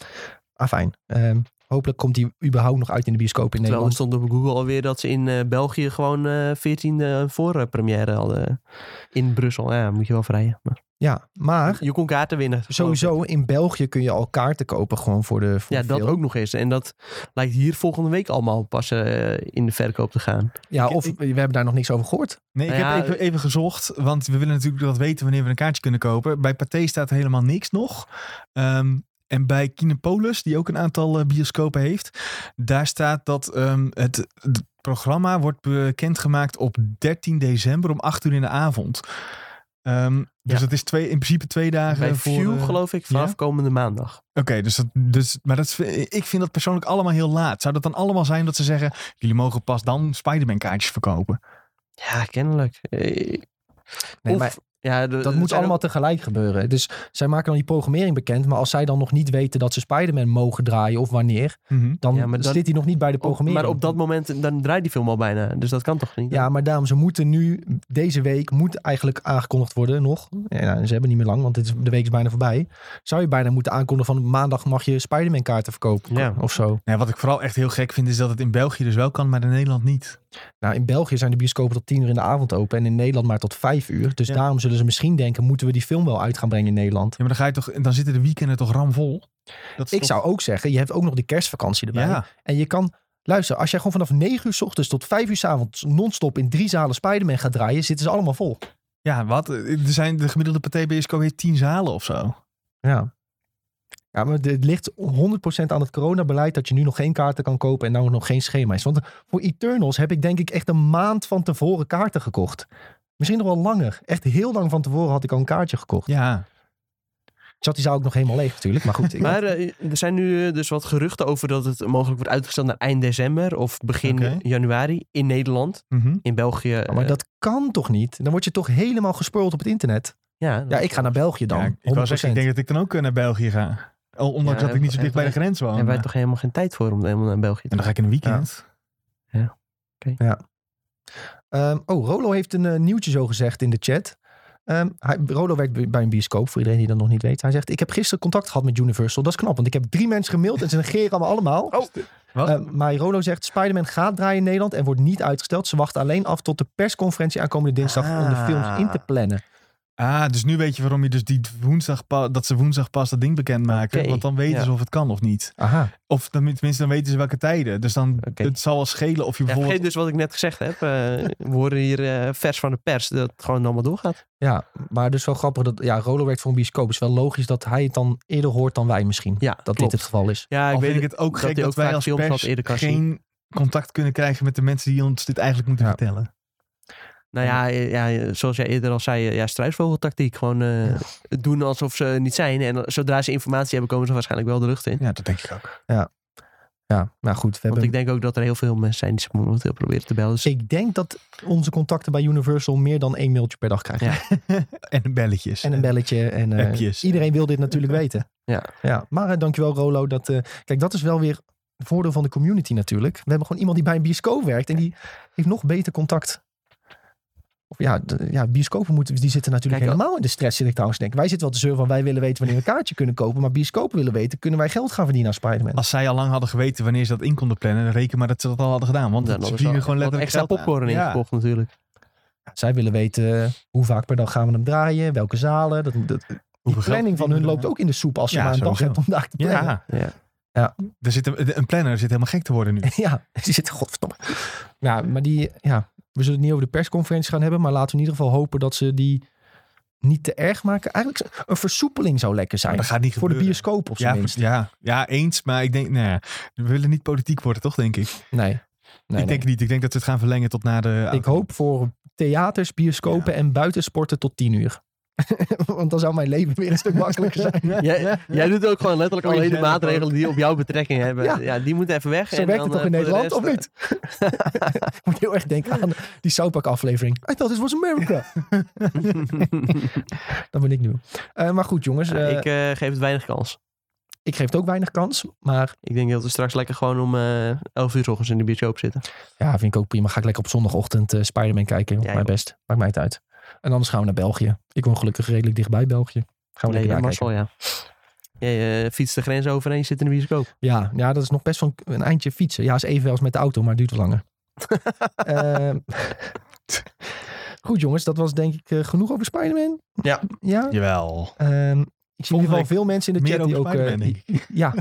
[SPEAKER 1] Afijn. Ehm, hopelijk komt die überhaupt nog uit in de bioscoop in
[SPEAKER 3] Terwijl er
[SPEAKER 1] Nederland.
[SPEAKER 3] stond op Google alweer dat ze in eh, België gewoon eh 14 eh, voor eh, première hadden. In Brussel, ja, moet je wel vrijen. Maar
[SPEAKER 1] Ja, maar
[SPEAKER 3] je kon kaarten winnen. geloof ik.
[SPEAKER 1] sowieso in België kun je al kaarten kopen gewoon voor de voor
[SPEAKER 3] Ja,
[SPEAKER 1] de
[SPEAKER 3] dat
[SPEAKER 1] film.
[SPEAKER 3] ook nog eens. En dat lijkt hier volgende week allemaal pas eh, in de verkoop te gaan.
[SPEAKER 1] Ja, of we hebben daar nog niks over gehoord.
[SPEAKER 2] Nee, ik
[SPEAKER 3] Nou ja,
[SPEAKER 2] heb even, even gezocht, want we willen natuurlijk dat weten wanneer we een kaartje kunnen kopen. Bij Pathé staat er helemaal niks nog. Ehm, en bij Kinepolis, die ook een aantal eh, bioscopen heeft, daar staat dat ehm, het, het programma wordt bekendgemaakt op 13 december om 8 uur in de avond. Ehm, dus
[SPEAKER 3] Ja.
[SPEAKER 2] dat is twee, in principe twee dagen
[SPEAKER 3] Bij
[SPEAKER 2] voor...
[SPEAKER 3] View
[SPEAKER 2] eh,
[SPEAKER 3] geloof ik vanaf
[SPEAKER 2] ja?
[SPEAKER 3] komende maandag.
[SPEAKER 2] Oké, dus dat, dus, maar dat is, ik vind dat persoonlijk allemaal heel laat. Zou dat dan allemaal zijn dat ze zeggen, jullie mogen pas dan Spider-Man kaartjes verkopen?
[SPEAKER 3] Ja, kennelijk. Eh,
[SPEAKER 1] Nee,
[SPEAKER 3] of-
[SPEAKER 1] maar
[SPEAKER 3] ja, de-
[SPEAKER 1] Dat
[SPEAKER 3] er
[SPEAKER 1] moet
[SPEAKER 3] zijn ook-
[SPEAKER 1] allemaal tegelijk gebeuren. Dus zij maken dan die programmering bekend. Maar als zij dan nog niet weten dat ze Spider-Man mogen draaien of wanneer.
[SPEAKER 2] Mhm.
[SPEAKER 1] Dan
[SPEAKER 3] Ja, maar dat-
[SPEAKER 1] zit hij nog niet bij de
[SPEAKER 3] op-
[SPEAKER 1] programmering.
[SPEAKER 3] maar op dat moment, dan draait die film al bijna. Dus dat kan toch niet?
[SPEAKER 1] Ja, maar daarom, ze moeten nu, deze week moet eigenlijk aangekondigd worden nog.
[SPEAKER 2] Mhm.
[SPEAKER 1] Ja, nou, ze hebben niet meer lang, want dit is, de week is bijna voorbij. Zou je bijna moeten aankondigen van maandag mag je Spider-Man kaarten verkopen
[SPEAKER 3] Ja.
[SPEAKER 1] of zo.
[SPEAKER 2] Nee, wat ik vooral echt heel gek vind is dat het in België dus wel kan, maar in Nederland niet.
[SPEAKER 1] Nou, in België zijn de bioscopen tot tien uur in de avond open en in Nederland maar tot vijf uur. Dus
[SPEAKER 2] Ja.
[SPEAKER 1] daarom zullen ze misschien denken, moeten we die film wel uit gaan brengen in Nederland?
[SPEAKER 2] Ja, maar dan, ga je toch, dan zitten de weekenden toch ramvol? Dat is
[SPEAKER 1] Ik
[SPEAKER 2] toch-
[SPEAKER 1] zou ook zeggen, je hebt ook nog de kerstvakantie erbij.
[SPEAKER 2] Ja,
[SPEAKER 1] En je kan, luister, als jij gewoon vanaf 9 uur 's ochtends tot 5 uur 's avonds non-stop in drie zalen Spider-Man gaat draaien, zitten ze allemaal vol.
[SPEAKER 2] ja, wat? Er zijn de gemiddelde pathé-bioscoop heeft tien zalen of zo.
[SPEAKER 1] Ja. Ja, maar het ligt 100% aan het coronabeleid dat je nu nog geen kaarten kan kopen en nou nog geen schema is. Want voor Eternals heb ik denk ik echt een maand van tevoren kaarten gekocht. Misschien nog wel langer. Echt heel lang van tevoren had ik al een kaartje gekocht.
[SPEAKER 2] Ja.
[SPEAKER 1] Zat die zaal ook nog helemaal leeg natuurlijk, maar goed. Ik,
[SPEAKER 3] Maar eh, er zijn nu eh, dus wat geruchten over dat het mogelijk wordt uitgesteld naar eind december of begin
[SPEAKER 2] Oké.
[SPEAKER 3] januari in Nederland.
[SPEAKER 2] Mhm.
[SPEAKER 3] In België.
[SPEAKER 1] Ja, maar
[SPEAKER 3] eh,
[SPEAKER 1] dat kan toch niet? Dan word je toch helemaal gespeurd op het internet?
[SPEAKER 3] ja,
[SPEAKER 1] Ja,
[SPEAKER 3] dat-
[SPEAKER 1] ik ga naar België dan.
[SPEAKER 2] ja
[SPEAKER 1] 100%.
[SPEAKER 2] ik, wou zeggen, ik denk dat ik dan ook eh, naar België ga. Al- Ondanks
[SPEAKER 3] Ja,
[SPEAKER 2] dat ik niet zo
[SPEAKER 3] en-
[SPEAKER 2] dicht bij de
[SPEAKER 3] en-
[SPEAKER 2] grens woon.
[SPEAKER 3] Hebben wij toch helemaal geen tijd voor om helemaal naar België
[SPEAKER 2] En
[SPEAKER 3] te
[SPEAKER 2] dan ga ik in een weekend.
[SPEAKER 1] Ehm, oh, Rolo heeft een eh, nieuwtje zo gezegd in de chat. Ehm, hij, Rolo werkt bij- bij een bioscoop, voor iedereen die dat nog niet weet. Hij zegt, ik heb gisteren contact gehad met Universal. Dat is knap, want ik heb drie mensen gemaild en ze negeren me allemaal.
[SPEAKER 3] Oh.
[SPEAKER 2] Wat?
[SPEAKER 1] Ehm, maar Rolo zegt, Spider-Man gaat draaien in Nederland en wordt niet uitgesteld. Ze wachten alleen af tot de persconferentie aankomende dinsdag om de
[SPEAKER 3] Ah.
[SPEAKER 1] films in te plannen.
[SPEAKER 2] Ah, dus nu weet je waarom je dus die woensdag pa- dat ze woensdag pas dat ding bekend maken.
[SPEAKER 3] Oké,
[SPEAKER 2] Want dan weten
[SPEAKER 3] ja.
[SPEAKER 2] ze of het kan of niet.
[SPEAKER 1] Aha.
[SPEAKER 2] Of dan, tenminste, dan weten ze welke tijden. Dus dan
[SPEAKER 3] Oké.
[SPEAKER 2] het zal wel schelen of je
[SPEAKER 3] Ja, vergeet
[SPEAKER 2] bijvoorbeeld.
[SPEAKER 3] dus wat ik net gezegd heb. eh, we horen hier eh, vers van de pers dat het gewoon allemaal doorgaat.
[SPEAKER 1] Ja, maar dus wel grappig dat ja, Rolo werkt voor een bioscoop. is wel logisch dat hij het dan eerder hoort dan wij misschien.
[SPEAKER 3] Ja,
[SPEAKER 1] Dat
[SPEAKER 3] klopt.
[SPEAKER 1] dit het geval is.
[SPEAKER 3] Ja,
[SPEAKER 2] al
[SPEAKER 3] ik
[SPEAKER 2] vind
[SPEAKER 3] weet
[SPEAKER 2] ik het ook
[SPEAKER 3] dat
[SPEAKER 2] gek
[SPEAKER 3] hij
[SPEAKER 2] dat,
[SPEAKER 3] ook
[SPEAKER 2] wij
[SPEAKER 3] vaak
[SPEAKER 2] als
[SPEAKER 3] films wat
[SPEAKER 2] pers
[SPEAKER 3] eerder kan zien.
[SPEAKER 2] geen contact kunnen krijgen met de mensen die ons dit eigenlijk moeten
[SPEAKER 1] Ja.
[SPEAKER 2] vertellen.
[SPEAKER 3] Nou ja, eh, ja, eh, zoals jij eerder al zei, eh, ja, struisvogeltactiek. Gewoon eh, doen alsof ze er niet zijn. En eh, zodra ze informatie hebben, komen ze waarschijnlijk wel de lucht in.
[SPEAKER 2] Ja, dat denk ik ook.
[SPEAKER 1] Ja, nou goed. We
[SPEAKER 3] Want
[SPEAKER 1] hebben...
[SPEAKER 3] ik denk ook dat er heel veel mensen zijn die ze momenteel proberen te bellen. Dus
[SPEAKER 1] ik denk dat onze contacten bij Universal meer dan één mailtje per dag krijgen.
[SPEAKER 3] Ja.
[SPEAKER 2] En belletjes.
[SPEAKER 1] En een belletje. En eh,
[SPEAKER 2] Appjes.
[SPEAKER 1] iedereen wil dit natuurlijk weten.
[SPEAKER 3] Ja.
[SPEAKER 1] ja. Maar eh, dankjewel Rolo. Dat, eh, kijk, dat is wel weer het voordeel van de community natuurlijk. We hebben gewoon iemand die bij een bioscoop werkt. En die heeft nog beter contact. Of ja, de- ja bioscopen moeten, die zitten natuurlijk
[SPEAKER 3] Kijk,
[SPEAKER 1] helemaal in de stress. Zit ik trouwens denk. Wij zitten wel te zeuren van wij willen weten wanneer we een kaartje kunnen kopen. Maar bioscopen willen weten, kunnen wij geld gaan verdienen aan Spider-Man?
[SPEAKER 2] Als zij al lang hadden geweten wanneer ze dat in konden plannen, dan reken maar dat ze dat al hadden gedaan. Want
[SPEAKER 3] dan
[SPEAKER 2] dan
[SPEAKER 3] hadden
[SPEAKER 2] ze
[SPEAKER 3] ze
[SPEAKER 2] vliegen
[SPEAKER 3] al
[SPEAKER 2] gewoon
[SPEAKER 3] wat
[SPEAKER 2] letterlijk
[SPEAKER 3] extra
[SPEAKER 2] geld aan.
[SPEAKER 3] popcorn
[SPEAKER 2] Ja.
[SPEAKER 3] ingekocht natuurlijk.
[SPEAKER 1] Zij willen weten eh, hoe vaak per dag gaan we hem draaien. Welke zalen. Dat, dat, die
[SPEAKER 2] Hoeveel geld
[SPEAKER 1] planning van hun
[SPEAKER 2] verdienen we
[SPEAKER 1] loopt ook in de soep als je
[SPEAKER 2] Ja,
[SPEAKER 1] maar een dag
[SPEAKER 2] sowieso.
[SPEAKER 1] hebt om daar te plannen.
[SPEAKER 2] Ja,
[SPEAKER 3] Ja.
[SPEAKER 2] er zit een, een planner zit helemaal gek te worden nu.
[SPEAKER 1] Ja, die zit godverdomme. Ja, maar die, ja, we zullen het niet over de persconferentie gaan hebben, maar laten we in ieder geval hopen dat ze die niet te erg maken. Eigenlijk z- een versoepeling zou lekker zijn.
[SPEAKER 2] Maar dat gaat niet
[SPEAKER 1] voor de
[SPEAKER 2] gebeuren.
[SPEAKER 1] bioscoop of zo.
[SPEAKER 2] Ja, voor- ja, ja, eens. Maar ik denk, nou ja, we willen niet politiek worden, toch, denk ik?
[SPEAKER 1] Nee. nee, nee.
[SPEAKER 2] ik denk niet. Ik denk dat we het gaan verlengen tot na de...
[SPEAKER 1] Ik hoop voor theaters, bioscopen en buitensporten tot tien uur. Want dan zou mijn leven weer een stuk makkelijker zijn.
[SPEAKER 3] Jij, jij doet ook gewoon letterlijk
[SPEAKER 2] Voor
[SPEAKER 3] alleen de
[SPEAKER 2] jezelf
[SPEAKER 3] maatregelen die op jouw betrekking hebben.
[SPEAKER 1] Ja.
[SPEAKER 3] Ja, die moeten even weg.
[SPEAKER 1] Zo
[SPEAKER 3] en
[SPEAKER 1] werkt het
[SPEAKER 3] dan,
[SPEAKER 1] toch in
[SPEAKER 3] eh, voor de
[SPEAKER 1] Nederland, of
[SPEAKER 3] rest,
[SPEAKER 1] niet? Ik moet heel erg denken aan die South Park aflevering. I thought it was America. Dat ben ik nu. Eh, maar goed jongens,
[SPEAKER 3] eh,
[SPEAKER 1] eh,
[SPEAKER 3] ik
[SPEAKER 1] ik,
[SPEAKER 3] eh, geef het weinig kans.
[SPEAKER 1] geef het ook weinig kans. Maar
[SPEAKER 3] Ik denk dat we straks lekker gewoon om eh 11 uur 's ochtends in de bioscoop zitten.
[SPEAKER 1] Ja, vind ik ook prima. Ga ik lekker op zondagochtend eh Spider-Man kijken. joh.
[SPEAKER 3] Ja,
[SPEAKER 1] mijn
[SPEAKER 3] joh.
[SPEAKER 1] best. Maakt mij het uit. En anders gaan we naar België. Ik woon gelukkig redelijk dichtbij België. Gaan we
[SPEAKER 3] nee, ja,
[SPEAKER 1] lekker daar kijken.
[SPEAKER 3] Marcel, ja. Jij eh, fietst de grens over en je zit in de bioscoop.
[SPEAKER 1] Ja, ja, dat is nog best wel een een eindje fietsen. Ja, is evenwel als met de auto, maar het duurt wel langer. Ehm, goed jongens, dat was denk ik eh, genoeg over Spider-Man.
[SPEAKER 3] Ja.
[SPEAKER 1] Ja.
[SPEAKER 2] Jawel.
[SPEAKER 1] ehm, ik zie in
[SPEAKER 2] Volgende
[SPEAKER 1] ieder geval
[SPEAKER 2] week
[SPEAKER 1] veel mensen in de
[SPEAKER 2] meer
[SPEAKER 1] chat die
[SPEAKER 2] over
[SPEAKER 1] ook...
[SPEAKER 2] Spider-Man,
[SPEAKER 1] eh,
[SPEAKER 2] denk
[SPEAKER 1] die- ja.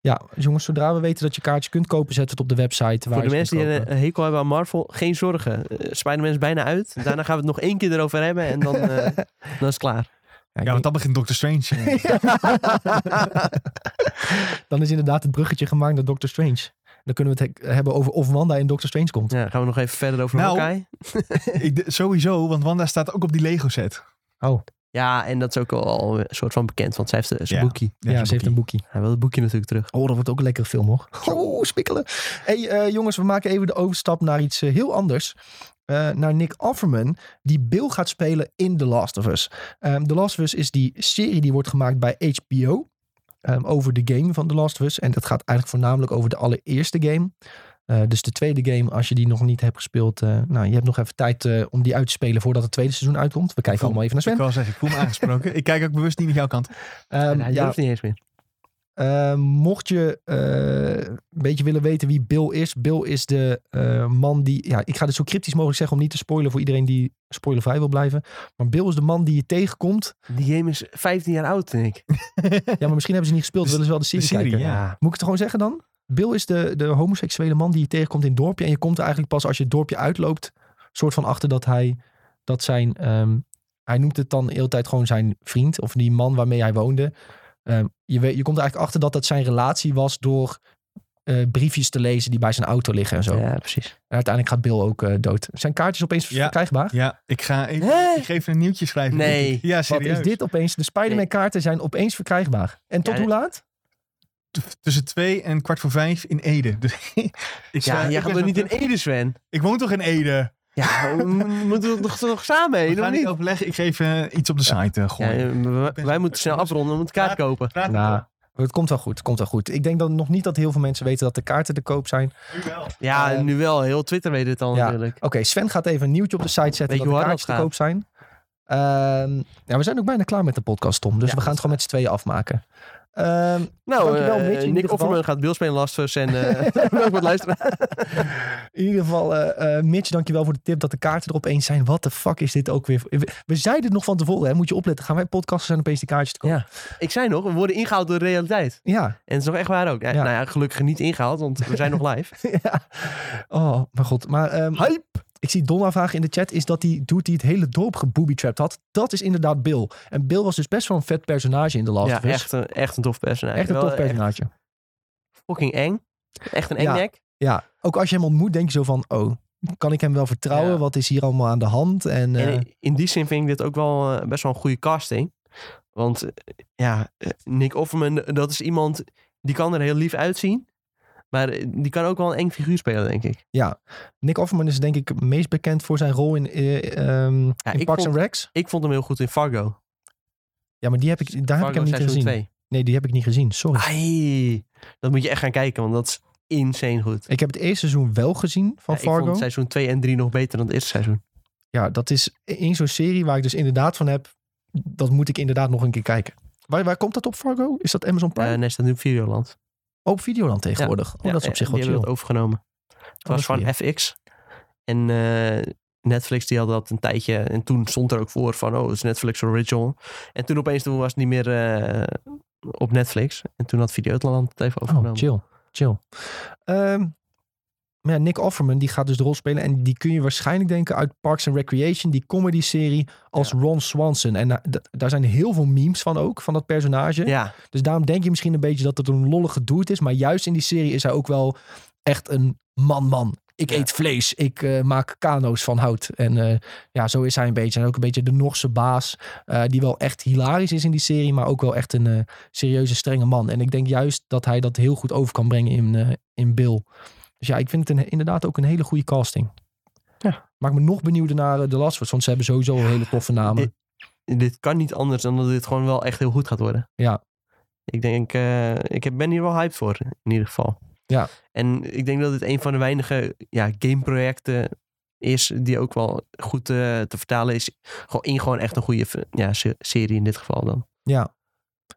[SPEAKER 1] ja, jongens, zodra we weten dat je kaartjes kunt kopen, zet het op de website. Waar
[SPEAKER 3] Voor de
[SPEAKER 1] je het
[SPEAKER 3] mensen die
[SPEAKER 1] kunt
[SPEAKER 3] een
[SPEAKER 1] kopen.
[SPEAKER 3] een hekel hebben aan Marvel, geen zorgen. Eh, Spider-Man is bijna uit. Daarna gaan we het nog één keer erover hebben en dan, eh, dan is het klaar.
[SPEAKER 1] Ja, ik
[SPEAKER 2] Ja,
[SPEAKER 1] denk-
[SPEAKER 2] want dan begint Doctor Strange. eh.
[SPEAKER 1] Dan is inderdaad het bruggetje gemaakt naar Doctor Strange. Dan kunnen we het he- hebben over of Wanda in Doctor Strange komt.
[SPEAKER 3] Ja, gaan we nog even verder over
[SPEAKER 2] Nou.
[SPEAKER 3] Hawkeye.
[SPEAKER 2] ik, d- sowieso, want Wanda staat ook op die Lego set.
[SPEAKER 3] Ja, en dat is ook al een soort van bekend, want zij heeft eh, zijn
[SPEAKER 2] Ja.
[SPEAKER 3] boekje.
[SPEAKER 1] Ja, ze heeft een boekje.
[SPEAKER 3] Hij wil het boekje natuurlijk terug.
[SPEAKER 1] Oh, dat wordt ook een lekkere film hoor. Oh, spikkelen. hey, eh, jongens, we maken even de overstap naar iets eh, heel anders. Eh, naar Nick Offerman, die Bill gaat spelen in The Last of Us. Ehm, The Last of Us is die serie die wordt gemaakt bij HBO. ehm, over de game van The Last of Us. En dat gaat eigenlijk voornamelijk over de allereerste game. Eh, dus de tweede game, als je die nog niet hebt gespeeld. eh, nou, je hebt nog even tijd eh, om die uit te spelen voordat het tweede seizoen uitkomt. We kijken
[SPEAKER 2] voel-
[SPEAKER 1] allemaal even naar
[SPEAKER 2] Ik
[SPEAKER 1] Sven.
[SPEAKER 2] wil zeggen, ik voel me aangesproken. ik kijk ook bewust niet naar jouw kant.
[SPEAKER 1] Ehm,
[SPEAKER 3] En hij
[SPEAKER 1] ja,
[SPEAKER 3] durft niet eens meer.
[SPEAKER 1] Eh, mocht je eh, een beetje willen weten wie Bill is. Bill is de eh, man die... Ja, ik ga dit zo cryptisch mogelijk zeggen om niet te spoilen voor iedereen die spoilervrij wil blijven. Maar Bill is de man die je tegenkomt.
[SPEAKER 3] Die game is 15 jaar oud, denk ik.
[SPEAKER 1] Ja, maar misschien hebben ze niet gespeeld.
[SPEAKER 2] Dus
[SPEAKER 1] willen ze wel de serie,
[SPEAKER 2] serie,
[SPEAKER 1] kijken.
[SPEAKER 2] ja.
[SPEAKER 1] Moet ik het gewoon zeggen dan? Bill is de, de homoseksuele man die je tegenkomt in het dorpje. En je komt er eigenlijk pas als je het dorpje uitloopt... soort van achter dat hij... Dat zijn, ehm, hij noemt het dan de hele tijd gewoon zijn vriend... of die man waarmee hij woonde. Ehm, je, weet, je komt er eigenlijk achter dat dat zijn relatie was... door eh, briefjes te lezen die bij zijn auto liggen en zo.
[SPEAKER 3] Ja, precies.
[SPEAKER 1] En uiteindelijk gaat Bill ook eh, dood. Zijn kaartjes opeens
[SPEAKER 2] Ja.
[SPEAKER 1] verkrijgbaar?
[SPEAKER 2] Ja, ik ga even...
[SPEAKER 3] Hè?
[SPEAKER 2] Ik geef een nieuwtje schrijven.
[SPEAKER 3] Nee.
[SPEAKER 2] denk ik. Ja,
[SPEAKER 1] Wat
[SPEAKER 2] serieus.
[SPEAKER 1] is dit opeens? De Spider-Man kaarten zijn opeens verkrijgbaar. En tot
[SPEAKER 3] Ja,
[SPEAKER 1] hoe laat?
[SPEAKER 2] T- Tussen twee en kwart voor vijf in Ede. Dus, ik
[SPEAKER 3] Ja,
[SPEAKER 2] sta- ik
[SPEAKER 3] jij
[SPEAKER 2] ben
[SPEAKER 3] gaat er
[SPEAKER 2] zo
[SPEAKER 3] niet in E-
[SPEAKER 2] terug.
[SPEAKER 3] Ede, Sven.
[SPEAKER 2] Ik woon toch in Ede?
[SPEAKER 3] Ja, we m- moeten we toch, toch samen
[SPEAKER 2] We
[SPEAKER 3] heen, of
[SPEAKER 2] gaan
[SPEAKER 3] niet?
[SPEAKER 2] niet overleggen. Ik geef eh, iets op de site. eh,
[SPEAKER 3] Ja,
[SPEAKER 2] gooien.
[SPEAKER 3] eh, wij,
[SPEAKER 2] ben-
[SPEAKER 3] wij moeten snel afronden, we moeten kaart kopen.
[SPEAKER 2] Praat
[SPEAKER 1] Nou, het komt wel goed. Het komt wel goed. Ik denk dan nog niet dat heel veel mensen weten dat de kaarten te koop zijn. Oké,
[SPEAKER 2] nu wel.
[SPEAKER 3] Ja,
[SPEAKER 1] Eh,
[SPEAKER 3] nu wel. Heel Twitter weet het al
[SPEAKER 1] ja.
[SPEAKER 3] natuurlijk.
[SPEAKER 1] Sven gaat even een nieuwtje op de site zetten
[SPEAKER 3] Weet
[SPEAKER 1] dat
[SPEAKER 3] je
[SPEAKER 1] de
[SPEAKER 3] hoe hard
[SPEAKER 1] kaartjes
[SPEAKER 3] dat
[SPEAKER 1] te koop zijn. Ehm, ja, we zijn ook bijna klaar met de podcast, Tom. Dus
[SPEAKER 3] Ja,
[SPEAKER 1] we gaan het gewoon met z'n tweeën afmaken. Ehm,
[SPEAKER 3] Nou,
[SPEAKER 1] Dankjewel,
[SPEAKER 3] eh,
[SPEAKER 1] Mitch, in ieder
[SPEAKER 3] Nick
[SPEAKER 1] geval.
[SPEAKER 3] Offerman gaat Bill spelen lasters en eh bedankt voor het luisteren.
[SPEAKER 1] in ieder geval, eh eh Mitch, dankjewel voor de tip dat de kaarten er opeens zijn. Wat de fuck is dit ook weer? voor- We, we zeiden het nog van tevoren, hè? moet je opletten. Gaan wij podcasten zijn opeens die kaartjes te koop.
[SPEAKER 3] Ja. Ik zei nog, we worden ingehaald door de realiteit.
[SPEAKER 1] Ja.
[SPEAKER 3] En het is nog echt waar ook. Eh,
[SPEAKER 1] Ja.
[SPEAKER 3] Nou ja, gelukkig niet ingehaald, want we zijn nog live.
[SPEAKER 1] ja. Oh, mijn god. Maar ehm, ik zie Donna vragen in de chat. Is dat die dude die het hele dorp gebooby-trapped had? Dat is inderdaad Bill. En Bill was dus best wel een vet personage in The Last
[SPEAKER 3] Ja,
[SPEAKER 1] of Us.
[SPEAKER 3] echt een, echt een tof personage.
[SPEAKER 1] Echt een
[SPEAKER 3] Wel eh,
[SPEAKER 1] tof personage.
[SPEAKER 3] Fucking eng. Echt een
[SPEAKER 1] Ja.
[SPEAKER 3] engnek.
[SPEAKER 1] Ja, ook als je hem ontmoet, denk je zo van: oh, kan ik hem wel vertrouwen?
[SPEAKER 3] Ja.
[SPEAKER 1] Wat is hier allemaal aan de hand? En, eh,
[SPEAKER 3] En in die zin vind ik dit ook wel eh, best wel een goede casting. Want eh, ja, eh, Nick Offerman, eh, dat is iemand die kan er heel lief uitzien. Maar eh, die kan ook wel een eng figuur spelen, denk ik.
[SPEAKER 1] Nick Offerman is denk ik het meest bekend voor zijn rol in, eh, ehm, in
[SPEAKER 3] ik
[SPEAKER 1] Parks
[SPEAKER 3] vond-
[SPEAKER 1] and Recs.
[SPEAKER 3] Ik vond hem heel goed in Fargo.
[SPEAKER 1] Ja, maar die heb ik, daar heb ik
[SPEAKER 3] Fargo
[SPEAKER 1] hem niet
[SPEAKER 3] seizoen Ah.
[SPEAKER 1] gezien.
[SPEAKER 3] 2.
[SPEAKER 1] Nee, die heb ik niet gezien. Sorry.
[SPEAKER 3] Ai, dat moet je echt gaan kijken, want dat is insane goed.
[SPEAKER 1] Ik heb het eerste seizoen wel gezien van
[SPEAKER 3] Ja, Ik
[SPEAKER 1] Fargo.
[SPEAKER 3] vond seizoen 2 en 3 nog beter dan het eerste seizoen.
[SPEAKER 1] Ja, dat is e-, één zo'n serie waar ik dus inderdaad van heb. Dat moet ik inderdaad nog een keer kijken. Waar, waar komt dat op, Fargo? Is dat Amazon
[SPEAKER 3] Eh
[SPEAKER 1] Prime?
[SPEAKER 3] nee, staat nu op Videoland.
[SPEAKER 1] op Videoland tegenwoordig. oh,
[SPEAKER 3] Ja,
[SPEAKER 1] dat is op
[SPEAKER 3] eh,
[SPEAKER 1] zich wel
[SPEAKER 3] die
[SPEAKER 1] chill. Oh,
[SPEAKER 3] hebben dat overgenomen. Het
[SPEAKER 1] dat
[SPEAKER 3] was
[SPEAKER 1] is
[SPEAKER 3] van FX. En eh, Netflix die had dat een tijdje. En toen stond er ook voor van, oh, het is Netflix original. En toen opeens toen was het niet meer eh, op Netflix. En toen had Videoland het even
[SPEAKER 1] Oh,
[SPEAKER 3] overgenomen.
[SPEAKER 1] chill. Chill. Ehm, maar ja, Nick Offerman, die gaat dus de rol spelen. En die kun je waarschijnlijk denken uit Parks and Recreation, die comedy-serie als Ron Swanson. En da- da- daar zijn heel veel memes van ook, van dat personage.
[SPEAKER 3] ja,
[SPEAKER 1] Dus daarom denk je misschien een beetje dat het een lollige dude is. Maar juist in die serie is hij ook wel echt een man-man. Ik
[SPEAKER 3] Ja.
[SPEAKER 1] eet vlees, ik eh, maak kano's van hout. En eh, ja, zo is hij een beetje. En ook een beetje de Norse baas, eh, die wel echt hilarisch is in die serie, maar ook wel echt een eh, serieuze, strenge man. En ik denk juist dat hij dat heel goed over kan brengen in, eh, in Bill. Dus ja, ik vind het een- inderdaad ook een hele goede casting.
[SPEAKER 3] Ja.
[SPEAKER 1] Maak me nog benieuwd naar de The Last of Us, want ze hebben sowieso een hele toffe namen.
[SPEAKER 3] Dit- dit kan niet anders dan dat dit gewoon wel echt heel goed gaat worden.
[SPEAKER 1] Ja.
[SPEAKER 3] Ik denk, eh, ik heb- ben hier wel hyped voor, in ieder geval.
[SPEAKER 1] Ja.
[SPEAKER 3] En ik denk dat dit een van de weinige ja, gameprojecten is die ook wel goed eh, te vertalen is. Gewoon in gewoon echt een goede ja, se- serie in dit geval dan.
[SPEAKER 1] Ja.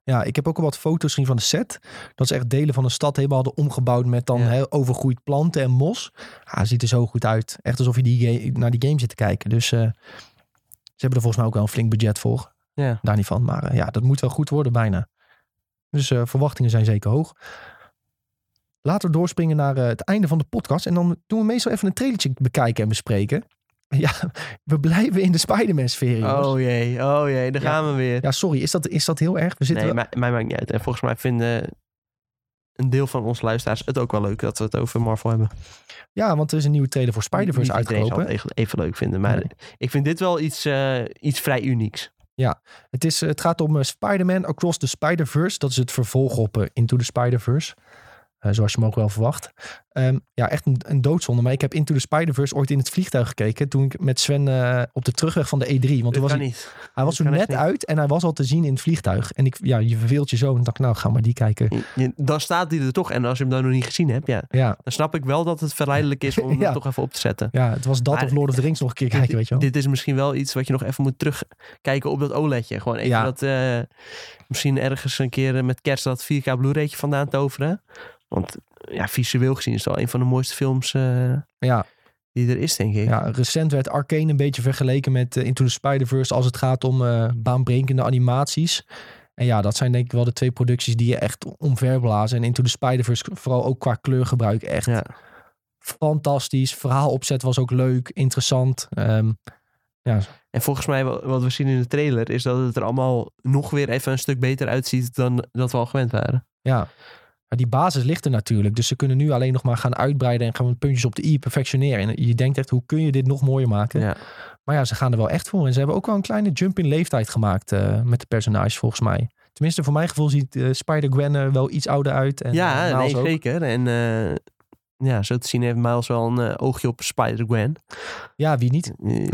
[SPEAKER 1] Ja, ik heb ook al wat foto's gezien van de set. Dat ze echt delen van de stad helemaal hadden omgebouwd met dan
[SPEAKER 3] Ja.
[SPEAKER 1] hè, overgroeid planten en mos. Ja, ziet er zo goed uit. Echt alsof je die ga- naar die game zit te kijken. Dus eh, ze hebben er volgens mij ook wel een flink budget voor.
[SPEAKER 3] Ja.
[SPEAKER 1] Daar niet van. Maar eh, ja, dat moet wel goed worden bijna. Dus eh, verwachtingen zijn zeker hoog. Laten we doorspringen naar eh, het einde van de podcast. En dan doen we meestal even een trailertje bekijken en bespreken. Ja, we blijven in de Spider-Man-sfeer. jongens.
[SPEAKER 3] Oh jee, oh jee, daar
[SPEAKER 1] Ja.
[SPEAKER 3] gaan we weer.
[SPEAKER 1] Ja, sorry. Is dat, is dat heel erg? We zitten
[SPEAKER 3] nee, mij, mij maakt niet uit. En volgens mij vinden een deel van onze luisteraars het ook wel leuk dat we het over Marvel hebben.
[SPEAKER 1] Ja, want er is een nieuwe trailer voor Spider-Verse
[SPEAKER 3] Niet iedereen zal
[SPEAKER 1] uitgelopen.
[SPEAKER 3] het even- even leuk vinden, maar
[SPEAKER 1] Nee.
[SPEAKER 3] ik vind dit wel iets, eh, iets vrij unieks.
[SPEAKER 1] Het, is, eh, het gaat om eh, Spider-Man Across the Spider-Verse. Dat is het vervolg op eh, Into the Spider-Verse. Eh, zoals je hem ook wel verwacht. Ehm, ja, echt een, een doodzonde. Maar ik heb Into the Spider-Verse ooit in het vliegtuig gekeken. Toen ik met Sven eh, op de terugweg van de E3. Want
[SPEAKER 3] Dat
[SPEAKER 1] toen was
[SPEAKER 3] kan
[SPEAKER 1] hij,
[SPEAKER 3] niet.
[SPEAKER 1] hij was
[SPEAKER 3] dit
[SPEAKER 1] er
[SPEAKER 3] kan echt
[SPEAKER 1] net
[SPEAKER 3] niet.
[SPEAKER 1] uit en hij was al te zien in het vliegtuig. En ik, ja, je verveelt je zo. En ik dacht, nou, ga maar die kijken.
[SPEAKER 3] Je- je- dan staat hij er toch. En als je hem dan nog niet gezien hebt, ja,
[SPEAKER 1] Ja,
[SPEAKER 3] dan snap ik wel dat het verleidelijk is om hem
[SPEAKER 1] Ja.
[SPEAKER 3] toch even op te zetten.
[SPEAKER 1] ja het was dat
[SPEAKER 3] Maar-
[SPEAKER 1] of Lord of the Rings nog een keer kijken, weet je wel.
[SPEAKER 3] Dit is misschien wel iets wat je nog even moet terugkijken op dat OLEDje. Gewoon even
[SPEAKER 1] Ja.
[SPEAKER 3] dat eh, misschien ergens een keer eh, met kerst dat 4K Blu-raytje vandaan toveren. Want eh, ja, visueel gezien is het wel een van de mooiste films eh,
[SPEAKER 1] Ja,
[SPEAKER 3] die er is, denk ik.
[SPEAKER 1] Ja, recent werd Arcane een beetje vergeleken met eh, Into the Spider-Verse als het gaat om eh, baanbrekende animaties. En ja, dat zijn denk ik wel de twee producties die je echt omverblazen. En Into the Spider-Verse, vooral ook qua kleurgebruik, echt
[SPEAKER 3] Ja.
[SPEAKER 1] fantastisch. Verhaalopzet was ook leuk, interessant. Ehm,
[SPEAKER 3] En volgens mij wa- wat we zien in de trailer is dat het er allemaal nog weer even een stuk beter uitziet dan dat we al gewend waren.
[SPEAKER 1] ja. Maar die basis ligt er natuurlijk. Dus ze kunnen nu alleen nog maar gaan uitbreiden en gaan puntjes op de i perfectioneren. En je denkt echt, hoe kun je dit nog mooier maken?
[SPEAKER 3] Ja.
[SPEAKER 1] Maar ja, ze gaan er wel echt voor. En ze hebben ook wel een kleine jump in leeftijd gemaakt eh, met de personages, volgens mij. Tenminste, voor mijn gevoel ziet eh, Spider-Gwen er wel iets ouder uit. En,
[SPEAKER 3] ja,
[SPEAKER 1] eh, Miles
[SPEAKER 3] nee,
[SPEAKER 1] ook.
[SPEAKER 3] zeker. En eh, ja, zo te zien heeft Miles wel een eh, oogje op Spider-Gwen.
[SPEAKER 1] Ja, wie niet?
[SPEAKER 3] Eh,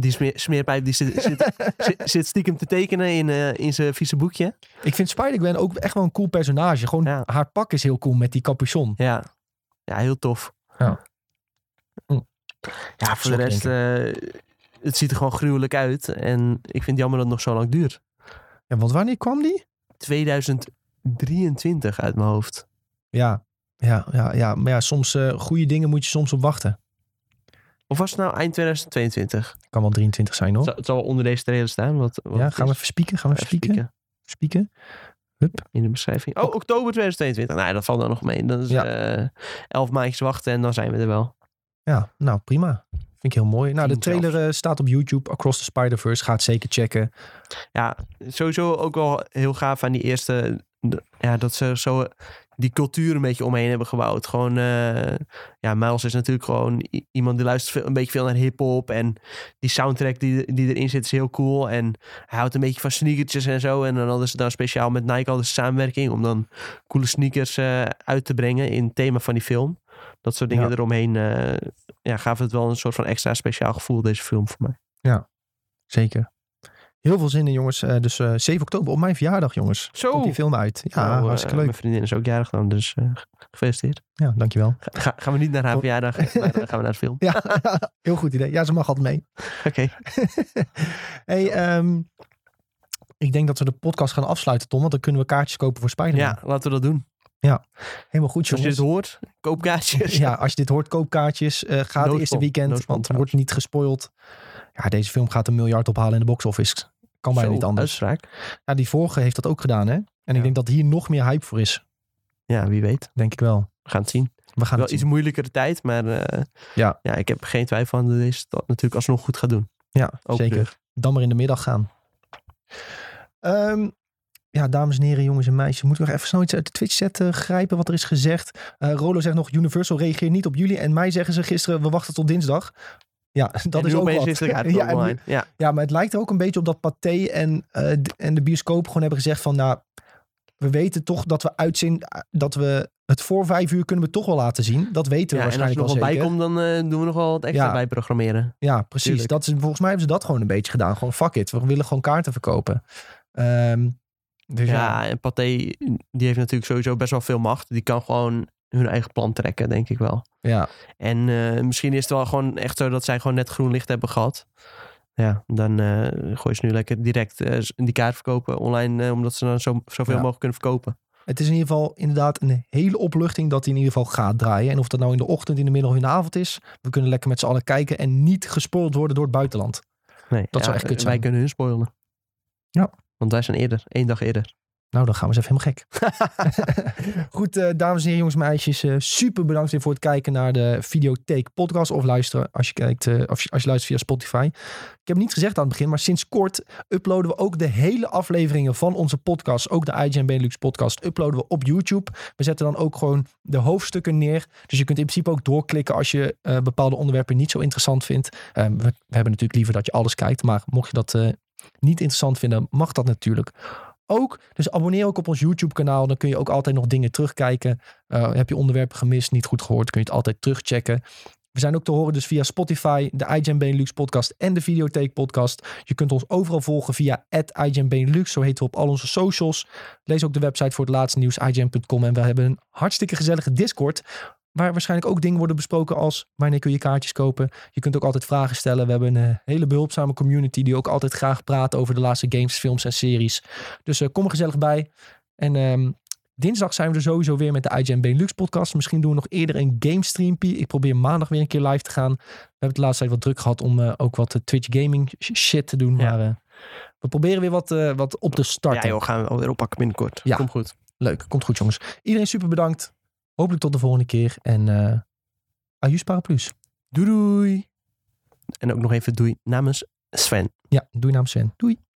[SPEAKER 3] die smeer- smeerpijp die zit, zit, zit, zit stiekem te tekenen in, eh, in zijn vieze boekje.
[SPEAKER 1] Ik vind Spider-Gwen ook echt wel een cool personage. Gewoon
[SPEAKER 3] Ja.
[SPEAKER 1] haar pak is heel cool met die capuchon.
[SPEAKER 3] Ja, ja heel tof.
[SPEAKER 1] Ja. Hm.
[SPEAKER 3] Ja, voor
[SPEAKER 1] Zo
[SPEAKER 3] de rest eh, het ziet er gewoon gruwelijk uit. En ik vind het jammer dat het nog zo lang duurt. eh,
[SPEAKER 1] Ja, want wanneer kwam die?
[SPEAKER 3] 2023 uit mijn hoofd.
[SPEAKER 1] Ja, ja, ja, ja. Maar ja, soms eh, goede dingen moet je soms op wachten.
[SPEAKER 3] Of was het nou eind 2022?
[SPEAKER 1] Kan wel 23 zijn hoor.
[SPEAKER 3] Het zal- Het zal wel onder deze trailer staan. Wat, wat
[SPEAKER 1] Oh. ja,
[SPEAKER 3] het
[SPEAKER 1] gaan we
[SPEAKER 3] is.
[SPEAKER 1] even spieken? Gaan we even
[SPEAKER 3] Even
[SPEAKER 1] spieken?
[SPEAKER 3] spieken.
[SPEAKER 1] Spieken?
[SPEAKER 3] in de beschrijving. Oh, oktober 2022. Nou, ja, dat valt dan nog mee. Dat is
[SPEAKER 1] Ja.
[SPEAKER 3] eh, elf maandjes wachten en dan zijn we er wel.
[SPEAKER 1] Ja, nou prima. Vind ik heel mooi. Nou, de
[SPEAKER 3] Tien zelfs.
[SPEAKER 1] trailer eh, staat op YouTube. Across the Spider-Verse. Ga het zeker checken.
[SPEAKER 3] Ja, sowieso ook wel heel gaaf aan die eerste... d- Ja, dat ze zo die cultuur een beetje omheen hebben gebouwd. Gewoon, eh, ja, Miles is natuurlijk gewoon i- iemand die luistert veel- een beetje veel naar hip-hop. En die soundtrack die, die erin zit is heel cool. En hij houdt een beetje van sneakertjes en zo. En dan hadden ze dan speciaal met Nike al de samenwerking om dan coole sneakers eh, uit te brengen in het thema van die film. Dat soort dingen
[SPEAKER 1] Ja.
[SPEAKER 3] eromheen eh ja, gaf het wel een soort van extra speciaal gevoel, deze film voor mij.
[SPEAKER 1] Zeker. Heel veel zin in, jongens. Eh, dus eh 7 oktober op mijn verjaardag, jongens.
[SPEAKER 3] Zo!
[SPEAKER 1] Komt die film uit. Ja,
[SPEAKER 3] Nou, eh,
[SPEAKER 1] hartstikke leuk.
[SPEAKER 3] Mijn vriendin is ook jarig dan, dus eh, ge- gefeliciteerd.
[SPEAKER 1] Ja, dankjewel.
[SPEAKER 3] Ga- Ga, gaan we niet naar haar
[SPEAKER 1] Tot-
[SPEAKER 3] verjaardag, maar dan gaan we naar de film.
[SPEAKER 1] Ja, heel goed idee. Ja, ze mag altijd mee.
[SPEAKER 3] Oké.
[SPEAKER 1] Hey, ehm, ik denk dat we de podcast gaan afsluiten, Tom. Want dan kunnen we kaartjes kopen voor Spider-Man.
[SPEAKER 3] Ja, Dus laten we dat doen.
[SPEAKER 1] Helemaal goed,
[SPEAKER 3] Als je
[SPEAKER 1] jongens.
[SPEAKER 3] dit hoort, koop kaartjes.
[SPEAKER 1] Ja, als je dit hoort, koop kaartjes. Eh, ga het
[SPEAKER 3] Noodspot.
[SPEAKER 1] eerste weekend,
[SPEAKER 3] Noodspot
[SPEAKER 1] want het
[SPEAKER 3] trouwens.
[SPEAKER 1] wordt niet gespoild. Ja, deze film gaat een miljard ophalen in de box office. Kan bijna
[SPEAKER 3] Zo,
[SPEAKER 1] niet anders.
[SPEAKER 3] Uitspraak.
[SPEAKER 1] Ja, die vorige heeft dat ook gedaan, hè? En ik
[SPEAKER 3] Ja.
[SPEAKER 1] denk dat hier nog meer hype voor is.
[SPEAKER 3] Ja, wie weet.
[SPEAKER 1] Denk ik wel.
[SPEAKER 3] We gaan het zien.
[SPEAKER 1] We gaan
[SPEAKER 3] Wel
[SPEAKER 1] het zien.
[SPEAKER 3] iets moeilijkere tijd, maar eh,
[SPEAKER 1] Ja.
[SPEAKER 3] ja, ik heb er geen twijfel aan dat deze dat natuurlijk alsnog goed gaat doen.
[SPEAKER 1] Ja,
[SPEAKER 3] Ook
[SPEAKER 1] zeker.
[SPEAKER 3] terug.
[SPEAKER 1] dan maar in de middag gaan. Ehm, ja, dames en heren, jongens en meisjes. Moeten we nog even snel iets uit de Twitch-chat eh, grijpen wat er is gezegd? Eh, Rolo zegt nog, Universal reageert niet op jullie. En mij zeggen ze gisteren, we wachten tot dinsdag. Ja, dat
[SPEAKER 3] En
[SPEAKER 1] is
[SPEAKER 3] nu
[SPEAKER 1] ook
[SPEAKER 3] opeens
[SPEAKER 1] wat.
[SPEAKER 3] is het uit
[SPEAKER 1] Ja, en nu-
[SPEAKER 3] online. Ja,
[SPEAKER 1] Ja, maar het lijkt er ook een beetje op dat Pathé en, eh, d- en de bioscoop gewoon hebben gezegd van... Nou, we weten toch dat we uitzien... eh, Dat we het voor vijf uur kunnen we toch wel laten zien. Dat weten we
[SPEAKER 3] Ja, en als er
[SPEAKER 1] waarschijnlijk
[SPEAKER 3] nog
[SPEAKER 1] wel
[SPEAKER 3] wat bij
[SPEAKER 1] zeker.
[SPEAKER 3] komt, dan eh, doen we nog wel wat extra
[SPEAKER 1] Ja.
[SPEAKER 3] bij programmeren.
[SPEAKER 1] Ja, precies.
[SPEAKER 3] Tuurlijk.
[SPEAKER 1] Dat is, volgens mij hebben ze dat gewoon een beetje gedaan. Gewoon fuck it. We willen gewoon kaarten verkopen. Ehm, dus ja.
[SPEAKER 3] Ja, en Pathé, die heeft natuurlijk sowieso best wel veel macht. Die kan gewoon hun eigen plan trekken, denk ik wel.
[SPEAKER 1] Ja.
[SPEAKER 3] En eh, misschien is het wel gewoon echt zo dat zij gewoon net groen licht hebben gehad. Ja, dan eh gooi ze nu lekker direct eh, die kaart verkopen online, eh, omdat ze dan zo, zoveel
[SPEAKER 1] Ja.
[SPEAKER 3] mogelijk kunnen verkopen.
[SPEAKER 1] Het is in ieder geval inderdaad een hele opluchting dat hij in ieder geval gaat draaien. En of dat nou in de ochtend, in de middag of in de avond is. We kunnen lekker met z'n allen kijken en niet gespoord worden door het buitenland.
[SPEAKER 3] Nee,
[SPEAKER 1] Dat zou echt kut zijn.
[SPEAKER 3] Wij kunnen hun spoilen.
[SPEAKER 1] Ja.
[SPEAKER 3] Want wij zijn eerder, één dag eerder.
[SPEAKER 1] Nou, dan gaan we eens even helemaal gek. Goed, eh, dames en heren, jongens en meisjes. eh, super bedankt weer voor het kijken naar de Videotheek podcast. Of luisteren als je, kijkt, eh, of je- als je luistert via Spotify. Ik heb het niet gezegd aan het begin, maar sinds kort uploaden we ook de hele afleveringen van onze podcast. Ook de IGN Benelux podcast uploaden we op YouTube. We zetten dan ook gewoon de hoofdstukken neer. Dus je kunt in principe ook doorklikken als je eh, bepaalde onderwerpen niet zo interessant vindt. Eh, we, we hebben natuurlijk liever dat je alles kijkt. Maar mocht je dat eh, niet interessant vinden, mag dat natuurlijk ook. Dus abonneer ook op ons YouTube-kanaal. Dan kun je ook altijd nog dingen terugkijken. Eh, heb je onderwerpen gemist, niet goed gehoord, kun je het altijd terugchecken. We zijn ook te horen dus via Spotify, de IGN Benelux podcast en de Videotheek podcast. Je kunt ons overal volgen via IGN Benelux, zo heten we op al onze socials. Lees ook de website voor het laatste nieuws, IGN.com. En we hebben een hartstikke gezellige Discord, waar waarschijnlijk ook dingen worden besproken als wanneer kun je kaartjes kopen. Je kunt ook altijd vragen stellen. We hebben een eh, hele behulpzame community die ook altijd graag praat over de laatste games, films en series. Dus eh, kom er gezellig bij. En ehm, dinsdag zijn we er sowieso weer met de IGN Benelux podcast. Misschien doen we nog eerder een game streampie. Ik probeer maandag weer een keer live te gaan. We hebben de laatste tijd wat druk gehad om eh, ook wat eh, Twitch gaming sh- shit te doen.
[SPEAKER 3] Ja.
[SPEAKER 1] Maar eh, we proberen weer wat, eh, wat op te starten.
[SPEAKER 3] Ja joh, gaan we alweer oppakken binnenkort.
[SPEAKER 1] Ja.
[SPEAKER 3] Komt goed.
[SPEAKER 1] Leuk, komt goed jongens. Iedereen super bedankt. Hopelijk tot de volgende keer. En eh Ajus Paraplus.
[SPEAKER 3] Doei doei. En ook nog even doei namens Sven.
[SPEAKER 1] Ja, doei namens Sven. Doei.